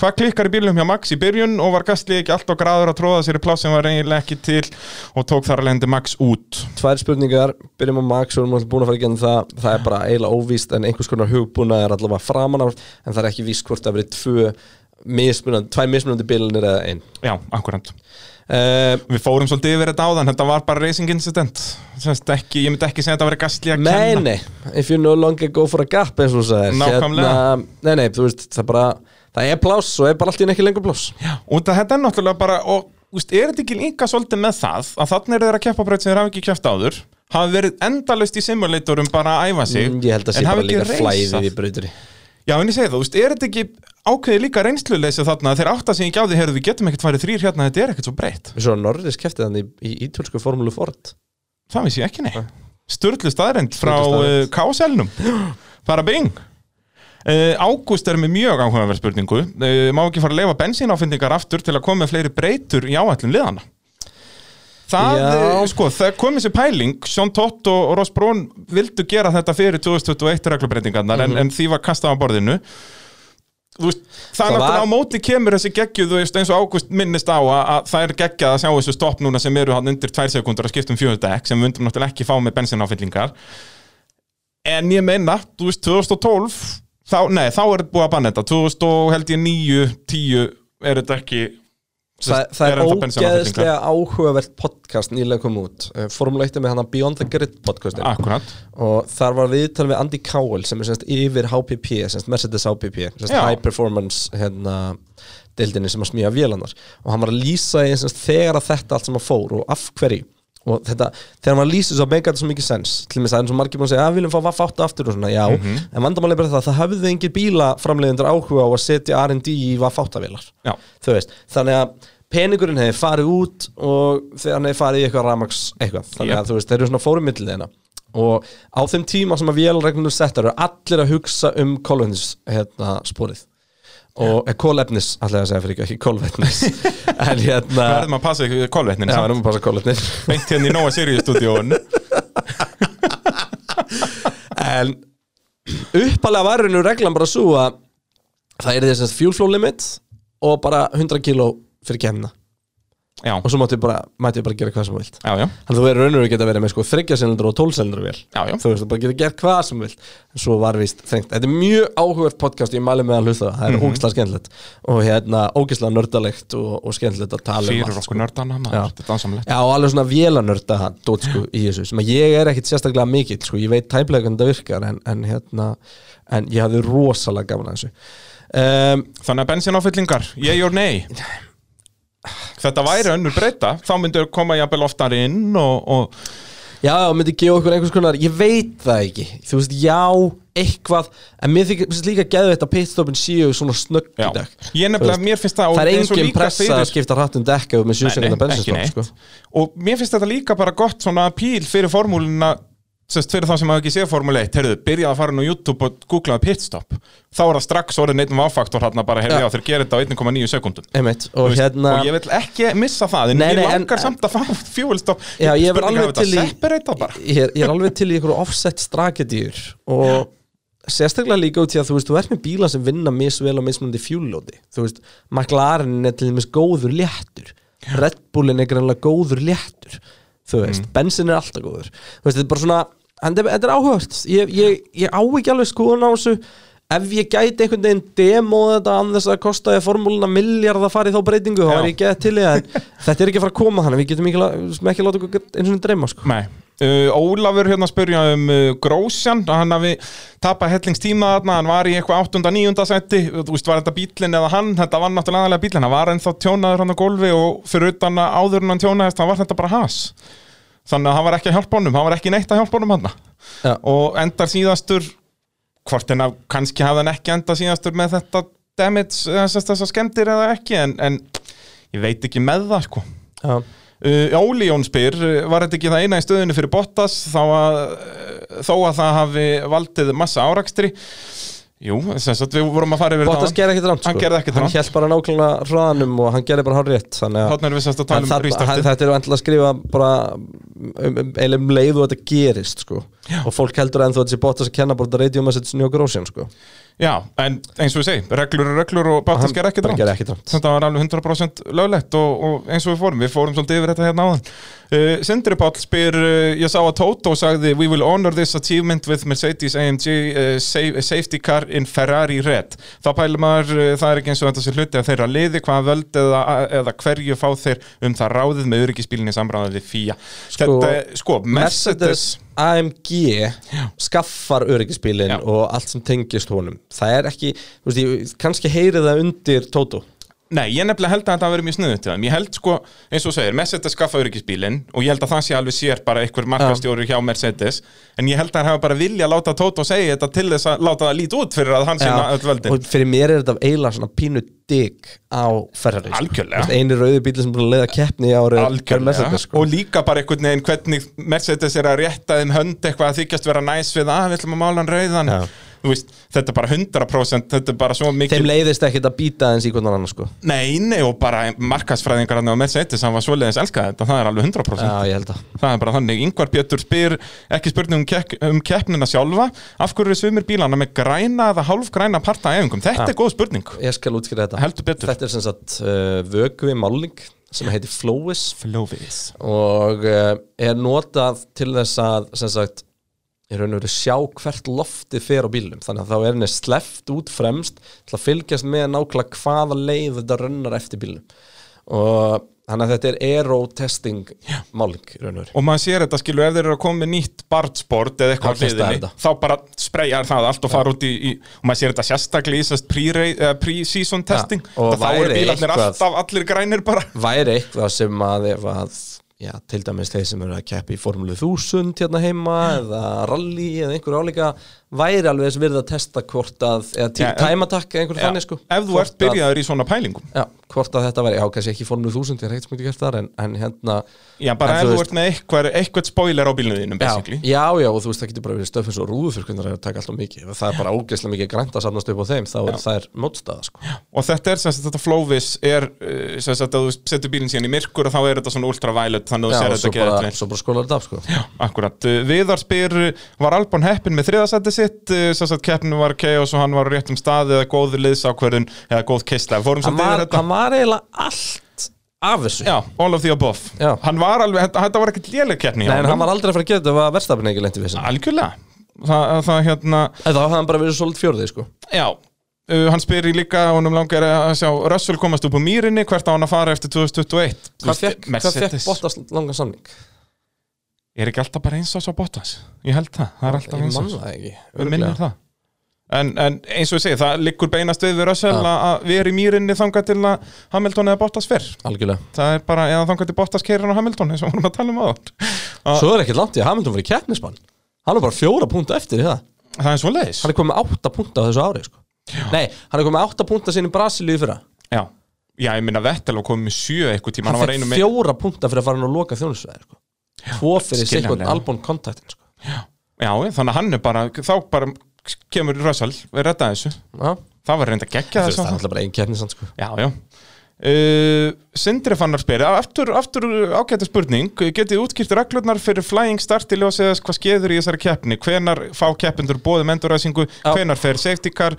[SPEAKER 4] Hvað klikkar í bílum hjá Max í byrjun og var Gastli ekki alltaf graður að tróða sér í pláss sem var eiginlega ekki til og tók þar alveg hendi Max út
[SPEAKER 3] Tvær spurningar, byrjum á Max og erum alltaf búin að fara í genið það Það er bara eiginlega óvíst en einhvers konar hugbúna er allavega framan af En það er ekki víst hvort það verið tvö mismunandi, tvær mismunandi bilinir eða ein Eh,
[SPEAKER 4] Já, akkurant Við fórum svolítið yfir þetta áðan, þetta var bara racing incident Semst ekki, Ég myndi ekki segja að þetta veri Gastli að
[SPEAKER 3] Nei,
[SPEAKER 4] kenna
[SPEAKER 3] nei, if you no longer go for a gap eins og þú sagðir Hérna,
[SPEAKER 4] Nákvæmlega.
[SPEAKER 3] Nei, nei, þú veist, það er bara Það er pláss og er bara allt í einu ekki lengur pláss
[SPEAKER 4] Já, og það, þetta er náttúrulega bara og úst, er þetta ekki líka svolítið með það að þannig eru þeir að keppa braut sem þeir hafa ekki keppt áður hafa verið endalaust í simulatorum bara að æfa sig
[SPEAKER 3] Mm, Ég held að sé
[SPEAKER 4] en hafa
[SPEAKER 3] bara
[SPEAKER 4] ekki
[SPEAKER 3] líka
[SPEAKER 4] reisað.
[SPEAKER 3] flæðið í breyturi
[SPEAKER 4] Já, en ég segi það, úst, er þetta ekki ákveðið líka reynsluleysi þarna að þeir átta sig ekki á því heyrðu við getum ekkert farið þrýr hérna, þetta er ekkert svo breytt
[SPEAKER 3] Svo Norris keftið hann í, í ítölsku formúlu Ford
[SPEAKER 4] það vissi ég ekki nei Sturlu staðrend frá
[SPEAKER 3] Sturlu
[SPEAKER 4] uh,
[SPEAKER 3] staðreynd.
[SPEAKER 4] KSL-num bara bing Uh, Ágúst er með mjög áhugaverð spurningu uh, Má ekki fara að leifa bensínáfendingar aftur til að koma með fleiri breytur í áætlun liðana Það,
[SPEAKER 3] Já.
[SPEAKER 4] eh, sko, það komið sér pæling Sjón Tott og Ross Brón vildu gera þetta fyrir 2021 reglubreitingarnar
[SPEAKER 3] Mhm.
[SPEAKER 4] en, en því var kastað á borðinu Þú veist, það er
[SPEAKER 3] Það var-
[SPEAKER 4] náttúrulega á móti kemur þessi geggju, þú veist, eins og Ágúst minnist á að, að það er geggjað að sjá þessu stopp núna sem eru hann undir tvær sekundur að skipta um fjöldekk sem við undum náttúrulega ekki fá með bensináfyllingar en ég meina, þú veist, 2012 þá, nei, þá er þetta búið að banna þetta 2000 og held ég 9, 10 er þetta ekki
[SPEAKER 3] Þa,
[SPEAKER 4] sest,
[SPEAKER 3] það er
[SPEAKER 4] ennþá bensínafyllingar.
[SPEAKER 3] ógeðslega áhugavert podcast nýlega kom út Formule 1 er með hann Beyond the Grid podcastin
[SPEAKER 4] Akkurat,
[SPEAKER 3] og þar var viðtal við Andy Cowell sem er semst yfir HPP, semst Mercedes HPP semst
[SPEAKER 4] Já.
[SPEAKER 3] High Performance hérna, deildinni sem að smíja vélannar og hann var að lýsa í semst þegar að þetta allt sem að fór og af hverju og þetta, þegar hann var að lýsa þessu að meika þetta svo mikið sens til með það eins og margir búin að segja að við viljum fá vaff áttu aftur og svona, já,
[SPEAKER 4] Mhm.
[SPEAKER 3] en vandamálið er bara það að það höfðu engir bílaframleiðendur áhuga á að setja R&D í vaff áttavélar
[SPEAKER 4] já,
[SPEAKER 3] þú veist, þannig að peningurinn hefði farið út og þegar hann hefði farið í eitthvað ramags eitthvað, þannig að
[SPEAKER 4] Jep.
[SPEAKER 3] þú veist, þeir eru svona fórumillið þeirna og á þeim tíma sem að vélregnum settar eru allir að hugsa um koloninssporið hérna, sporið. og eh, kólefnis, alltaf að segja fyrir ekki, ekki kólvetnis en hérna
[SPEAKER 4] Það verðum að passa kólvetnin
[SPEAKER 3] Já, við erum að passa kólvetnin
[SPEAKER 4] *laughs* Beint hérna í Nóa
[SPEAKER 3] *laughs*
[SPEAKER 4] Sirius-stúdíón
[SPEAKER 3] en uppalega var nú reglan bara svo að það er þess að fuel flow limit og bara 100 kilo fyrir kemna
[SPEAKER 4] Já.
[SPEAKER 3] og svo mætti bara, mætti bara gera hvað sem þú vilt
[SPEAKER 4] Já, já.
[SPEAKER 3] þannig að þú verður raunur að geta verið með sko 30 silindra og 12 silindra vel
[SPEAKER 4] Já, já.
[SPEAKER 3] þú veist, þú bara geta gert hvað sem þú vilt en svo var víst þrengt, þetta er mjög áhugavert podcast ég mæli með að hlusta það, það er mm
[SPEAKER 4] Mhm.
[SPEAKER 3] ógislega skemmtilegt og hérna ógislega nördalegt og, og skemmtilegt að tala um
[SPEAKER 4] Fyrir
[SPEAKER 3] allt, sko.
[SPEAKER 4] okkur nördana
[SPEAKER 3] Já.
[SPEAKER 4] maður, þetta er dansamlegt
[SPEAKER 3] Já, og alveg svona vélanörda dót, sko, í þessu, sem að ég er ekkit sérstaklega mikill, sko, ég veit tæmlega hvernig það virkar en, en hérna, en ég hafði rosalega gaman að þessu um,
[SPEAKER 4] Þannig að bensináfyllingar, ég og nei Þetta væri önnur breyta Þá myndur koma jafnvel oftar inn og, og
[SPEAKER 3] Já, og myndi gefa okkur einhvers konar, ég veit það ekki Þú veist, já, eitthvað En mér þykir finnst líka geðu þetta pitstopin séu svona snögg í dag
[SPEAKER 4] Ég
[SPEAKER 3] Þú
[SPEAKER 4] nefnilega,
[SPEAKER 3] veist,
[SPEAKER 4] mér finnst það og
[SPEAKER 3] Það er
[SPEAKER 4] eins og
[SPEAKER 3] engin
[SPEAKER 4] líka
[SPEAKER 3] pressa
[SPEAKER 4] fyrir-
[SPEAKER 3] að skipta um hrattum dekka með
[SPEAKER 4] Nei, nei,
[SPEAKER 3] sjösegunda
[SPEAKER 4] ekki
[SPEAKER 3] bensinstopp,
[SPEAKER 4] neitt.
[SPEAKER 3] sko
[SPEAKER 4] Og mér finnst þetta líka bara gott svona píl fyrir formúluna sérst fyrir þá sem hafa ekki séð formúli 1 heyrðu, byrjaði að fara inn á YouTube og googlaði pitstop þá er það strax orðin einn váfaktor hérna bara heyrðu
[SPEAKER 3] Já.
[SPEAKER 4] já, þeir gerir þetta á 1,9 sekundum
[SPEAKER 3] Einmitt, og
[SPEAKER 4] Þú veist,
[SPEAKER 3] hérna
[SPEAKER 4] og ég vil ekki missa það en
[SPEAKER 3] Nei, nei,
[SPEAKER 4] ég
[SPEAKER 3] en-
[SPEAKER 4] langar samt að fara fjúlstopp
[SPEAKER 3] Já, ég er alveg til í
[SPEAKER 4] separata bara
[SPEAKER 3] ég er, ég er alveg til í einhverju offset strakedýr og sérstaklega líka út í að þú veist, þú ert með bíla sem vinna misvel á mismunandi fjúllóti þú veist, McLaren er til dæmis góður léttur Red Bullin er greinlega góður léttur þú veist, bensin er alltaf góður þú veist, þetta er bara svona, en þetta er- þetta er áhört ég, ég, ég á ekki alveg skoðun á þessu ef ég gæti einhvern veginn demóð þetta annað þess að kosta ég formúluna miljard að fara í þá breytingu, þá
[SPEAKER 4] Já.
[SPEAKER 3] er ég gett til í það en þetta er ekki að fara að koma hann, við getum ekki, la- við skulum ekki láta okkur eins og dreyma sko.
[SPEAKER 4] Nei. Uh, Ólafur hérna spyrja um uh, Grósjan, hann hafi tapað hellingstíma þarna, hann var í eitthvað 8. 9. seti, þú veist, var þetta bílinn eða hann, þetta var náttúrulega aðalega bílinn, hann var ennþá tjónaður hann á gólfi og fyrir utan að áður en hann tjónaðist, hann var þetta bara has þannig að hann var ekki að hjálpa honum, hann var ekki neitt að hjálpa honum hann
[SPEAKER 3] Já.
[SPEAKER 4] og endar síðastur hvort en að kannski hafði hann ekki endað síðastur með þetta damage, þessar þessa skemmtir eða ekki en, en ég veit ekki með það sko
[SPEAKER 3] Já.
[SPEAKER 4] Uh, Óli Jón spyr, uh, var þetta ekki það eina í stöðunni fyrir Bottas þá að, uh, þó að það hafi valdið massa árakstri Jú, sem sagt við vorum að fara yfir
[SPEAKER 3] Bottas gerði ekkert rámt sko.
[SPEAKER 4] Hann gerði ekkert
[SPEAKER 3] Hann
[SPEAKER 4] rangt.
[SPEAKER 3] hélt bara nákvæmlega hraðanum og hann gerði bara hár rétt Þannig að
[SPEAKER 4] Þarna erum við sérst að tala
[SPEAKER 3] hann
[SPEAKER 4] um
[SPEAKER 3] þarf- hann-
[SPEAKER 4] restartið
[SPEAKER 3] þetta er endilega að skrifa bara um, um, eiginlega um leið og þetta gerist sko. og fólk heldur ennþá að þessi Bottas að kenna bara þetta radio message njó grósjan sko.
[SPEAKER 4] Já, en eins og við segjum, reglur er reglur og Bottas
[SPEAKER 3] Hann
[SPEAKER 4] gerði ekkert
[SPEAKER 3] bara gerði ekkert
[SPEAKER 4] rámt
[SPEAKER 3] rangt.
[SPEAKER 4] Þetta var alveg 100% löglegt og, og eins og við fórum, við fórum svolítið yfir þetta hérna áðan uh, Sindri Páll spyr, uh, ég sá að Toto sagði We will honor this achievement with Mercedes AMG uh, sa- safety car in Ferrari red Þá pælum maður, uh, það er ekki eins og þetta sé hluti að þeirra liði hvað völd eða, eða hverju fá þeir um það ráðið með öryggisbílinni samræðið við FIA sko, Þetta, sko, Mercedes
[SPEAKER 3] AMG skaffar öryggisbílinn og allt sem tengist honum það er ekki, þú veist, ég, kannski heyri það undir Toto
[SPEAKER 4] Nei, ég nefnilega held að þetta hafi verið mjög sniðut til þeim Ég held sko, eins og þú segir, Mercedes skaffa öryggisbílinn og ég held að það sé alveg sér bara einhver markastjóri hjá Mercedes en ég held að hann hafa bara vilja að láta Tóto segja þetta til þess að láta það líti út fyrir að hann sinna öll völdin
[SPEAKER 3] og fyrir mér er þetta eiginlega svona pínu digg á Ferrari sko.
[SPEAKER 4] Algjörlega.
[SPEAKER 3] Þú veist, eini rauði bíli sem er sko. búin að leiða keppni í ári
[SPEAKER 4] Algjörlega, og líka bara einhvern veginn hvernig Mercedes er að rétta þeim hönd eitthvað að þykjast vera næs við að við ætlum að mála hann rauðan Þú veist, þetta er bara 100% þetta er bara svo mikil
[SPEAKER 3] þeim leiðist ekkit að býta eins í hvernig annan sko.
[SPEAKER 4] Nei, nei, og bara markasfræðingar hann á Mercedes, hann var svoleiðis elskað þetta, það er alveg 100%
[SPEAKER 3] já ég held að
[SPEAKER 4] Það er bara þannig, yngvar Pétur spyr ekki spurning um, kek, um keppnina sjálfa af hverju eru sumir bílana með græna eða hálfgræna parta af efingum,
[SPEAKER 3] Ja.
[SPEAKER 4] þetta er góð spurning
[SPEAKER 3] ég skal útskýra þetta
[SPEAKER 4] heldur betur
[SPEAKER 3] þetta er sem sagt uh, vökuvi máling sem heitir Flowis
[SPEAKER 4] Flowis
[SPEAKER 3] og uh, er notað til þess að sem sagt í raun og veru sjá hvert loftið fer á bílum þannig að þá er henni sleft út fremst til að fylgjast með nákvæmlega hvaða leið þetta rönnar eftir bílum og þannig að þetta er aerotesting máling í raun og veru
[SPEAKER 4] og maður sér þetta skilu, ef þeir eru að koma með nýtt bartsport eða eitthvað á
[SPEAKER 3] Þá hlustar
[SPEAKER 4] hliðinni
[SPEAKER 3] þetta.
[SPEAKER 4] þá bara spreyjar það allt og fara út í, í og maður sér þetta sérstaklega í sérst pre-ra- eh, pre-season testing
[SPEAKER 3] og
[SPEAKER 4] þá eru
[SPEAKER 3] væri
[SPEAKER 4] bílarnir
[SPEAKER 3] eitthvað-
[SPEAKER 4] alltaf allir grænir bara
[SPEAKER 3] væri eitthvað sem að, ef að já, til dæmis þeir sem eru að keppa í formúlu 1000 hérna heima eða rally eða einhver álíka væri alveg þess virð að testa hvort að, eða til
[SPEAKER 4] Já, ef-
[SPEAKER 3] tæmatakk eða einhvern
[SPEAKER 4] Já,
[SPEAKER 3] þannig sko
[SPEAKER 4] ef þú
[SPEAKER 3] Hvort
[SPEAKER 4] ert byrjaður í svona pælingum
[SPEAKER 3] að, já, hvort að þetta væri, já, kannski ekki formlu þúsund ég er ekkert sem ekki gert þar, en, en hérna
[SPEAKER 4] Já, bara
[SPEAKER 3] en
[SPEAKER 4] ef þú ert með eitthvað, eitthvað spoiler á bílnum þínum,
[SPEAKER 3] já,
[SPEAKER 4] basically
[SPEAKER 3] já, já, og þú veist, það getur bara verið stöfn svo rúðufyrkundar er að taka alltaf mikið, Ef það er bara ógeðslega mikið grænt að safnast upp á þeim, þá er það er mótstaða sko.
[SPEAKER 4] Og þetta er sem sagt, þetta flóvis er uh, sem sagt, að þú setur bílinn síðan í myrkur og þá er þetta svona ultraviolet, þannig að
[SPEAKER 3] Já,
[SPEAKER 4] þú sér
[SPEAKER 3] og
[SPEAKER 4] þetta
[SPEAKER 3] svo
[SPEAKER 4] ekki
[SPEAKER 3] bara, svo bara skólar þetta af sko.
[SPEAKER 4] Já, akkurat. Uh, Viðar spyr, uh, var Albon heppin með þriðasætti sitt, uh, sem sagt, keppnum var chaos og hann var á réttum stað eða góð liðsákverðun eða góð kistla. Fórum
[SPEAKER 3] hann
[SPEAKER 4] samt yfir
[SPEAKER 3] var,
[SPEAKER 4] þetta.
[SPEAKER 3] hann var eiginlega allt af þessu
[SPEAKER 4] hérna- Já, all of the above.
[SPEAKER 3] Já.
[SPEAKER 4] Hann var alveg, þetta, þetta var ekkert léleg keppni. hjá
[SPEAKER 3] Nei, en
[SPEAKER 4] honum.
[SPEAKER 3] hann var aldrei að fara að gera þetta var verstafin ekki lenti við þessu
[SPEAKER 4] Algjörlega. Það, það hérna,
[SPEAKER 3] Þá hafði hann bara verið svolít fjórði sko.
[SPEAKER 4] já. Uh, hann spyr í líka, honum langar að sjá Russell komast upp á mýrinni, hvert á hann að fara eftir 2021.
[SPEAKER 3] Hvað
[SPEAKER 4] Þú veist,
[SPEAKER 3] fekk, hvað
[SPEAKER 4] Mercedes.
[SPEAKER 3] fekk Bottas langan samning?
[SPEAKER 4] Er ekki alltaf bara eins og svo Bottas? Ég held það, það er alltaf
[SPEAKER 3] Ég
[SPEAKER 4] eins og
[SPEAKER 3] manna það ekki
[SPEAKER 4] Við minnum
[SPEAKER 3] örugglega.
[SPEAKER 4] það en, en eins og ég segi, það liggur beinast við við Russell
[SPEAKER 3] Já.
[SPEAKER 4] að- að við erum í mýrinni þangað til að Hamilton eða Bottas fyrr
[SPEAKER 3] Algjörlega
[SPEAKER 4] Það er bara, eða þangað til Bottas keirir á Hamilton eins og vorum að tala um aðan
[SPEAKER 3] Svo er ekki langt í að Hamilton fyrir keppnismann Hann er bara fjóra punta eftir í það
[SPEAKER 4] Það er svo leiðis
[SPEAKER 3] Hann er komið með átta punta á þessu ári sko. Nei, hann er komið með átta punta sinni í Brasilíu í fyrra
[SPEAKER 4] Já, Já ég minna Vettel var komið með sjö eitthvað tíma
[SPEAKER 3] Hann
[SPEAKER 4] var
[SPEAKER 3] fekk
[SPEAKER 4] einu með-
[SPEAKER 3] fjóra punta fyrir að fara hann og loka þjónusveði sko. Tvo fyrir sikkert
[SPEAKER 4] skiljanlega.
[SPEAKER 3] albún kontaktin sko.
[SPEAKER 4] Já, þannig að hann er bara, þá bara kemur Russell, við redda þessu
[SPEAKER 3] Já.
[SPEAKER 4] Það var reynda geggja
[SPEAKER 3] Þú veist,
[SPEAKER 4] þessu
[SPEAKER 3] Það er alltaf bara ein keppnismann sko.
[SPEAKER 4] Já, já Uh, Sindri fannar spyrir aftur, aftur ágæta spurning getið útkýrt reglurnar fyrir flying start í ljósið þess hvað skeður í þessari keppni hvenar fá keppendur bóðum enduræsingu hvenar fer safety car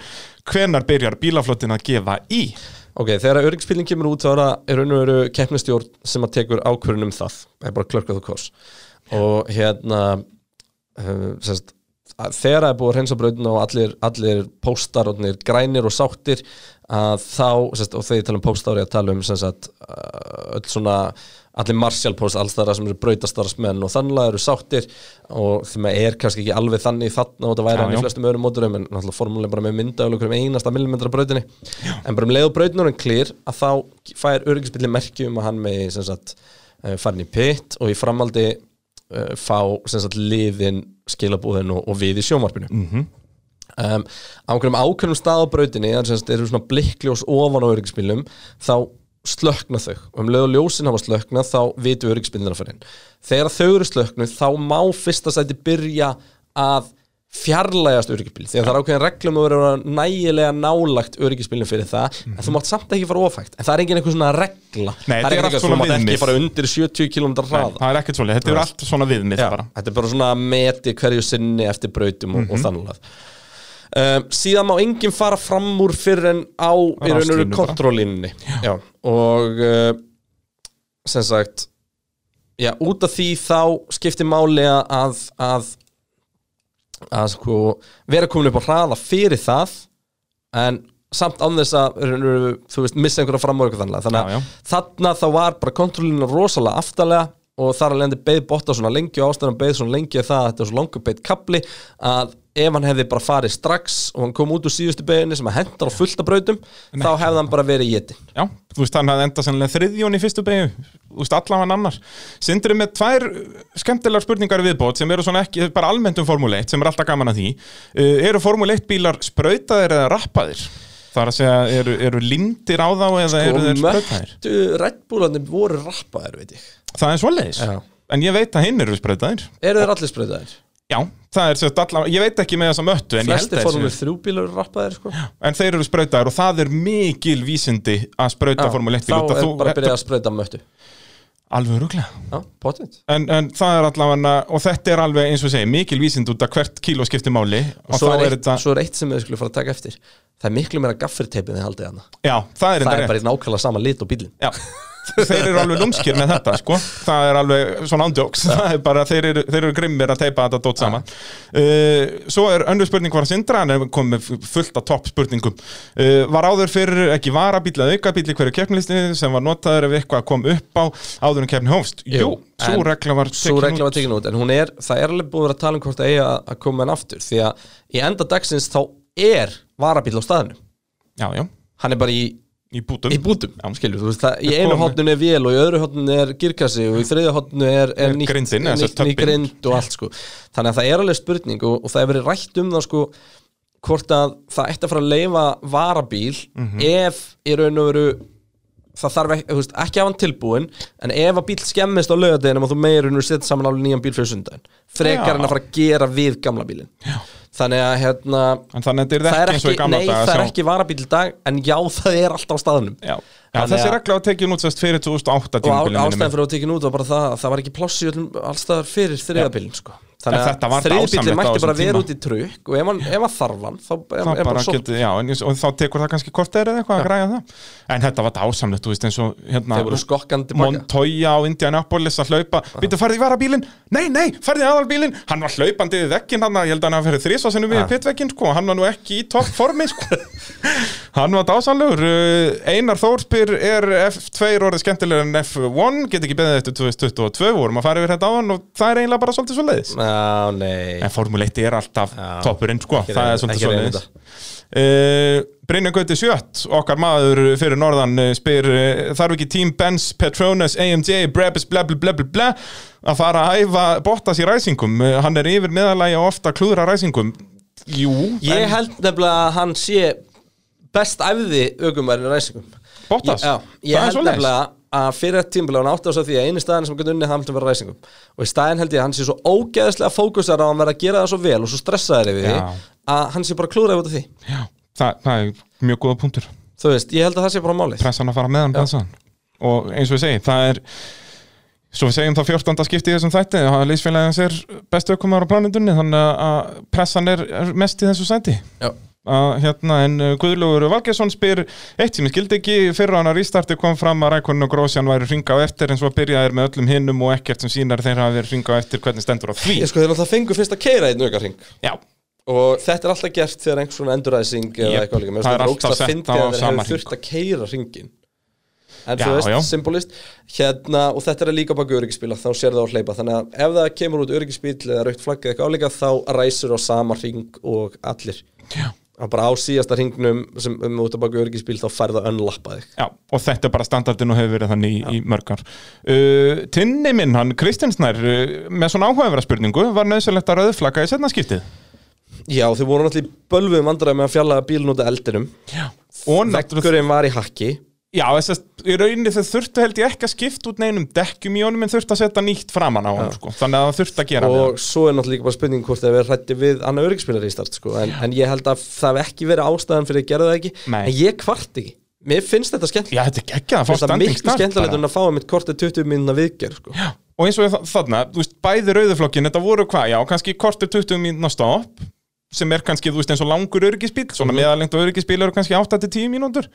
[SPEAKER 4] hvenar byrjar bílaflottin að gefa í
[SPEAKER 3] Ok, þegar öryggspilin kemur út þá er það í raun og veru keppnistjórn sem að tekur ákvörun um það það er bara clerk of the course og hérna uh, sérst, að þegar það er búið að reynsa brautin og allir, allir póstar orðnir grænir og sáttir að þá, sérst, og þegar ég tala um póstar er ég að tala um sérst, uh, öll svona allir martial post alls þar sem eru brautastarfsmenn og þannig eru sáttir og því maður er kannski ekki alveg þannig þarna og þetta væri
[SPEAKER 4] Já,
[SPEAKER 3] hann í
[SPEAKER 4] já.
[SPEAKER 3] flestum öðrum móturum en náttúrulega formúlega bara með mynda og einhverjum einasta millimetra brautinni en bara um leið og brautnurinn klýr að þá fær öryggisbyrli merki um að hann megi sem sagt eh, fara inn í pitt og í framaldi uh, fá sem sagt liðin skilabúðin og, og við í sjónvarpinu
[SPEAKER 4] Mhm.
[SPEAKER 3] um, á einhverjum ákveðnum stað á brautinni þannig að það eru svona blikkljós ofan á öryggisbílnum þá slökna þau og um leið og ljósin hafa slökna þá vitu öryggisbílnir að fara inn þegar þau eru slöknu þá má fyrsta sæti byrja að fjarlægast öryggisbíl því að það er ákveðin reglum að vera nægilega nálagt öryggisbílnum fyrir það en þú mátt samt ekki fara ofægt en það er engin einhver svona regla
[SPEAKER 4] Mhm.
[SPEAKER 3] það
[SPEAKER 4] Nei, þetta er
[SPEAKER 3] er
[SPEAKER 4] allt
[SPEAKER 3] engin
[SPEAKER 4] svona
[SPEAKER 3] þú mátt
[SPEAKER 4] viðmið.
[SPEAKER 3] ekki fara undir 70 km hraða
[SPEAKER 4] það er ekkert svolítið, þetta eru allt svona viðmið bara
[SPEAKER 3] þetta er bara svona að meti hverju sinni eftir brautum og, og þannig um, síðan má enginn fara fram úr fyrir en á í raun og veru
[SPEAKER 4] Raslínu bara.
[SPEAKER 3] kontrollínni Já. og uh, sem sagt já, út af því þá skiptir máli að að, að sko, vera komin upp á hraða fyrir það en samt án þess að í raun og veru, þú veist, missa einhverja fram úr eitthvað þannig þannig
[SPEAKER 4] Já, já.
[SPEAKER 3] að þarna þá var bara kontrollinu rosalega aftalega og þar að lendi beið botta svona lengi og ástæðan hann beið svona lengi er það að þetta er svo langur beið kapli að ef hann hefði bara farið strax og hann kom út úr síðustu beiginni sem að hendar á fullta brautum þá hefði hann bara verið jétin
[SPEAKER 4] Já, þú veist, hann hafði enda sennilega þriðjón í fyrstu beigju, þú veist, allan annar Sindri með tvær uh, skemmtilegar spurningar í viðbót sem eru svona ekki, bara almennt um Formule 1 sem er alltaf gaman að því uh, Eru Formule 1 bílar sprautaðir eða rappaðir? Það er að segja, eru, eru lindir á þá eða eru þeir
[SPEAKER 3] og
[SPEAKER 4] sprautaðir?
[SPEAKER 3] möttu reddbúlarnir voru rappaðir veit ég
[SPEAKER 4] Það er svoleiðis,
[SPEAKER 3] Já.
[SPEAKER 4] en ég veit að hinn eru sprautaðir
[SPEAKER 3] eru þeir allir sprautaðir?
[SPEAKER 4] Já, það er sérst allan, ég veit ekki með þess að möttu en ég held
[SPEAKER 3] flesti
[SPEAKER 4] að
[SPEAKER 3] fórum
[SPEAKER 4] þessu
[SPEAKER 3] við þrjú bílar eru rappaðir sko já,
[SPEAKER 4] En þeir eru sprautaðir og það er mikil vísindi að sprauta Formule 1
[SPEAKER 3] þá er
[SPEAKER 4] bíl út að
[SPEAKER 3] bara að
[SPEAKER 4] þú,
[SPEAKER 3] byrja að sprauta möttu
[SPEAKER 4] alveg rúglega
[SPEAKER 3] já, potið
[SPEAKER 4] En, en það er allavega, og þetta er alveg eins og ég segi, mikil vísind út að hvert kíló skiptir máli og,
[SPEAKER 3] og svo
[SPEAKER 4] þá
[SPEAKER 3] er,
[SPEAKER 4] er
[SPEAKER 3] eitt,
[SPEAKER 4] þetta,
[SPEAKER 3] svo er eitt sem við skulle fara að taka eftir það er miklu meira gaffirteipið en haldið hana
[SPEAKER 4] já, það er
[SPEAKER 3] það
[SPEAKER 4] enda
[SPEAKER 3] er
[SPEAKER 4] rétt
[SPEAKER 3] bara í nákvæmlega sama lit og bílinn
[SPEAKER 4] Já, þeir eru alveg lúmskir með þetta, sko það er alveg svona ándjóks, það er bara þeir eru, þeir eru grimmir að teipa þetta dót saman uh, Svo er önnur spurning var að sindra en er komið með fullt af topp spurningum uh, Var áður fyrir ekki varabíl eða aukabíl í hverju keppnilistinni sem var notaður ef eitthvað kom upp á áður en keppni hófst Jú, svo
[SPEAKER 3] en
[SPEAKER 4] regla var
[SPEAKER 3] svo
[SPEAKER 4] tekin
[SPEAKER 3] regla
[SPEAKER 4] út.
[SPEAKER 3] var tekin út en hún er, það er alveg búið að vera að tala um hvort það eigi að að koma henn aftur því að í enda dagsins þá er varabíl á staðinu
[SPEAKER 4] Já, já
[SPEAKER 3] hann er bara í
[SPEAKER 4] Í bútum,
[SPEAKER 3] í bútum. skilur þú veist það, í einu hotnun er vél og í öðru hotnun er girkassi og í þriðju hotnun er, er
[SPEAKER 4] Er
[SPEAKER 3] nýtt,
[SPEAKER 4] grindin, eða
[SPEAKER 3] nýtt,
[SPEAKER 4] sem
[SPEAKER 3] nýtt
[SPEAKER 4] sagt többin.
[SPEAKER 3] grind og allt sko þannig að það er alveg spurning og, og það hefur verið rætt um það sko hvort að það ætti að fara að leifa varabíl
[SPEAKER 4] Mhm.
[SPEAKER 3] ef í raun og veru það þarf ekki, þú veist, ekki að hafa hann tilbúin en ef að bíl skemmist á lögadeginum og þú meir unnur setja saman alveg nýjan bíl fyrir sundaginn frekar
[SPEAKER 4] Já.
[SPEAKER 3] en að fara að gera við gamla bílin Já. þannig að hérna
[SPEAKER 4] En þannig að þetta er
[SPEAKER 3] það er
[SPEAKER 4] ekki eins og í
[SPEAKER 3] ekki,
[SPEAKER 4] gamla
[SPEAKER 3] nei,
[SPEAKER 4] daga,
[SPEAKER 3] það er
[SPEAKER 4] sjá.
[SPEAKER 3] ekki varabíl í dag en já, það er alltaf á staðnum
[SPEAKER 4] Já, Já,
[SPEAKER 3] Þannig
[SPEAKER 4] þessi
[SPEAKER 3] að-
[SPEAKER 4] regla var tekin út sérst fyrir 2008
[SPEAKER 3] og á,
[SPEAKER 4] tímabilið minnir mig.
[SPEAKER 3] ástæðan fyrir að tekja út var bara það að það var ekki pláss í öllum allstaðar fyrir þriðabílin sko.
[SPEAKER 4] En þetta
[SPEAKER 3] þannig
[SPEAKER 4] var
[SPEAKER 3] að þriðabílin
[SPEAKER 4] dásamlegt á
[SPEAKER 3] mætti bara
[SPEAKER 4] þessum
[SPEAKER 3] vera
[SPEAKER 4] tíma.
[SPEAKER 3] út í trukk og ef, hann, ef að þarf hann þá er
[SPEAKER 4] það
[SPEAKER 3] er
[SPEAKER 4] bara
[SPEAKER 3] bara svo
[SPEAKER 4] geti, já, en, ég- og þá tekur það kannski kortir eða eitthvað að græja það en þetta var dásamlegt, þú veist eins og hérna,
[SPEAKER 3] Þeir voru skokkandi Ah. baka.
[SPEAKER 4] Montoya og Indianapolis að hlaupa, býttu farið í varabílin nei, nei, farið í aðalbílin, hann var hlaupandi við vekkin hann, ég held að hann hafi fyrir þrísa sinum við
[SPEAKER 3] Já.
[SPEAKER 4] pitvekkin, sko, hann var nú ekki í topp formi
[SPEAKER 3] *laughs*
[SPEAKER 4] sko. hann var dásamlegur Uh, Einar Þórspyr er F2 orðið skemmtilegur en F1 get ekki beðið eftir 2022, vorum að fara yfir þetta á hann og það er eiginlega bara svolítið svo leiðis
[SPEAKER 3] Ná, nei
[SPEAKER 4] En Formule 1 er alltaf
[SPEAKER 3] Já.
[SPEAKER 4] toppurinn sko,
[SPEAKER 3] Ekki
[SPEAKER 4] það
[SPEAKER 3] reyna-
[SPEAKER 4] er svolítið
[SPEAKER 3] ekki reyna
[SPEAKER 4] svolítið uh, Brynjan Gauti Sjött, okkar maður fyrir norðan uh, spyr uh, Þarf ekki Team Benz, Petronas, AMJ, Brabus, bla bla bla bla bla að fara að æfa Bottas í ræsingum uh, Hann er yfir meðalagi og ofta klúðra ræsingum Jú,
[SPEAKER 3] ég held nefnilega að hann sé best æfði ögumærin í ræsingum
[SPEAKER 4] Bottas?
[SPEAKER 3] ég, já, ég
[SPEAKER 4] Það er
[SPEAKER 3] held
[SPEAKER 4] svoleiðis.
[SPEAKER 3] nefnilega að fyrir þetta tímbilega hann átti á svo því að einu staðin sem hann gæti unnið það hamiltum verið ræsingum og í staðin held ég að hann sé svo ógeðslega fókusar á að hann verið að gera það svo vel og svo stressaður yfir því
[SPEAKER 4] Já.
[SPEAKER 3] að hann sé bara klúraði út af því
[SPEAKER 4] það, það er mjög góða punktur
[SPEAKER 3] þú veist, ég held að það sé bara málið
[SPEAKER 4] Pressan að fara með hann, pressan Og eins og við segjum, það er Svo við segjum það 14. skipti í þessum þætti að Lýsfélagið hans er bestu ökumar á planetunni Þannig að pressan er, er mest í þessu sæti
[SPEAKER 3] Já.
[SPEAKER 4] að hérna en uh, Guðlaugur Valgesson spyr eitt sem ég skildi ekki fyrir hann að restarti kom fram að Rækonin og Grósjan væri hringa á eftir en svo byrjaðir með öllum hinnum og ekkert sem sínar þeirra hafi verið hringa á eftir hvernig stendur á því
[SPEAKER 3] Ég sko, þeir náttúrulega fengu fyrst að keira einn aukarring
[SPEAKER 4] Já.
[SPEAKER 3] Og þetta er alltaf gert þegar einhvers svona enduræsing eða
[SPEAKER 4] Jep,
[SPEAKER 3] eitthvað líka Mér finnst
[SPEAKER 4] það er
[SPEAKER 3] þetta
[SPEAKER 4] alltaf
[SPEAKER 3] ógeðslega
[SPEAKER 4] sett
[SPEAKER 3] fyndið
[SPEAKER 4] á
[SPEAKER 3] að þeir
[SPEAKER 4] sama
[SPEAKER 3] hefur þurft að keira ringin En
[SPEAKER 4] Já,
[SPEAKER 3] þú veist,
[SPEAKER 4] já.
[SPEAKER 3] symbolist hérna, Og þetta er líka bak öryggisbíla, þá sér það á hleypa Þannig að ef það kemur út öryggisbíl eða raukt flagg eða eitthvað álíka Þá ræsir á sama ring og allir
[SPEAKER 4] Já.
[SPEAKER 3] Og bara á síðasta ringnum sem um út að baka öryggisbíl Þá færðu að önlappa þig
[SPEAKER 4] Já, og þetta er bara standardin og hefur verið þannig í, í mörgar uh, Tinni minn, hann Kristinsnær uh, með svona áhugaverða spurningu var nöðsynlegt að rauðflagga í setna skiptið
[SPEAKER 3] Já, þau voru náttúrulega í bölvuðum vandræðum með að fjallaða bílun út af eldinum
[SPEAKER 4] og náttúrulega
[SPEAKER 3] Veggurinn var í hakki
[SPEAKER 4] Já, þess að í rauninni þau þurftu held ég ekki að skipta út neinum dekkjum í honum en þurftu að setja nýtt framan á hann sko. þannig að það þurftu að gera við hann.
[SPEAKER 3] og svo er náttúrulega líka bara spurning hvort það er hrætti við annað öryggsspilar í start sko. en, en ég held að það hef ekki verið ástæðan fyrir að gera það ekki
[SPEAKER 4] Nei.
[SPEAKER 3] en ég kvart ekki, mér finnst þetta skemmtilegt
[SPEAKER 4] Já, þetta er geggjað að fá
[SPEAKER 3] finnst það
[SPEAKER 4] standing
[SPEAKER 3] miklu
[SPEAKER 4] start
[SPEAKER 3] skemmtilegt
[SPEAKER 4] bara.
[SPEAKER 3] en að fá mitt kortið 20 minna viðgerð sko.
[SPEAKER 4] og eins og þa- þarna, þú veist, bæði rauðuflokkin þetta voru hvað, já, kannski kortur 20 mínúna stopp sem er kannski, þú veist, eins og langur öryggisbíl,
[SPEAKER 3] Mhm.
[SPEAKER 4] svona meðalengt og öryggisbíl eru kannski 8-10 mínútur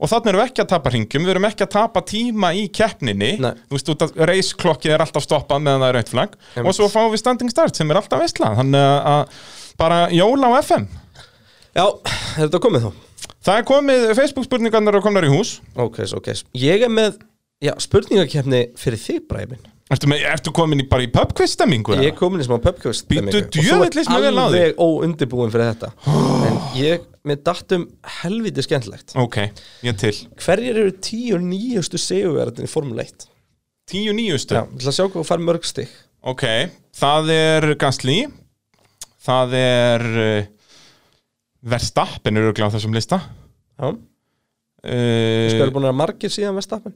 [SPEAKER 4] og þarna erum við ekki að tapa ringjum, við erum ekki að tapa tíma í keppninni,
[SPEAKER 3] Nei.
[SPEAKER 4] þú veist, út að reisklokkið er alltaf stoppað meðan það er rauðflag og svo fáum við standing start sem er alltaf veistla þannig að- að bara jóla á FM
[SPEAKER 3] Já, er þetta komið þá?
[SPEAKER 4] það er komið, Facebook spurningarnar eru komnar í hús
[SPEAKER 3] Ok, so, ok, ég er með já, spurningakefni fyrir þig Bræmin
[SPEAKER 4] Ertu, með, ertu komin í, bara í pubquiz stemmingu?
[SPEAKER 3] ég er komin í smá pubkvist
[SPEAKER 4] Bíddu, djöfull líst mér vel á þig.
[SPEAKER 3] alveg óundibúin fyrir
[SPEAKER 4] *gasps*
[SPEAKER 3] þetta en ég, mér dattum helviti skemmtilegt
[SPEAKER 4] Ok, ég til
[SPEAKER 3] hverjir eru tíu nýjustu segjuverðin í Formule 1?
[SPEAKER 4] Tíu nýjustu
[SPEAKER 3] Já, til að sjá hvað þú fær mörg stig
[SPEAKER 4] Ok, það er Gasly Það er uh, Verstappen eru gláð þessum lista
[SPEAKER 3] Já,
[SPEAKER 4] uh,
[SPEAKER 3] skoður búin að vera margir síðan Vestapen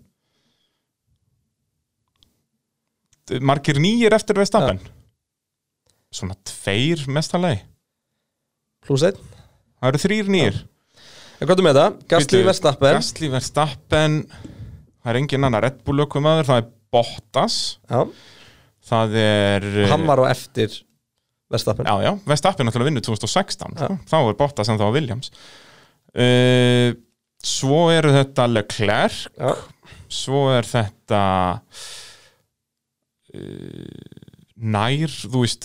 [SPEAKER 4] Margir nýjir eftir Verstappen Svona tveir mestalegi
[SPEAKER 3] Plus einn
[SPEAKER 4] Það eru þrýr nýjir
[SPEAKER 3] En hvað er með það? Gasly
[SPEAKER 4] Bíddu,
[SPEAKER 3] Verstappen
[SPEAKER 4] Gasly Verstappen Það er engin annar Red Bull okkur maður Það er Bottas
[SPEAKER 3] Já,
[SPEAKER 4] Það er eh,
[SPEAKER 3] hann var á eftir Verstappen
[SPEAKER 4] Já, já, Vestappen náttúrulega vinnur 2016 sko. þá er Bottas en þá er Williams uh, Svo eru þetta Leclerc
[SPEAKER 3] Já.
[SPEAKER 4] Svo er þetta uh, Nær, þú veist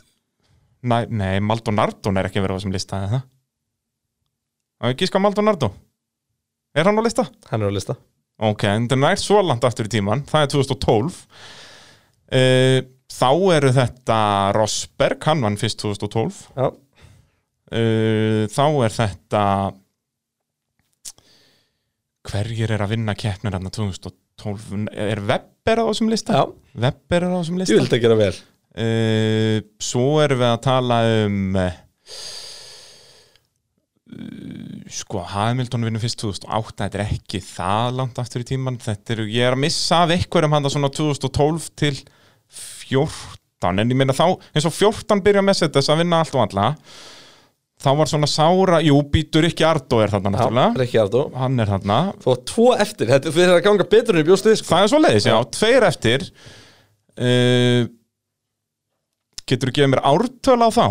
[SPEAKER 4] nær, Nei, Maldonardo er ekki verið á þessum lista eða það Það er gíska Maldonardo Er hann á lista?
[SPEAKER 3] Hann er á lista
[SPEAKER 4] Ok, en það er nær svo langt aftur í tíman Það er 2012 uh, Þá eru þetta Rosberg, hann vann fyrst 2012
[SPEAKER 3] Já,
[SPEAKER 4] Eh, uh, þá er þetta hverjir er að vinna keppnir hann 2012, er Webber á þessum lista?
[SPEAKER 3] Já.
[SPEAKER 4] Webber er á þessum lista?
[SPEAKER 3] Þú vilt að gera vel
[SPEAKER 4] uh, Svo erum við að tala um uh, sko, Hamilton vinnur fyrst 2008, þetta er ekki það langt aftur í tíman, þetta er ég er að missa af einhverjum handa svona 2012 til 14 en ég meina þá, eins og 14 byrja með setja þess að vinna allt og alla þá var svona sára, jú, býtur ekki Ardó er þarna náttúrulega,
[SPEAKER 3] Rikki Ardó
[SPEAKER 4] hann er þarna
[SPEAKER 3] Þú var tvo eftir, þetta þetta er að ganga betur en ég bjóst við sko.
[SPEAKER 4] það er svo leiðis, já, tveir eftir uh, getur þú gefið mér ártöl á þá?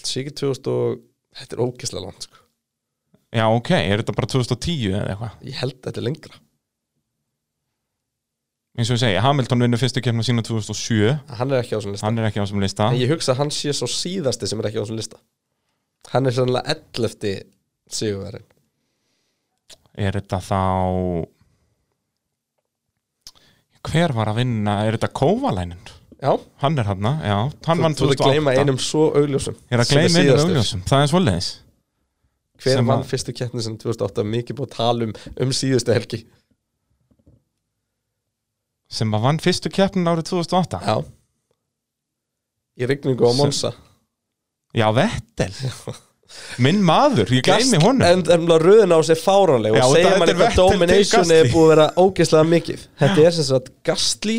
[SPEAKER 3] Sikið 2000 og Þetta er ógeðslega langt sko.
[SPEAKER 4] Já, ok, er þetta bara 2010 eða eitthvað?
[SPEAKER 3] Ég held að þetta er lengra
[SPEAKER 4] Eins og ég segi, Hamilton vinnur fyrstu kemna sína 2007
[SPEAKER 3] Hann er ekki á svona lista
[SPEAKER 4] Hann er ekki á þessum lista
[SPEAKER 3] En ég hugsa að hann sé svo síðasti sem er ekki á þessum lista Hann er sannlega 11. sigurverðin
[SPEAKER 4] Er þetta þá Hver var að vinna? Er þetta Kovalænin?
[SPEAKER 3] Já,
[SPEAKER 4] Hann er hann, já Hann vann
[SPEAKER 3] þú ert að gleyma
[SPEAKER 4] 2008
[SPEAKER 3] einum svo augljósum
[SPEAKER 4] Ég er að
[SPEAKER 3] sem
[SPEAKER 4] gleyma einum
[SPEAKER 3] síðastur.
[SPEAKER 4] augljósum Það er svoleiðis
[SPEAKER 3] Hver
[SPEAKER 4] sem
[SPEAKER 3] vann
[SPEAKER 4] að-
[SPEAKER 3] fyrstu keppni sem 2008 mikið búið að tala um um síðustu helgi
[SPEAKER 4] Sem að vann fyrstu keppnin árið 2008
[SPEAKER 3] Já Í rigningu á
[SPEAKER 4] Sem-
[SPEAKER 3] Monsa
[SPEAKER 4] Já, Vettel Minn maður, ég gleymi honum
[SPEAKER 3] En þannig að röðin á sér fáranleg
[SPEAKER 4] Já,
[SPEAKER 3] og segja
[SPEAKER 4] þetta-
[SPEAKER 3] mann
[SPEAKER 4] þetta er
[SPEAKER 3] eitthvað
[SPEAKER 4] Vettel til
[SPEAKER 3] domination
[SPEAKER 4] Gasly.
[SPEAKER 3] er búið að vera ógeðslega mikið Þetta er sem sagt Gastli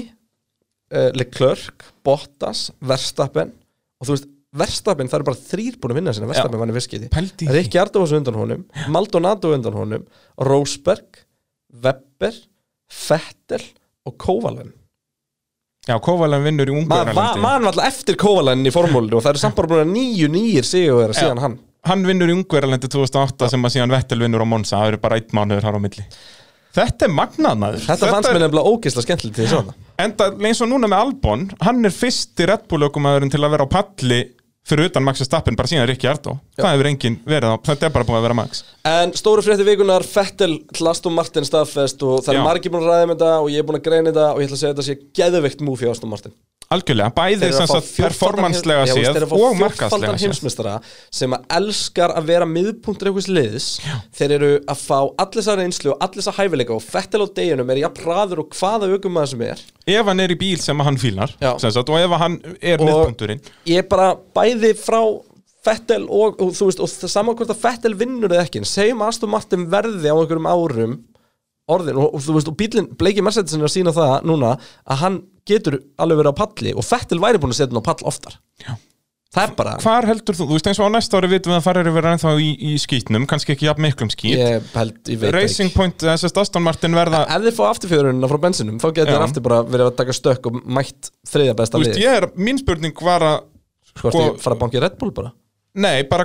[SPEAKER 3] uh, Leclerc, Bottas Verstappen og þú veist Verstappen, það eru bara þrýr búin að vinna sinna Verstappen vann í viskiði
[SPEAKER 4] Pældi í því.
[SPEAKER 3] Rikki Ardófus undan honum, Maldonado undan honum Rósberg, Webber Fettel og Kovalin
[SPEAKER 4] Já, Kovalæn vinnur í
[SPEAKER 3] maður
[SPEAKER 4] Ungarlandi
[SPEAKER 3] va- man var alltaf eftir Kovalin í formúlinu og það eru samt bara búin að nýju nýjir sigur síðan hann
[SPEAKER 4] hann vinnur í Ungverjalendi 2008 sem að síðan Vettel vinnur á Monza það eru bara eitt mánuður þar á milli þetta er magnað maður
[SPEAKER 3] Þetta fannst mér um-
[SPEAKER 4] er,
[SPEAKER 3] nefnilega ógeðslega skemmtilegt til þess að
[SPEAKER 4] enda eins og núna með Albon hann er fyrsti Red Bull ökumæðurinn til að vera á palli fyrir utan Max Verstappen bara síðan Rikki Ardó það hefur enginn verið á þetta er bara búin að vera Max
[SPEAKER 3] En stóru frétti vikunar, Fettel til Aston Martin staðfest og það
[SPEAKER 4] Já.
[SPEAKER 3] er margir búin að ræða með þetta og ég er búin að greina þetta og ég ætla að segja að þetta sé geðveikt múf hjá Aston Martin
[SPEAKER 4] algjörlega
[SPEAKER 3] Þeir eru
[SPEAKER 4] bæði
[SPEAKER 3] að
[SPEAKER 4] sem
[SPEAKER 3] fá
[SPEAKER 4] sagt
[SPEAKER 3] fjórfaldan-
[SPEAKER 4] performanslega
[SPEAKER 3] Já, þú veist,
[SPEAKER 4] séð
[SPEAKER 3] þeir eru að fá
[SPEAKER 4] og
[SPEAKER 3] fjórfaldan
[SPEAKER 4] markaslega séð
[SPEAKER 3] heimsmeistara sem að elskar að vera miðpunktur einhvers liðs þeir eru að fá allir þessar reynslu og allir þessar hæfileika og Fettel á deginum er jafn hraður og hvaða aukum maður sem er
[SPEAKER 4] ef hann er í bíl sem að hann fílar
[SPEAKER 3] Já.
[SPEAKER 4] sem sagt, og ef að hann er
[SPEAKER 3] Og-
[SPEAKER 4] miðpunkturinn
[SPEAKER 3] ég er bara bæði frá Fettel og, og þú veist, og það saman hvort að Fettel vinnur eða ekki, en segjum að Aston Martin verði á einhverjum árum orðin, og, og þú veist, og bílinn, Blakey Mercedes er að sína það núna, að hann getur alveg verið á palli, og Fettel væri búin að setja hann á pall oftar,
[SPEAKER 4] Já.
[SPEAKER 3] það er bara
[SPEAKER 4] hvar heldur þú, þú veist eins og á næsta ári vitum við að fara er að vera ennþá í, í skýtnum kannski ekki jafn miklum skýt
[SPEAKER 3] ég held, ég veit
[SPEAKER 4] Racing
[SPEAKER 3] ekki
[SPEAKER 4] Point, þess að Aston Martin verða
[SPEAKER 3] ef þið fá afturfjörunina frá bensinum, þá getur
[SPEAKER 4] Já.
[SPEAKER 3] þér aftur bara verið að taka stökk og mætt þriðja besta
[SPEAKER 4] Þú veist,
[SPEAKER 3] lið,
[SPEAKER 4] ég er, mín spurning var að
[SPEAKER 3] sko, sko,
[SPEAKER 4] sko-
[SPEAKER 3] fara að banki Red Bull bara,
[SPEAKER 4] Nei, bara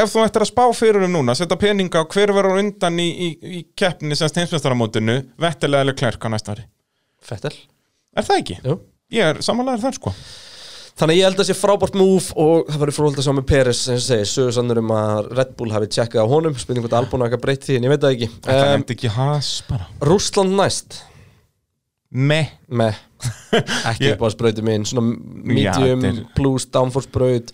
[SPEAKER 4] ef þú ættir að spá fyrir um núna setja peninga á hver verður á undan í, í, í keppni sem steinsmjöstaramótinu vettilega eða klærk á næsta ári
[SPEAKER 3] Fettel
[SPEAKER 4] Er það ekki?
[SPEAKER 3] Jú.
[SPEAKER 4] Ég er samanlega þar sko
[SPEAKER 3] Þannig að ég held að það sé frábært múf og það verður frólægt að sjá með Peres sem ég segi, sögur sannur um að Red Bull hafi tjekkað á honum, spurning hvort Albon hafa breytt því en ég veit það ekki.
[SPEAKER 4] Það
[SPEAKER 3] Um,
[SPEAKER 4] nefndi ekki has bara
[SPEAKER 3] Rússland næst
[SPEAKER 4] Meh, *laughs*
[SPEAKER 3] með ekki
[SPEAKER 4] Ég-
[SPEAKER 3] upp á sprautu mín, svona medium,
[SPEAKER 4] Já, þetta er-
[SPEAKER 3] blues, downforce braut,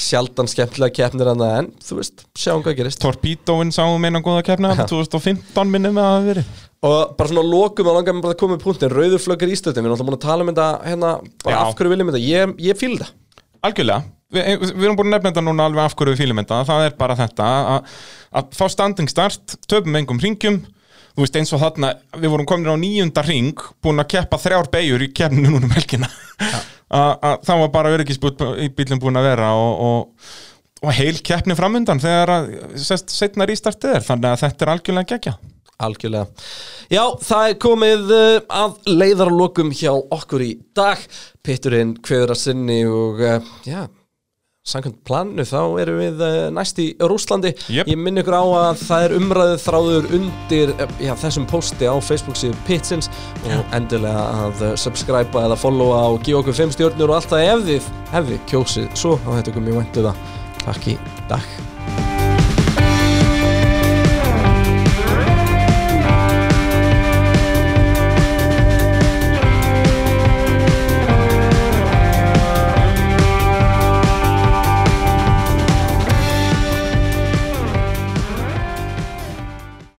[SPEAKER 3] sjaldan skemmtilega keppnir annað en þú veist, sjáum hvað gerist.
[SPEAKER 4] Torpedoin sáum eina góða keppna 2015 minnum að hafa verið
[SPEAKER 3] Og bara svona lokum að langar mér bara að koma með punktin, rauður flöggur í stöðum, við erum alltaf búin að tala um þetta hérna, bara
[SPEAKER 4] Já.
[SPEAKER 3] af hverju viljum við þetta, ég, ég fíl þetta.
[SPEAKER 4] Algjörlega, Vi, við erum búin að nefna þetta núna alveg af hverju við fýlum þetta, það er bara þetta að, að fá standing start, töpum engum ringjum, þú veist eins og þarna við vorum komin á nýjunda ring búin að keppa þrjár beigur í kemni núna um helgina *laughs* Að- að það var bara öryggisbílum búin að vera og, og, og heil keppni framundan þegar að sest, setna rístartið er þannig að þetta er algjörlega gegja
[SPEAKER 3] Algjörlega. Já, það er komið uh, að leiðarlokum hjá okkur í dag. Pitturinn hverður að sinni og uh, já, samkvæmt planu þá erum við uh, næst í Rúslandi.
[SPEAKER 4] Jep.
[SPEAKER 3] Ég minni ykkur á að það er umræðu þráður undir uh, já, þessum posti á Facebook síðu Pitsins og endilega að uh, subscriba eða followa og gefa okkur 5 stjórnur og allt það ef þið, ef þið kjósið. Svo á þetta ykkur mjög væntu það. Takk í dag.